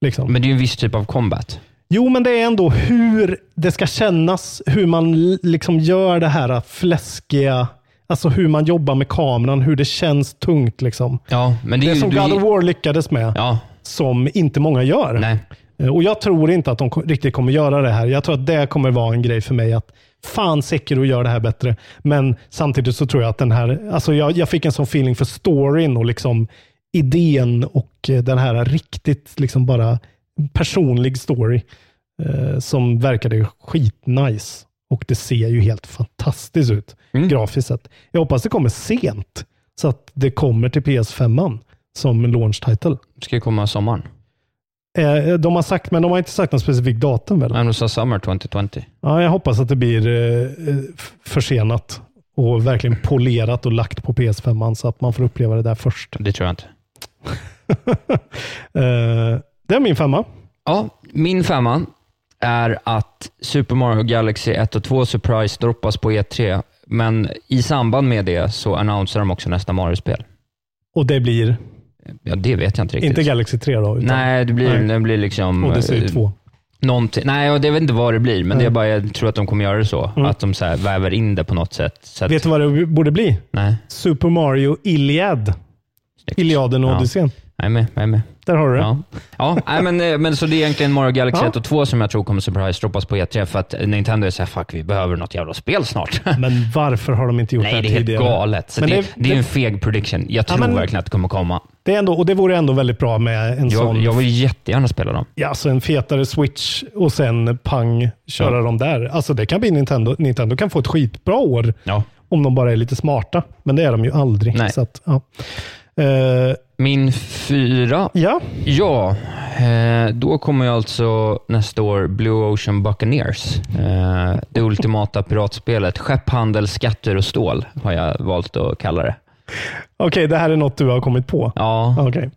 G: Liksom.
F: Men det är ju en viss typ av combat.
G: Jo, men det är ändå hur det ska kännas, hur man l- liksom gör det här fläskiga, alltså hur man jobbar med kameran, hur det känns tungt. Liksom.
F: Ja, men det, är ju-
G: som
F: du,
G: God of War lyckades med, som inte många gör. Eh, Och Jag tror inte att de ko- riktigt kommer göra det här. Jag tror att det kommer vara en grej för mig att fan Sekiro gör det här bättre. Men samtidigt så tror jag att den här, alltså jag, jag fick en sån feeling för storyn och liksom idén och eh, den här riktigt liksom bara personlig story eh, som verkade skitnice. Och det ser ju helt fantastiskt ut grafiskt sett. Jag hoppas det kommer sent så att det kommer till PS5 som launch title.
F: ska ju komma sommaren.
G: Eh, De har sagt, men de har inte sagt någon specifik datum väl?
F: Nej, de sa Summer 2020.
G: Ja, jag hoppas att det blir eh, eh, f- försenat och verkligen polerat och lagt på PS5 så att man får uppleva det där först.
F: Det tror jag inte.
G: Eh, Det är min femma.
F: Ja, min femma är att Super Mario Galaxy 1 och 2 Surprise droppas på E3, men i samband med det så annonserar de också nästa Mario-spel.
G: Och det blir,
F: Ja, det vet jag inte riktigt.
G: inte Galaxy 3 då? Utan,
F: Nej, det blir, Det blir liksom...
G: Odyssey
F: eh,
G: 2.
F: Någonting. Nej, jag vet inte vad det blir, men
G: Nej.
F: det är bara, jag tror att de kommer göra det så.
G: Mm.
F: Att de så här väver in det på något sätt. Så att,
G: Vet du vad det borde bli?
F: Nej.
G: Super Mario Iliad. Iliaden och
F: Ja.
G: Odysseen.
F: Jag är med. Jag är med.
G: Där har du det.
F: Ja. Ja, nej, men, eh, men så det är egentligen Mario Galaxy
G: Ja.
F: 1 och 2 som jag tror kommer surprise droppas på E3, för att Nintendo är såhär, fuck, vi behöver något jävla spel snart.
G: Men varför har de inte gjort det
F: Nej,
G: här
F: det är helt
G: tidigare?
F: galet. Så
G: Men
F: det, det,
G: det-
F: är en feg prediction. Jag tror
G: men-
F: verkligen att det kommer komma.
G: Det, är ändå, och det vore ändå väldigt bra med en
F: Jag,
G: sån
F: jag vill jättegärna spela dem.
G: Ja, alltså en fetare switch och sen pang, köra dem där. Alltså det kan bli Nintendo. Nintendo kan få ett skitbra år
F: Ja.
G: om de bara är lite smarta. Men det är de ju aldrig.
F: Nej.
G: Så att, ja. Eh,
F: Min fyra?
G: Ja.
F: Ja, eh, då kommer ju alltså nästa år Blue Ocean Buccaneers. Eh, det ultimata piratspelet. Skepp, handel, skatter och stål har jag valt att kalla det.
G: Okej, det här är något du har kommit på?
F: Ja.
G: Okej.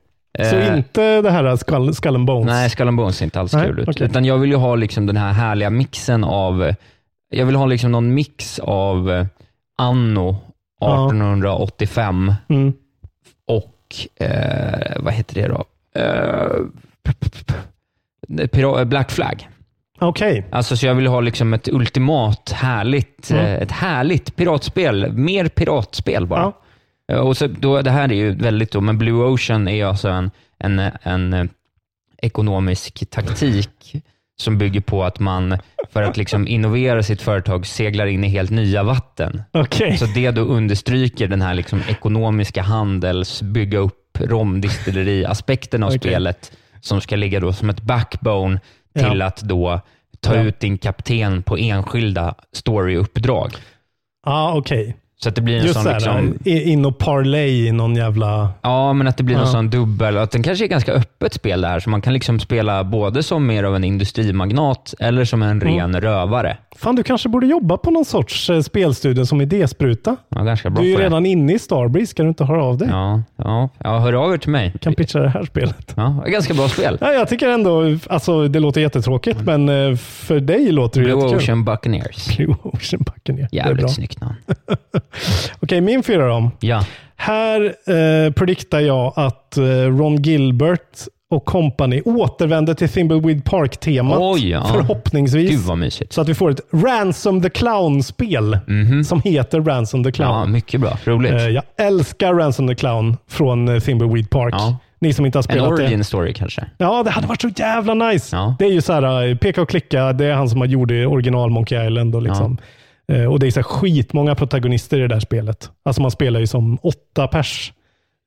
G: Så
F: Eh,
G: inte det här skull, skull and bones?
F: Nej, Skull and Bones ser inte alls
G: Nej,
F: kul ut.
G: okej.
F: Utan jag vill ju ha liksom den här härliga mixen av... Jag vill ha liksom någon mix av eh, anno 1885
G: Mm.
F: och, eh, vad heter det då? Eh, p- p- p- Pira- Black Flag.
G: Okej.
F: Alltså, så jag vill ha liksom ett ultimat härligt,
G: Mm.
F: eh, ett härligt piratspel. Mer piratspel bara. Eh, Och så, då, det här är ju väldigt då, men Blue Ocean är alltså en, en, en eh, ekonomisk taktik som bygger på att man, för att liksom innovera sitt företag, seglar in i helt nya vatten.
G: Okej.
F: Så det då understryker den här liksom ekonomiska handels, bygga upp romdistilleriaspekten av
G: Okej.
F: spelet, som ska ligga då som ett backbone till
G: Ja.
F: att då ta
G: Ja.
F: ut din kapten på enskilda storyuppdrag.
G: Ja, okej.
F: Så att det blir en
G: Just
F: sån
G: det,
F: liksom,
G: här, i- in och parlay i någon jävla...
F: Ja, men att det blir någon
G: Ja.
F: sån dubbel, att den kanske är ganska öppet spel det här, så man kan liksom spela både som mer av en industrimagnat eller som en
G: Mm.
F: ren rövare.
G: Fan, du kanske borde jobba på någon sorts eh, spelstudio som idéspruta.
F: Ja, ganska
G: Du
F: bra
G: är ju
F: på det.
G: redan inne i Starbreeze. Ska du inte höra av dig?
F: Ja, ja, ja, hör av er till mig.
G: kan pitcha det här spelet.
F: Ja, ganska bra spel.
G: Ja, jag tycker ändå, alltså det låter jättetråkigt, men eh, för dig låter det
F: Blue
G: jättekul.
F: Ocean Buccaneers.
G: Blue Ocean Buccaneers. Det är bra.
F: Jävligt snyggt namn.
G: Okej, min fyra då.
F: Ja.
G: Här eh, prediktar jag att eh, Ron Gilbert och company återvänder till Thimbleweed Park-temat.
F: Oj, ja.
G: Förhoppningsvis.
F: Gud vad mysigt. Mhm.
G: Så att vi får ett Ransom the Clown-spel som heter Ransom the Clown.
F: Ja, mycket bra. Roligt.
G: Eh, jag älskar Ransom the Clown från eh, Thimbleweed Park.
F: Ja.
G: Ni som inte
F: en
G: har spelat det.
F: origin story kanske.
G: Ja, det hade varit så jävla nice.
F: Ja.
G: Det är ju så här, eh, peka och klicka. Det är han som har gjort det original Monkey Island. Och, liksom. Eh, och det är så här skitmånga protagonister i det där spelet. Alltså man spelar ju som åtta pers.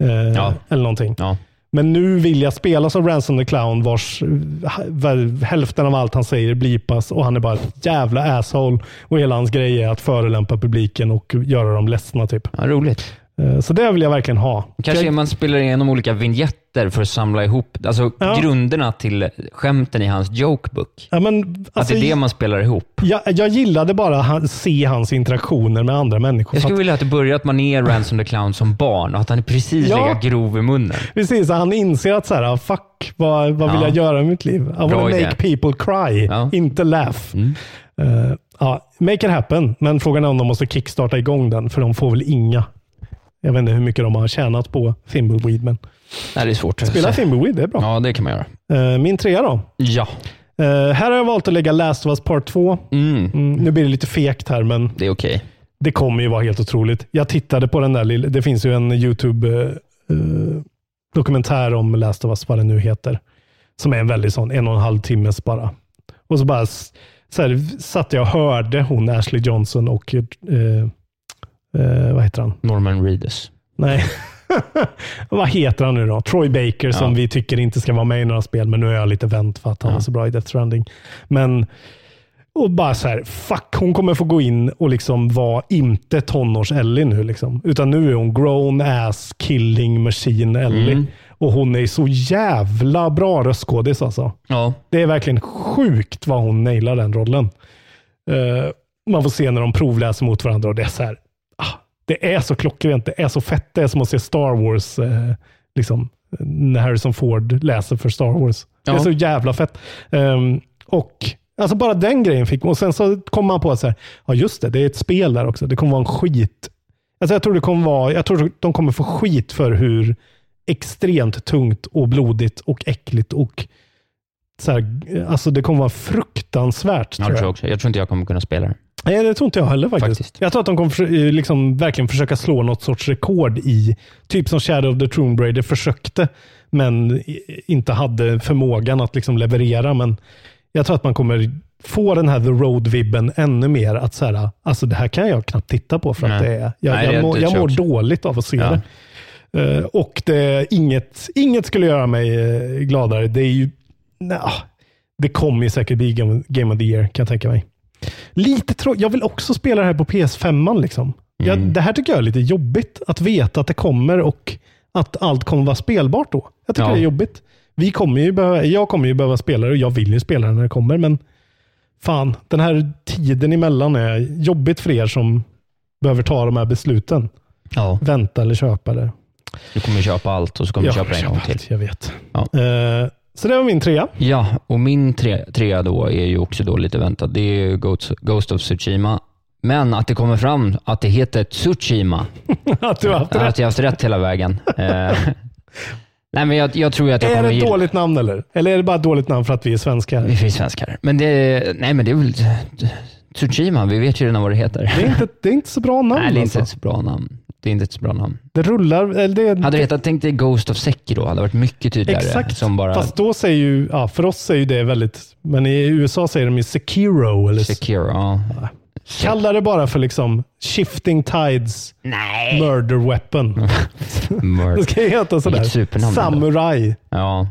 G: eh,
F: Ja.
G: Eller någonting.
F: Ja.
G: Men nu vill jag spela som Ransom the Clown vars eh, h- väl, hälften av allt han säger blipas och han är bara ett jävla asshole. Och hela hans grej är att förolämpa publiken och göra dem ledsna. Typ.
F: Ja, roligt.
G: Eh, Så det vill jag verkligen ha.
F: Kanske man spelar igenom olika vignetter för att samla ihop alltså, grunderna till skämten i hans jokebook.
G: Ja, men,
F: att
G: alltså,
F: det är det man spelar ihop.
G: Jag, jag gillade bara att se hans interaktioner med andra människor.
F: Jag
G: För
F: skulle
G: att,
F: vilja att det börjar att man är Ransom the Clown som barn och att han är precis
G: Ja.
F: lika grov i munnen.
G: precis, han inser att så här, ah, fuck, vad, vad vill
F: Ja.
G: jag göra med mitt liv? I wanna make
F: idé. Mm.
G: people cry, inte laugh. Eh, ja, make it happen, men frågan är om de måste kickstarta igång den, för de får väl inga. Jag vet inte hur mycket de har tjänat på Thimbleweed, men
F: Nej, det är svårt.
G: spela
F: Så-
G: Thimbleweed, det är bra.
F: Ja, det kan man göra.
G: Eh, min trea då?
F: Ja.
G: Eh, här har jag valt att lägga Last of Us Part 2.
F: Mm.
G: nu blir det lite fegt här, men
F: Det är okej.
G: det kommer ju vara helt otroligt. Jag tittade på den där lilla, det finns ju en YouTube-dokumentär om Last of Us, vad den nu heter, som är en väldigt sån, en och en halv timmes bara. Och så bara s- så här, satt jag och hörde hon Ashley Johnson och, eh, eh, vad heter han?
F: Norman Reedus.
G: Nej. Vad heter han nu då? Troy Baker som vi tycker inte ska vara med i några spel, men nu är jag lite vänt för att han var så bra i Death Stranding. Men, och bara så här, fuck, hon kommer få gå in och liksom vara inte tonårs-Ellie nu. Liksom. Utan nu är hon grown ass killing machine Ellie. Och hon är så jävla bra röstskådis alltså.
F: Ja.
G: Det är verkligen sjukt vad hon nailar den rollen. Eh, man får se när de provläser mot varandra och det är så här. Ah, det är så klockrent. Det är så fett. Det är som att se Star Wars. Eh, liksom, när Harrison Ford läser för Star Wars. Det
F: Ja.
G: är så jävla fett. Ehm, och Alltså bara den grejen fick man. Och sen så kom man på att så här, ja just det, det är ett spel där också. Det kommer vara en skit. Alltså jag tror det kommer vara, jag tror de kommer få skit för hur extremt tungt och blodigt och äckligt och så här, alltså det kommer vara fruktansvärt.
F: Ja, det
G: tror
F: tror
G: jag.
F: jag, också. jag tror inte jag kommer kunna spela det.
G: Nej, det tror inte jag heller faktiskt.
F: Faktiskt.
G: Jag tror att de kommer för, eh, liksom, verkligen försöka slå något sorts rekord i, typ som Shadow of the Tomb Raider försökte, men i- inte hade förmågan att liksom leverera. Men jag tror att man kommer få den här The Road-vibben ännu mer. Att så här, alltså det här kan jag knappt titta på för att
F: Nej.
G: det är, jag,
F: Nej,
G: jag,
F: det-
G: mår-
F: det
G: jag
F: tror jag
G: mår
F: också.
G: dåligt av att se det. Eh, och det, inget, inget skulle göra mig eh, gladare. Det är ju, nja, det kommer ju säkert bli Game Game of the Year, kan jag tänka mig. Lite trå- Jag vill också
F: Mm.
G: spela det här på PS5. -an, Liksom. Jag, det här tycker jag är lite jobbigt, att veta att det kommer och att allt kommer vara spelbart då. Jag tycker
F: Ja.
G: det är jobbigt. Vi kommer ju behöva, jag kommer ju behöva spela det och jag vill ju spela det när det kommer, men fan, den här tiden emellan är jobbigt för er som behöver ta de här besluten. Vänta eller köpa det.
F: Du kommer köpa allt och så kommer
G: Jag
F: du köpa
G: kommer
F: det en gång
G: köpa
F: till.
G: Jag vet. Eh,
F: Ja.
G: så det var min trea.
F: Ja, och min tre, trea då är ju också då lite väntad. Det är ju Ghost, Ghost of Tsushima. Men att det kommer fram att det heter Tsushima.
G: att du har haft
F: Att jag har haft rätt hela vägen. Eh, Nej, men jag, jag tror att jag
G: Är
F: kommer
G: det ett
F: gilla-
G: dåligt namn eller? Eller är det bara ett dåligt namn för att vi är svenskar?
F: Vi är svenskar. Men det, nej, men det är väl Tsushima. Vi vet ju redan vad det heter.
G: Det är inte, det är inte så bra namn
F: nej, det är inte
G: alltså.
F: ett så bra namn. Det är inte ett så bra namn.
G: Det rullar... Eller det,
F: Hade det hetat, tänk dig Ghost of Sekiro, hade varit mycket tydligare.
G: Exakt.
F: Som bara
G: Fast då säger ju, ja, för oss säger ju det väldigt, men i USA säger de ju Sekiro. Eller,
F: Sekiro, ja.
G: Kalla det bara för liksom Shifting Tides
F: Nej.
G: Murder Weapon.
F: mörk.
G: det ska ju heta sådär.
F: Vilket supernamn ändå.
G: Samurai.
F: Ja.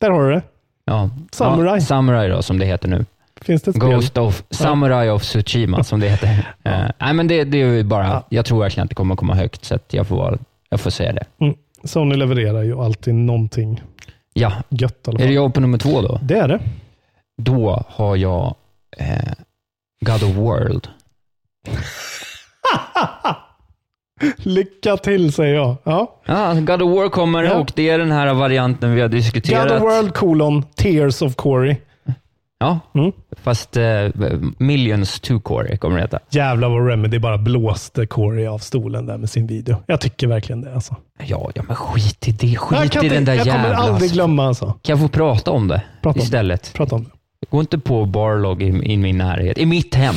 G: Där har du det.
F: ja.
G: Samurai.
F: Ja, samurai då, som det heter nu.
G: Finns det ett spel?
F: Ghost of Samurai of Tsushima, som det heter. Eh, nej, men det, det är ju bara, jag tror verkligen att det kommer komma högt, så att jag, får, vara- jag får säga det.
G: Mm. Sony levererar ju alltid någonting
F: Ja.
G: gött i alla
F: Är
G: fall.
F: det jag på nummer två då?
G: Det är det.
F: Då har jag eh, God of World.
G: Lycka till säger jag. Ja.
F: Ja, God of War kommer och det är den här varianten vi har diskuterat.
G: God of World colon Tears of Corey.
F: Ja,
G: Mm.
F: fast eh, Millions 2 Core kommer det heta.
G: Jävlar vad Remedy bara blåste Corey av stolen där med sin video. Jag tycker verkligen det alltså.
F: Ja, ja men skit i det.
G: Jag
F: Skit
G: kan
F: i
G: inte-
F: den där
G: jag kommer
F: jävla...
G: aldrig glömma alltså.
F: Kan jag få prata om det
G: Prata om-
F: istället?
G: prata om det.
F: Gå inte på barlog i, i min närhet, i mitt hem.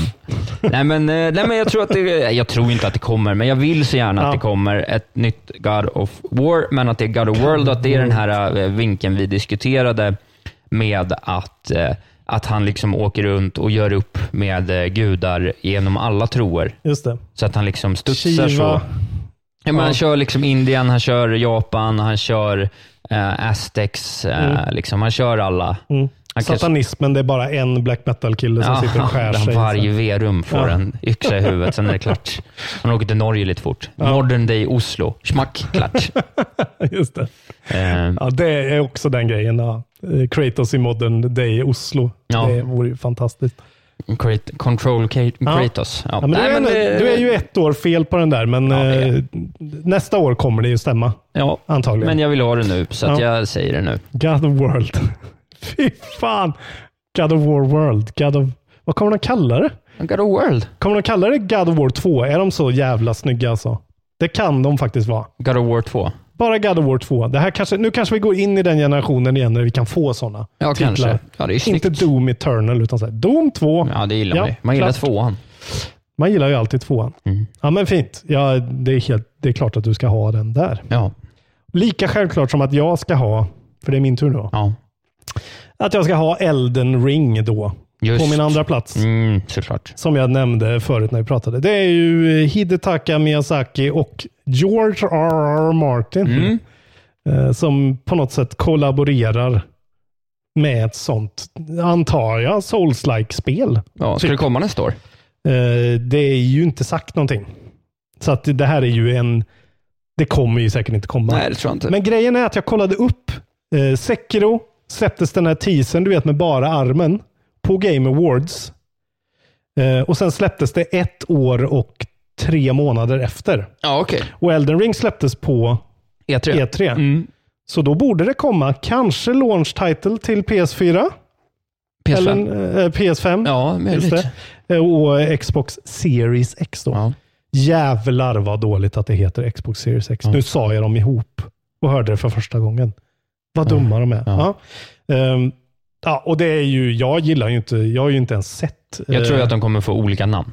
F: nej, men, eh, nej, men jag tror att det, jag tror inte att det kommer, men jag vill så gärna att det kommer ett nytt God of War, men att det är God of World och att det
G: Mm.
F: är den här eh, vinkeln vi diskuterade med att, eh, att han liksom åker runt och gör upp med eh, gudar genom alla troer.
G: Just det.
F: Så att han liksom studsar
G: Shiva.
F: så. Ja, men Han kör liksom Indien, han kör Japan, han kör eh, Aztecs, eh,
G: Mm.
F: liksom, han kör alla.
G: Mm.
F: Han kan-
G: Satanismen, det är bara en black metal-kille som
F: Ja,
G: sitter och skär
F: där
G: sig.
F: Varje V-rum får
G: Ja.
F: en yxa i huvudet, sen är det klart. Han åker till Norge lite fort. Modern day Oslo. Schmack, klart.
G: Just det.
F: Eh,
G: Ja, det är också den grejen. Ja. Eh, Kratos i Modern Day i Oslo.
F: Ja.
G: Det vore ju fantastiskt.
F: Krat- Control Ka- Kratos. Ja.
G: Ja, men du,
F: Nej,
G: är,
F: men det-
G: du är ju ett år fel på den där, men eh, nästa år kommer det ju stämma.
F: Ja,
G: Antagligen.
F: men jag vill ha det nu, så att jag säger det nu.
G: God of World. Fy fan! God of War World. God of... Vad kommer de kalla det?
F: God of World.
G: Kommer de kalla det God of War 2? Är de så jävla snygga alltså? Det kan de faktiskt vara.
F: God of War 2.
G: Bara God of War 2. Det här kanske, nu kanske vi går in i den generationen igen när vi kan få sådana
F: Ja,
G: titlar.
F: kanske. Ja, det är snyggt.
G: Inte Doom Eternal, utan så här, Doom 2.
F: Ja, det gillar man ju. Man gillar
G: klart.
F: tvåan. Mm.
G: Man gillar ju alltid tvåan. Ja, men fint. Ja, det, är helt, det är klart att du ska ha den där.
F: Ja.
G: Lika självklart som att jag ska ha, för det är min tur nu,
F: ja.
G: att jag ska ha Elden Ring då.
F: Just.
G: På min andra plats.
F: Mm, såklart.
G: Som jag nämnde förut när vi pratade. Det är ju Hidetaka Miyazaki och George R.R. Martin.
F: Mm.
G: Eh, Som på något sätt kollaborerar med ett sånt, antar jag, souls-like spel.
F: Ja, ska
G: Typ.
F: det komma nästa år?
G: Eh, Det är ju inte sagt någonting. Så att det här är ju en... Det kommer ju säkert inte komma.
F: Nej, det tror jag inte.
G: Men grejen är att jag kollade upp eh, Sekiro, släpptes den här teasern, du vet med bara armen, på Game Awards. Eh, och sen släpptes det ett år och tre månader efter.
F: Ja, okej. E
G: Och Elden Ring släpptes på
F: E3.
G: E3.
F: Mm.
G: Så då borde det komma kanske launch title till PS4.
F: PS5.
G: Eller, eh, PS5.
F: Ja, möjligt.
G: Just det. Eh, Och eh, Xbox Series X då. Jävlar vad dåligt att det heter Xbox Series X. Nu sa jag dem ihop och hörde det för första gången. Vad dumma de är. Ja. Ehm, ja, och det är ju, jag gillar ju inte, jag har ju inte ens sett.
F: Jag tror
G: eh,
F: ju att de kommer få olika namn.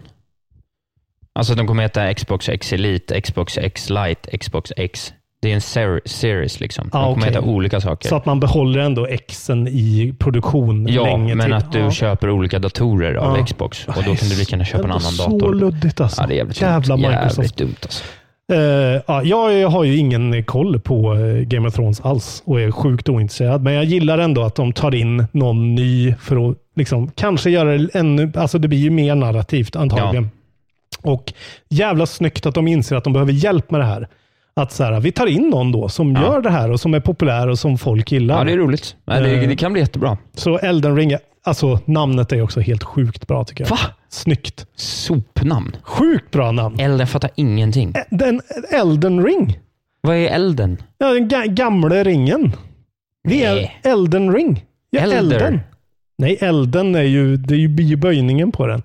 F: Alltså att de kommer heta Xbox X Elite, Xbox X Lite, Xbox X. Det är en ser- series liksom. De
G: Ah,
F: kommer
G: okej.
F: heta olika saker.
G: Så att man behåller ändå Xen i produktion
F: ja,
G: länge
F: men
G: till.
F: att du
G: Ja. Ah.
F: köper olika datorer av
G: Ja.
F: Xbox och då kan du lika gärna köpa en
G: Ändå
F: annan
G: så
F: dator.
G: luddigt alltså.
F: Ja, det är jävligt
G: Jävla
F: dumt.
G: Microsoft.
F: Jävligt dumt alltså.
G: Eh, ja, jag har ju ingen koll på eh, Game of Thrones alls och är sjukt ointresserad. Men jag gillar ändå att de tar in någon ny för att liksom, kanske göra det ännu... Alltså det blir ju mer narrativt antagligen. Och jävla snyggt att de inser att de behöver hjälp med det här. Att så här, vi tar in någon då som gör det här och som är populär och som folk gillar.
F: Ja, det är roligt. Nej, det,
G: Eh,
F: det kan bli jättebra.
G: Så Elden Ring, är- alltså namnet är också helt sjukt bra tycker jag.
F: Va?
G: Snyggt.
F: Sopnamn.
G: Sjukt bra namn.
F: Elden fattar ingenting.
G: Den Elden Ring.
F: Vad är elden?
G: Ja, den ga gamla ringen. Det är
F: Nej.
G: Elden Ring. Ja,
F: Elder.
G: Elden. Nej, Elden är ju, det är ju bi- böjningen på den.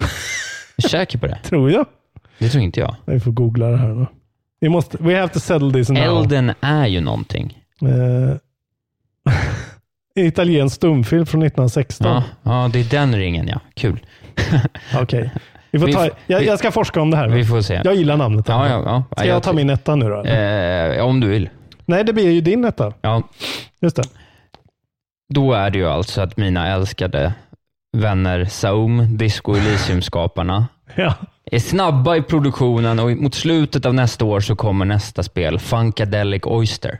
F: Är du säker på det?
G: Tror jag.
F: Det tror inte jag.
G: Vi får googla det här då. Vi måste, we have to settle this now.
F: Elden är ju någonting.
G: Eh, italiensk stumfilm från 1916.
F: Ja, ja, det är den ringen ja. Kul.
G: Okej. Vi får
F: Vi
G: ta,
F: f-
G: jag,
F: vi-
G: jag ska forska om det här.
F: Vi får se.
G: Jag gillar namnet.
F: Ja, ja, ja.
G: Ska jag ta min etta nu då? eller?
F: Eh, om du vill.
G: Nej, det blir ju din etta.
F: Ja,
G: Just det.
F: då är det ju alltså att mina älskade vänner Saum, Disco Elysium-skaparna,
G: Ja.
F: är snabba i produktionen och mot slutet av nästa år så kommer nästa spel, Funkadelic Oyster.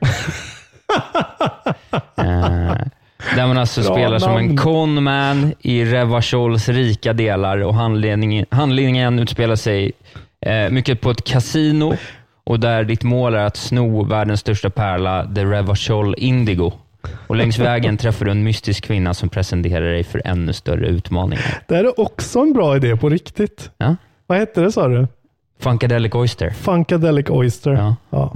F: eh, där man alltså
G: Bra
F: spelar som en
G: namn.
F: conman i Revachols rika delar och handledningen, handlingen utspelar sig eh, mycket på ett kasino och där ditt mål är att sno världens största pärla, The Revachol Indigo. Och längs vägen träffar du en mystisk kvinna som presenterar dig för ännu större utmaningar.
G: Det här är också en bra idé på riktigt.
F: Ja?
G: Vad hette det sa du?
F: Funkadelic Oyster.
G: Funkadelic Oyster.
F: Ja.
G: Ja.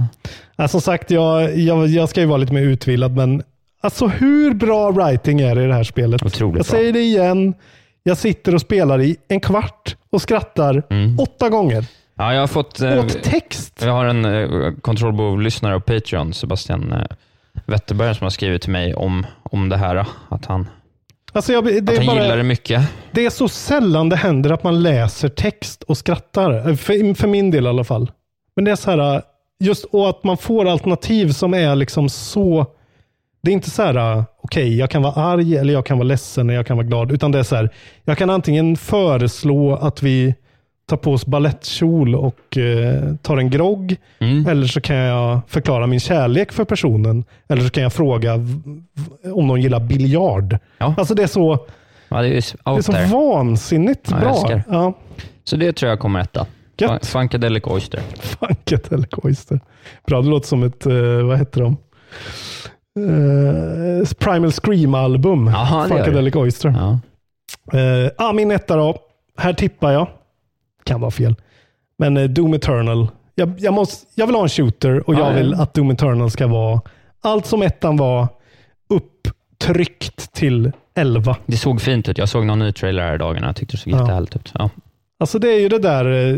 G: Ja, som sagt, jag, jag, jag ska ju vara lite mer utvilad, men alltså hur bra writing är det i det här spelet?
F: Otroligt
G: jag
F: bra.
G: säger det igen. Jag sitter och spelar i en kvart och skrattar
F: Mm.
G: åtta gånger.
F: Ja, jag har fått... eh,
G: Åt text.
F: Vi har en eh, kontrollbov-lyssnare och Patreon, Sebastian eh, Wetterberg, som har skrivit till mig om, om det här. eh, Att han,
G: Alltså jag, det,
F: att
G: är
F: han
G: bara,
F: gillar det mycket.
G: det är så sällan det händer att man läser text och skrattar. Eh, För, för min del i alla fall. Men det är så här, eh, just och att man får alternativ som är liksom så... Det är inte så här, eh, okej, jag kan vara arg eller jag kan vara ledsen eller jag kan vara glad. Utan det är så här, jag kan antingen föreslå att vi tar på oss balettkjol och eh, tar en grogg.
F: Mm.
G: Eller så kan jag förklara min kärlek för personen. Eller så kan jag fråga v- v- om de gillar biljard. Alltså det är så,
F: Ja, det är, ju s-
G: det är
F: out
G: så
F: there.
G: vansinnigt
F: Ja, jag
G: bra.
F: älskar.
G: Ja,
F: Så det tror jag kommer etta.
G: Gött.
F: Fun- Funkadelic Oyster.
G: Funket eller Koister. Bra, det låter som ett, eh, vad heter de? Eh, Primal Scream-album.
F: Jaha, det gör det.
G: Funkadelic Oyster.
F: Ja.
G: Eh, ah, min etta då. Här tippar jag. Kan vara fel. Men eh, Doom Eternal. Jag, jag, måste, jag vill ha en shooter och
F: Ja,
G: jag
F: ja.
G: vill att Doom Eternal ska vara allt som ettan var upptryckt till 11.
F: Det såg fint ut. Jag såg någon ny trailer här i dagarna. Jag tyckte det såg
G: Ja.
F: jättehärligt ut. Ja.
G: Alltså det är ju det där. eh,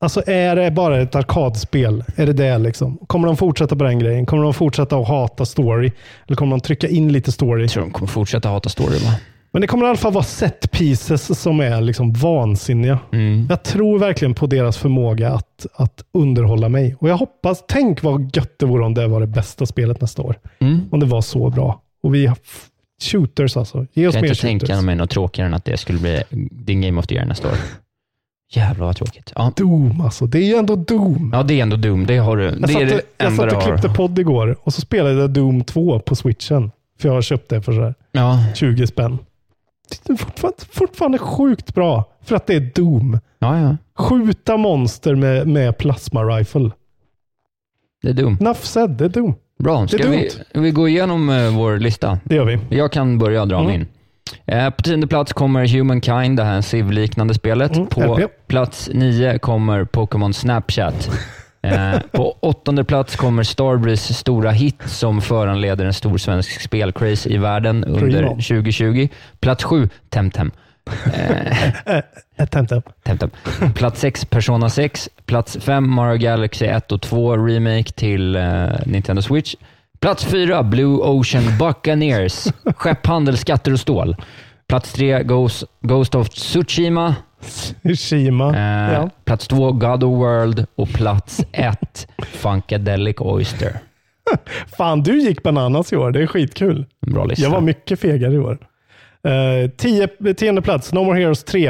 G: Alltså är det bara ett arkadspel? Är det det liksom? Kommer de fortsätta på den grejen? Kommer de fortsätta att hata story? Eller kommer de trycka in lite story?
F: Jag tror de kommer fortsätta hata story. Va?
G: Men det kommer i alla fall vara set pieces som är liksom vansinniga.
F: Mm.
G: Jag tror verkligen på deras förmåga att, att underhålla mig. Och jag hoppas, tänk vad gött det vore om det var det bästa spelet nästa år.
F: Mm.
G: Om det var så bra. Och vi har f- shooters alltså. Ge
F: Jag
G: oss
F: kan
G: mer
F: inte tänka
G: shooters.
F: mig något tråkigare än att det skulle bli din Game of the Year nästa år. Jävlar vad tråkigt. Ja,
G: Doom alltså. Det är ju ändå Doom.
F: ja det är ändå Doom. Det har du.
G: Jag
F: Det är
G: satt,
F: det
G: jag
F: enda
G: satt
F: du
G: och
F: har.
G: klippte podd igår och så spelade jag Doom 2 på switchen. För jag har köpt det för sådär
F: Ja,
G: 20 spänn. Det är fortfarande, fortfarande sjukt bra. För att det är Doom.
F: ja, ja.
G: Skjuta monster med, med plasma rifle.
F: Det är Doom.
G: Nuff said, det är Doom.
F: Bra,
G: Det är
F: ska vi, vi gå igenom eh, vår lista?
G: Det gör vi.
F: Jag kan börja dra
G: Mm.
F: min. Eh, på tionde plats kommer Humankind, det här Civ-liknande spelet.
G: Mm,
F: på
G: LP.
F: plats nio kommer Pokémon Snapchat. Eh, på åttonde plats kommer Starbreeze stora hit som föranleder en stor svensk spelcraze i världen under
G: Primo.
F: 2020. Plats sju, Temtem.
G: Ett temtem.
F: Temtem. Plats 6, Persona 6. Plats 5, Mario Galaxy 1 och 2 Remake till eh, Nintendo Switch. Plats 4, Blue Ocean Buccaneers. Skepphandel, skatter och stål. Plats 3, Ghost, Ghost of Tsushima.
G: Shima.
F: Eh,
G: Ja.
F: Plats 2, God of World. Och plats 1, Funkadelic Oyster.
G: Fan, du gick bananas i år. Det är skitkul.
F: En Bra lista.
G: Jag var mycket fegare i år. Eh, tio, tionde plats, No More Heroes 3.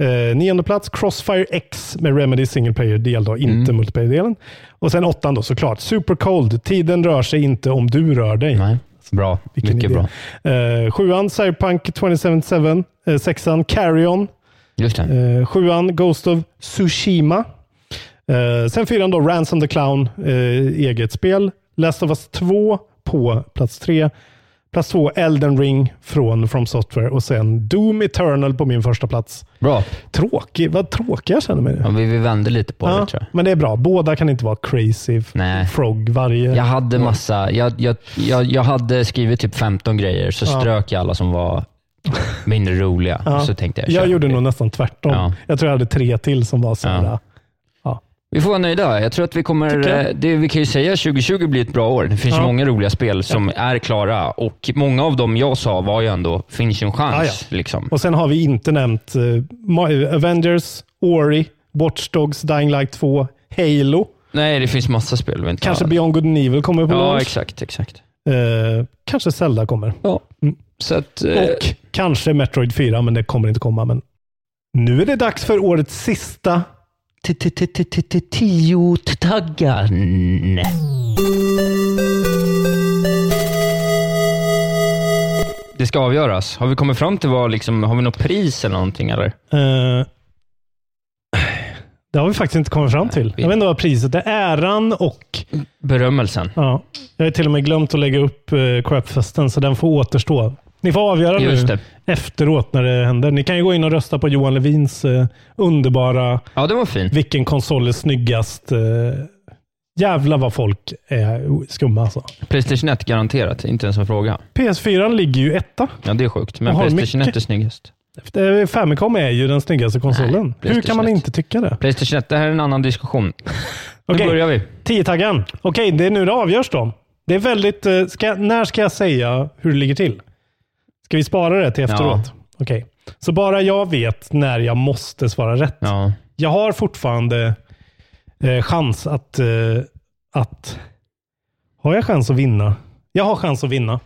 G: Eh, nionde plats, Crossfire X med Remedy Single Player-del, då, inte
F: Mm.
G: multiplayer-delen. Och sen åttan då såklart, Super Cold. Tiden rör sig inte om du rör dig.
F: Nej. Bra.
G: Vilken
F: Mycket
G: idé.
F: bra.
G: Eh, sjuan, Cyberpunk 2077. Eh, sexan, Carrion.
F: Just det.
G: Eh, sjuan, Ghost of Tsushima. Eh, sen fyran då, Ransom the Clown, eh, eget spel. Last of Us 2 på plats tre. Plats två, Elden Ring från From Software och sen Doom Eternal på min första plats.
F: Bra.
G: Tråkig, vad tråkig jag känner mig.
F: Ja, vi, vi vände lite på det
G: Ja,
F: tror jag.
G: men det är bra. Båda kan inte vara crazy frog varje.
F: Jag hade massa, jag, jag, jag, jag hade skrivit typ 15 grejer, så
G: Ja.
F: strök jag alla som var mindre roliga.
G: Ja.
F: Så tänkte jag,
G: jag
F: kör.
G: gjorde nog nästan tvärtom.
F: Ja.
G: Jag tror jag hade tre till som var sådana.
F: Ja. Vi får vara nöjda. Jag tror att vi kommer,
G: Tycker jag.
F: eh, det, vi kan ju säga att 2020 blir ett bra år. Det finns
G: Ja.
F: många roliga spel som är klara och många av dem jag sa var ju ändå, finns ju en chans.
G: Ja,
F: Liksom.
G: Och sen har vi inte nämnt eh, Ma- Avengers, Ori, Watch Dogs, Dying Light 2, Halo.
F: Nej, det finns massa spel vi inte
G: Kanske
F: har.
G: Beyond Good and Evil kommer på
F: Ja,
G: launch.
F: exakt. exakt.
G: Eh, kanske Zelda kommer. Mm.
F: Ja. Så att, eh,
G: Och kanske Metroid 4, men det kommer inte komma. Men nu är det dags för årets sista
F: Tiotaggan. Det ska avgöras. Har vi kommit fram till vad, liksom, har vi något pris eller någonting? Eller?
G: Eh, det har vi faktiskt inte kommit fram till. Jag vet inte vad priset är. Äran och...
F: Berömmelsen.
G: Ja, jag har till och med glömt att lägga upp eh, crapfesten, så den får återstå. Ni får avgöra
F: Just
G: nu efteråt när det händer. Ni kan ju gå in och rösta på Johan Levins eh, underbara
F: Ja, det var fint.
G: Vilken konsol är snyggast? Eh, jävlar vad folk är skumma alltså.
F: Playstation 1 garanterat, inte ens en fråga.
G: PS4 ligger ju etta.
F: Ja, det är sjukt, men
G: Och har
F: Playstation 1
G: mycket.
F: är snyggast.
G: Eh, Famicom är ju den snyggaste konsolen. Hur kan
F: PlayStation
G: man
F: 1.
G: inte tycka det?
F: Playstation 1, det här är en annan diskussion. Nu
G: Okej.
F: börjar vi.
G: Tiotaggan. Okej, det är nu det avgörs då. Det är väldigt... eh, Ska, när ska jag säga hur det ligger till? Ska vi spara det till efteråt? Okej. Så bara jag vet när jag måste svara rätt. Jag har fortfarande eh, chans att, eh, att... Har jag chans att vinna? Jag har chans att vinna.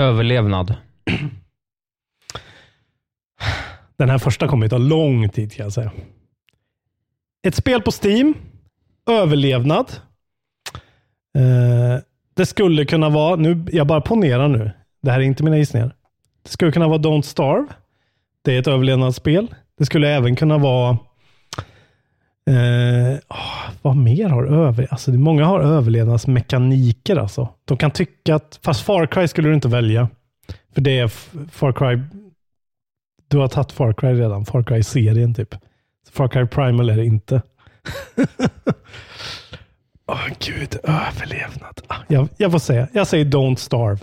F: Överlevnad.
G: Den här första kommer ju ta lång tid kan jag säga. Ett spel på Steam. Överlevnad. Eh, det skulle kunna vara, nu, jag bara ponerar nu. Det här är inte mina gissningar. Det skulle kunna vara Don't Starve. Det är ett överlevnadsspel. Det skulle även kunna vara... Eh, ah, vad mer har över... Alltså, det- många har överlevnadsmekaniker. Alltså. De kan tycka att... Fast Far Cry skulle du inte välja. För det är F- Far Cry... Du har tagit Far Cry redan. Far Cry-serien typ. Så Far Cry Primal är det inte. Åh gud, överlevnad. Ah, Jag, jag får säga. Jag säger Don't Starve.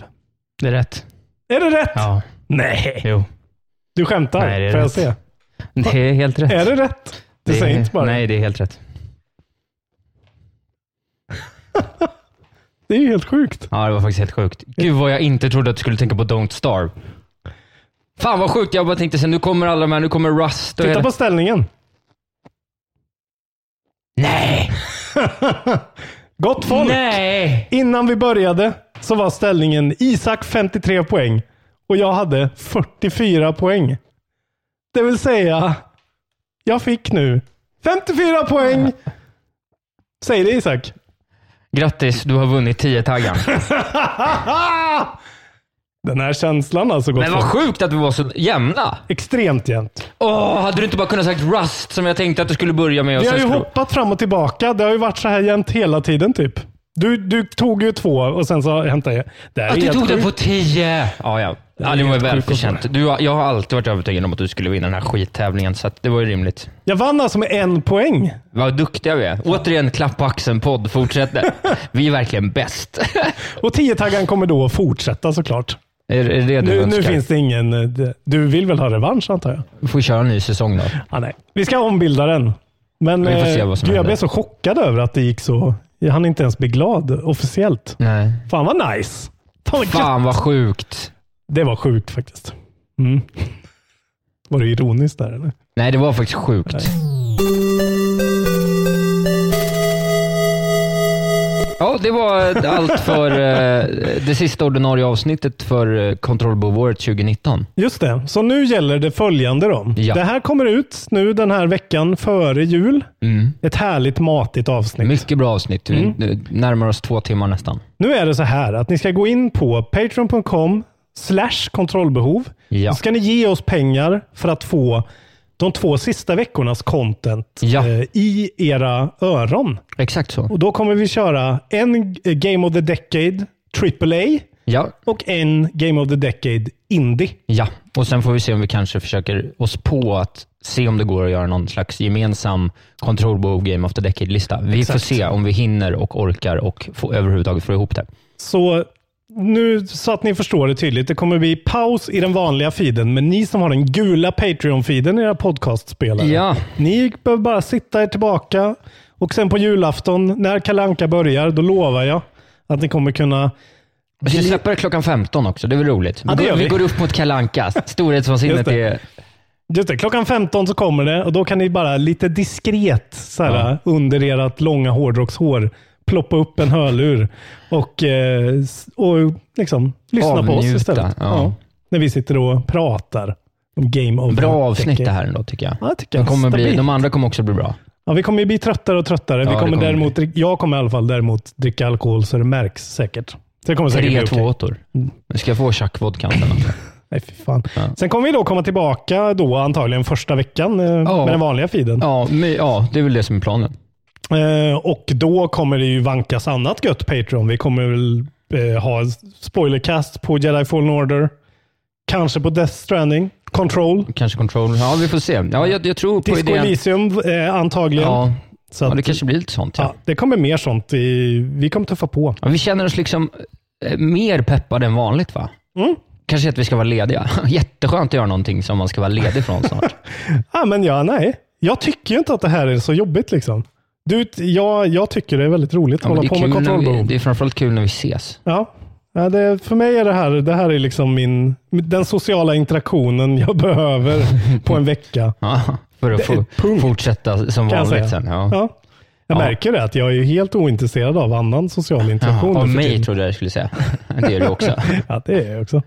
F: Det är rätt.
G: Är det rätt?
F: Ja.
G: Nej.
F: Jo.
G: Du skämtar?
F: Nej, det är
G: får jag
F: rätt.
G: se?
F: Det är helt rätt.
G: Är det rätt? Du
F: Det är-
G: säger inte bara
F: Nej, det är helt rätt.
G: Det är ju helt sjukt.
F: Ja, det var faktiskt helt sjukt. Gud vad jag inte trodde att du skulle tänka på Don't Starve. Fan vad sjukt, jag bara tänkte sen nu kommer alla de här, nu kommer Rust och
G: Titta
F: hela...
G: på ställningen.
F: Nej!
G: Gott folk!
F: Nej!
G: Innan vi började så var ställningen Isak 53 poäng och jag hade 44 poäng. Det vill säga, jag fick nu 54 poäng. Säg det Isak.
F: Grattis, du har vunnit 10 taggar.
G: Den här känslan alltså. Gott
F: Men vad
G: folk.
F: sjukt att vi var så jämna.
G: Extremt jämnt.
F: Åh, hade du inte bara kunnat sagt Rust som jag tänkte att du skulle börja med? Och
G: Vi har
F: sen
G: ju
F: skulle...
G: hoppat fram och tillbaka. Det har ju varit så här jämnt hela tiden typ. Du, du tog ju två och sen så hämtade jag. Det här är
F: Att du
G: helt
F: tog den
G: sjukt.
F: på 10! Ja, ja. Ja, det var
G: helt
F: välförtjänt. Du, har- jag har alltid varit övertygad om att du skulle vinna den här skittävlingen, så att det var ju rimligt.
G: Jag vann alltså med en poäng.
F: Vad duktiga vi är. Återigen, klapp på axeln-podd fortsätter. Vi är verkligen bäst.
G: Och tiotaggan kommer då att fortsätta såklart.
F: Är, är det du
G: Nu, nu
F: önskar?
G: finns det ingen... eh, det- Du vill väl ha revansch antar jag?
F: Vi får köra en ny säsong då.
G: Ja, nej. Vi ska ombilda den. Men
F: Vi får se
G: eh,
F: vad som
G: du, jag
F: händer.
G: blev så chockad över att det gick så. Jag hann inte ens bli glad officiellt.
F: Nej.
G: Fan vad nice. Fan vad,
F: Fan
G: gött.
F: vad sjukt.
G: Det var sjukt faktiskt. Mm. Var det ironiskt där eller?
F: Nej, det var faktiskt sjukt. Ja, det var allt för eh, det sista ordinarie avsnittet för eh, kontrollbehovet 2019.
G: Just det. Så nu gäller det följande då.
F: Ja.
G: Det här kommer ut nu den här veckan före jul.
F: Mm.
G: Ett härligt matigt avsnitt. Mm.
F: Mycket bra avsnitt. Vi nu närmar oss två timmar nästan.
G: Nu är det så här att ni ska gå in på patreon.com slash kontrollbehov.
F: Ja.
G: Så ska ni ge oss pengar för att få de två sista veckornas content
J: Ja.
G: eh, i era öron.
J: Exakt så.
G: Och då kommer vi köra en eh, Game of the Decade AAA
J: ja.
G: och en Game of the Decade Indie.
J: Ja, och sen får vi se om vi kanske försöker oss på att se om det går att göra någon slags gemensam kontrollbehov Game of the Decade-lista. Vi
G: Exakt.
J: får se om vi hinner och orkar och få, överhuvudtaget få ihop det.
G: Så nu så att ni förstår det tydligt. Det kommer bli paus i den vanliga feeden, men ni som har den gula Patreon-feeden i era podcastspelare,
J: Ja.
G: ni behöver bara sitta er tillbaka och sen på julafton, när Kalanka börjar, då lovar jag att ni kommer kunna...
J: Vi ska släppa det klockan 15 också. Det är väl roligt?
G: Ja, det
J: vi,
G: gör
J: går, vi.
G: vi.
J: går upp mot Kalle Anka. Storhetsvansinnet
G: Just det.
J: är...
G: Just det, klockan 15 så kommer det och då kan ni bara lite diskret så här, under ert långa hårdrockshår ploppa upp en hörlur och, eh, s- och liksom, lyssna på oss
J: Avnjuta,
G: istället.
J: ja.
G: När vi sitter och pratar om Game of
J: Bra
G: the
J: avsnitt
G: Decade.
J: det här ändå, tycker jag.
G: Ja, jag tycker jag.
J: de, kommer bli,
G: Stabilt.
J: de andra kommer också bli bra.
G: Ja, vi kommer ju bli tröttare och tröttare.
J: Ja,
G: vi
J: det
G: kommer
J: kommer
G: däremot, drick- jag kommer i alla fall däremot dricka alkohol så det märks säkert. Så det kommer säkert
J: Tre
G: bli okej.
J: tvååttor. Nu ska jag få tjackvodkan sen. också.
G: Nej, fy fan. Sen kommer vi då komma tillbaka då antagligen första veckan eh, med den vanliga feeden.
J: Ja, men, ja, det är väl det som är planen.
G: Eh, och då kommer det ju vankas annat gött Patreon. Vi kommer väl eh, ha spoilercast på Jedi Fallen Order. Kanske på Death Stranding. Control.
J: Kanske Control. Ja, vi får se. Ja, jag, jag tror på
G: Disco
J: idén.
G: Elysium eh, antagligen.
J: Ja.
G: Så att,
J: ja, det kanske blir lite sånt. Ja.
G: ja, det kommer mer sånt. I, vi kommer tuffa på.
J: Ja, Vi känner oss liksom eh, mer peppade än vanligt va?
G: Mm.
J: Kanske att vi ska vara lediga. Jätteskönt att göra någonting som man ska vara ledig från snart.
G: Ja, men ja, nej. Jag tycker ju inte att det här är så jobbigt. liksom. Du, jag, jag tycker det är väldigt roligt att
J: Ja, men
G: hålla
J: det, är
G: på
J: kul
G: med
J: när vi,
G: kontrollbehov.
J: det är framförallt kul när vi ses.
G: Ja. Ja, det, för mig är det här, det här är liksom min, den sociala interaktionen jag behöver på en vecka.
J: Ja, för att
G: Det är
J: få, fortsätta som
G: Kan jag
J: vanligt
G: säga.
J: sen. Ja.
G: Ja. Jag märker det, att jag är ju helt ointresserad av annan social interaktion.
J: Ja,
G: nu
J: av
G: för
J: mig
G: tiden.
J: trodde jag du skulle säga. Det är du också.
G: ja, det är jag också.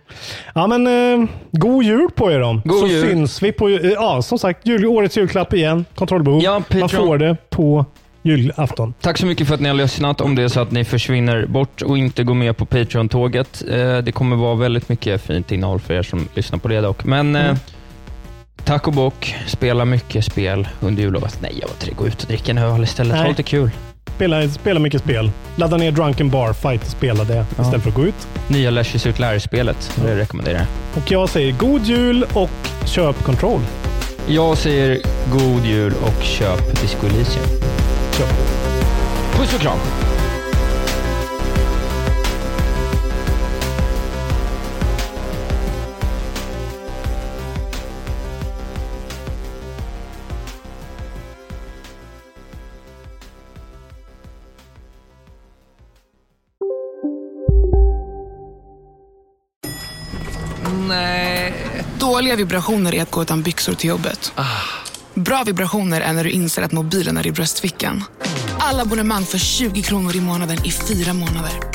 G: Ja, men eh, god jul på er då.
J: God
G: Så
J: jul.
G: syns vi på, eh, ja som sagt, jul, årets julklapp igen. Kontrollbehov.
J: Ja,
G: Man
J: Patreon.
G: får det på julafton.
J: Tack så mycket för att ni har lyssnat. Om det är så att ni försvinner bort och inte går med på Patreon-tåget. Eh, det kommer vara väldigt mycket fint innehåll för er som lyssnar på det dock. Men
G: Mm.
J: eh, tack och bock. Spela mycket spel under jullovet. Nej, jag var inte det. Gå ut och dricka en öl istället. Ha
G: Nej.
J: lite kul.
G: Spela, spela mycket spel. Ladda ner Drunken Bar Fight och spela det istället för att gå ut.
J: Nya Lashes ut lärspelet. Det rekommenderar jag.
G: Och jag säger god jul och köp Control.
J: Jag säger god jul och köp Disco Elysium.
G: Köp.
J: Puss och kram!
H: Nej. Dåliga vibrationer är att gå utan byxor till jobbet. Bra vibrationer är när du inser att mobilen är i bröstfickan. Alla abonnemang för 20 kronor i månaden i fyra månader.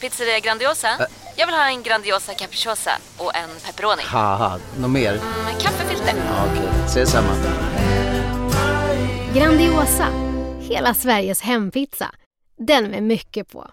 K: Pizzeria Grandiosa? Jag vill ha en Grandiosa capriciosa och en pepperoni.
L: Haha, något mer?
K: Med kaffefilter.
L: Ja, Okej, ses samma.
I: Grandiosa, hela Sveriges hempizza. Den med mycket på.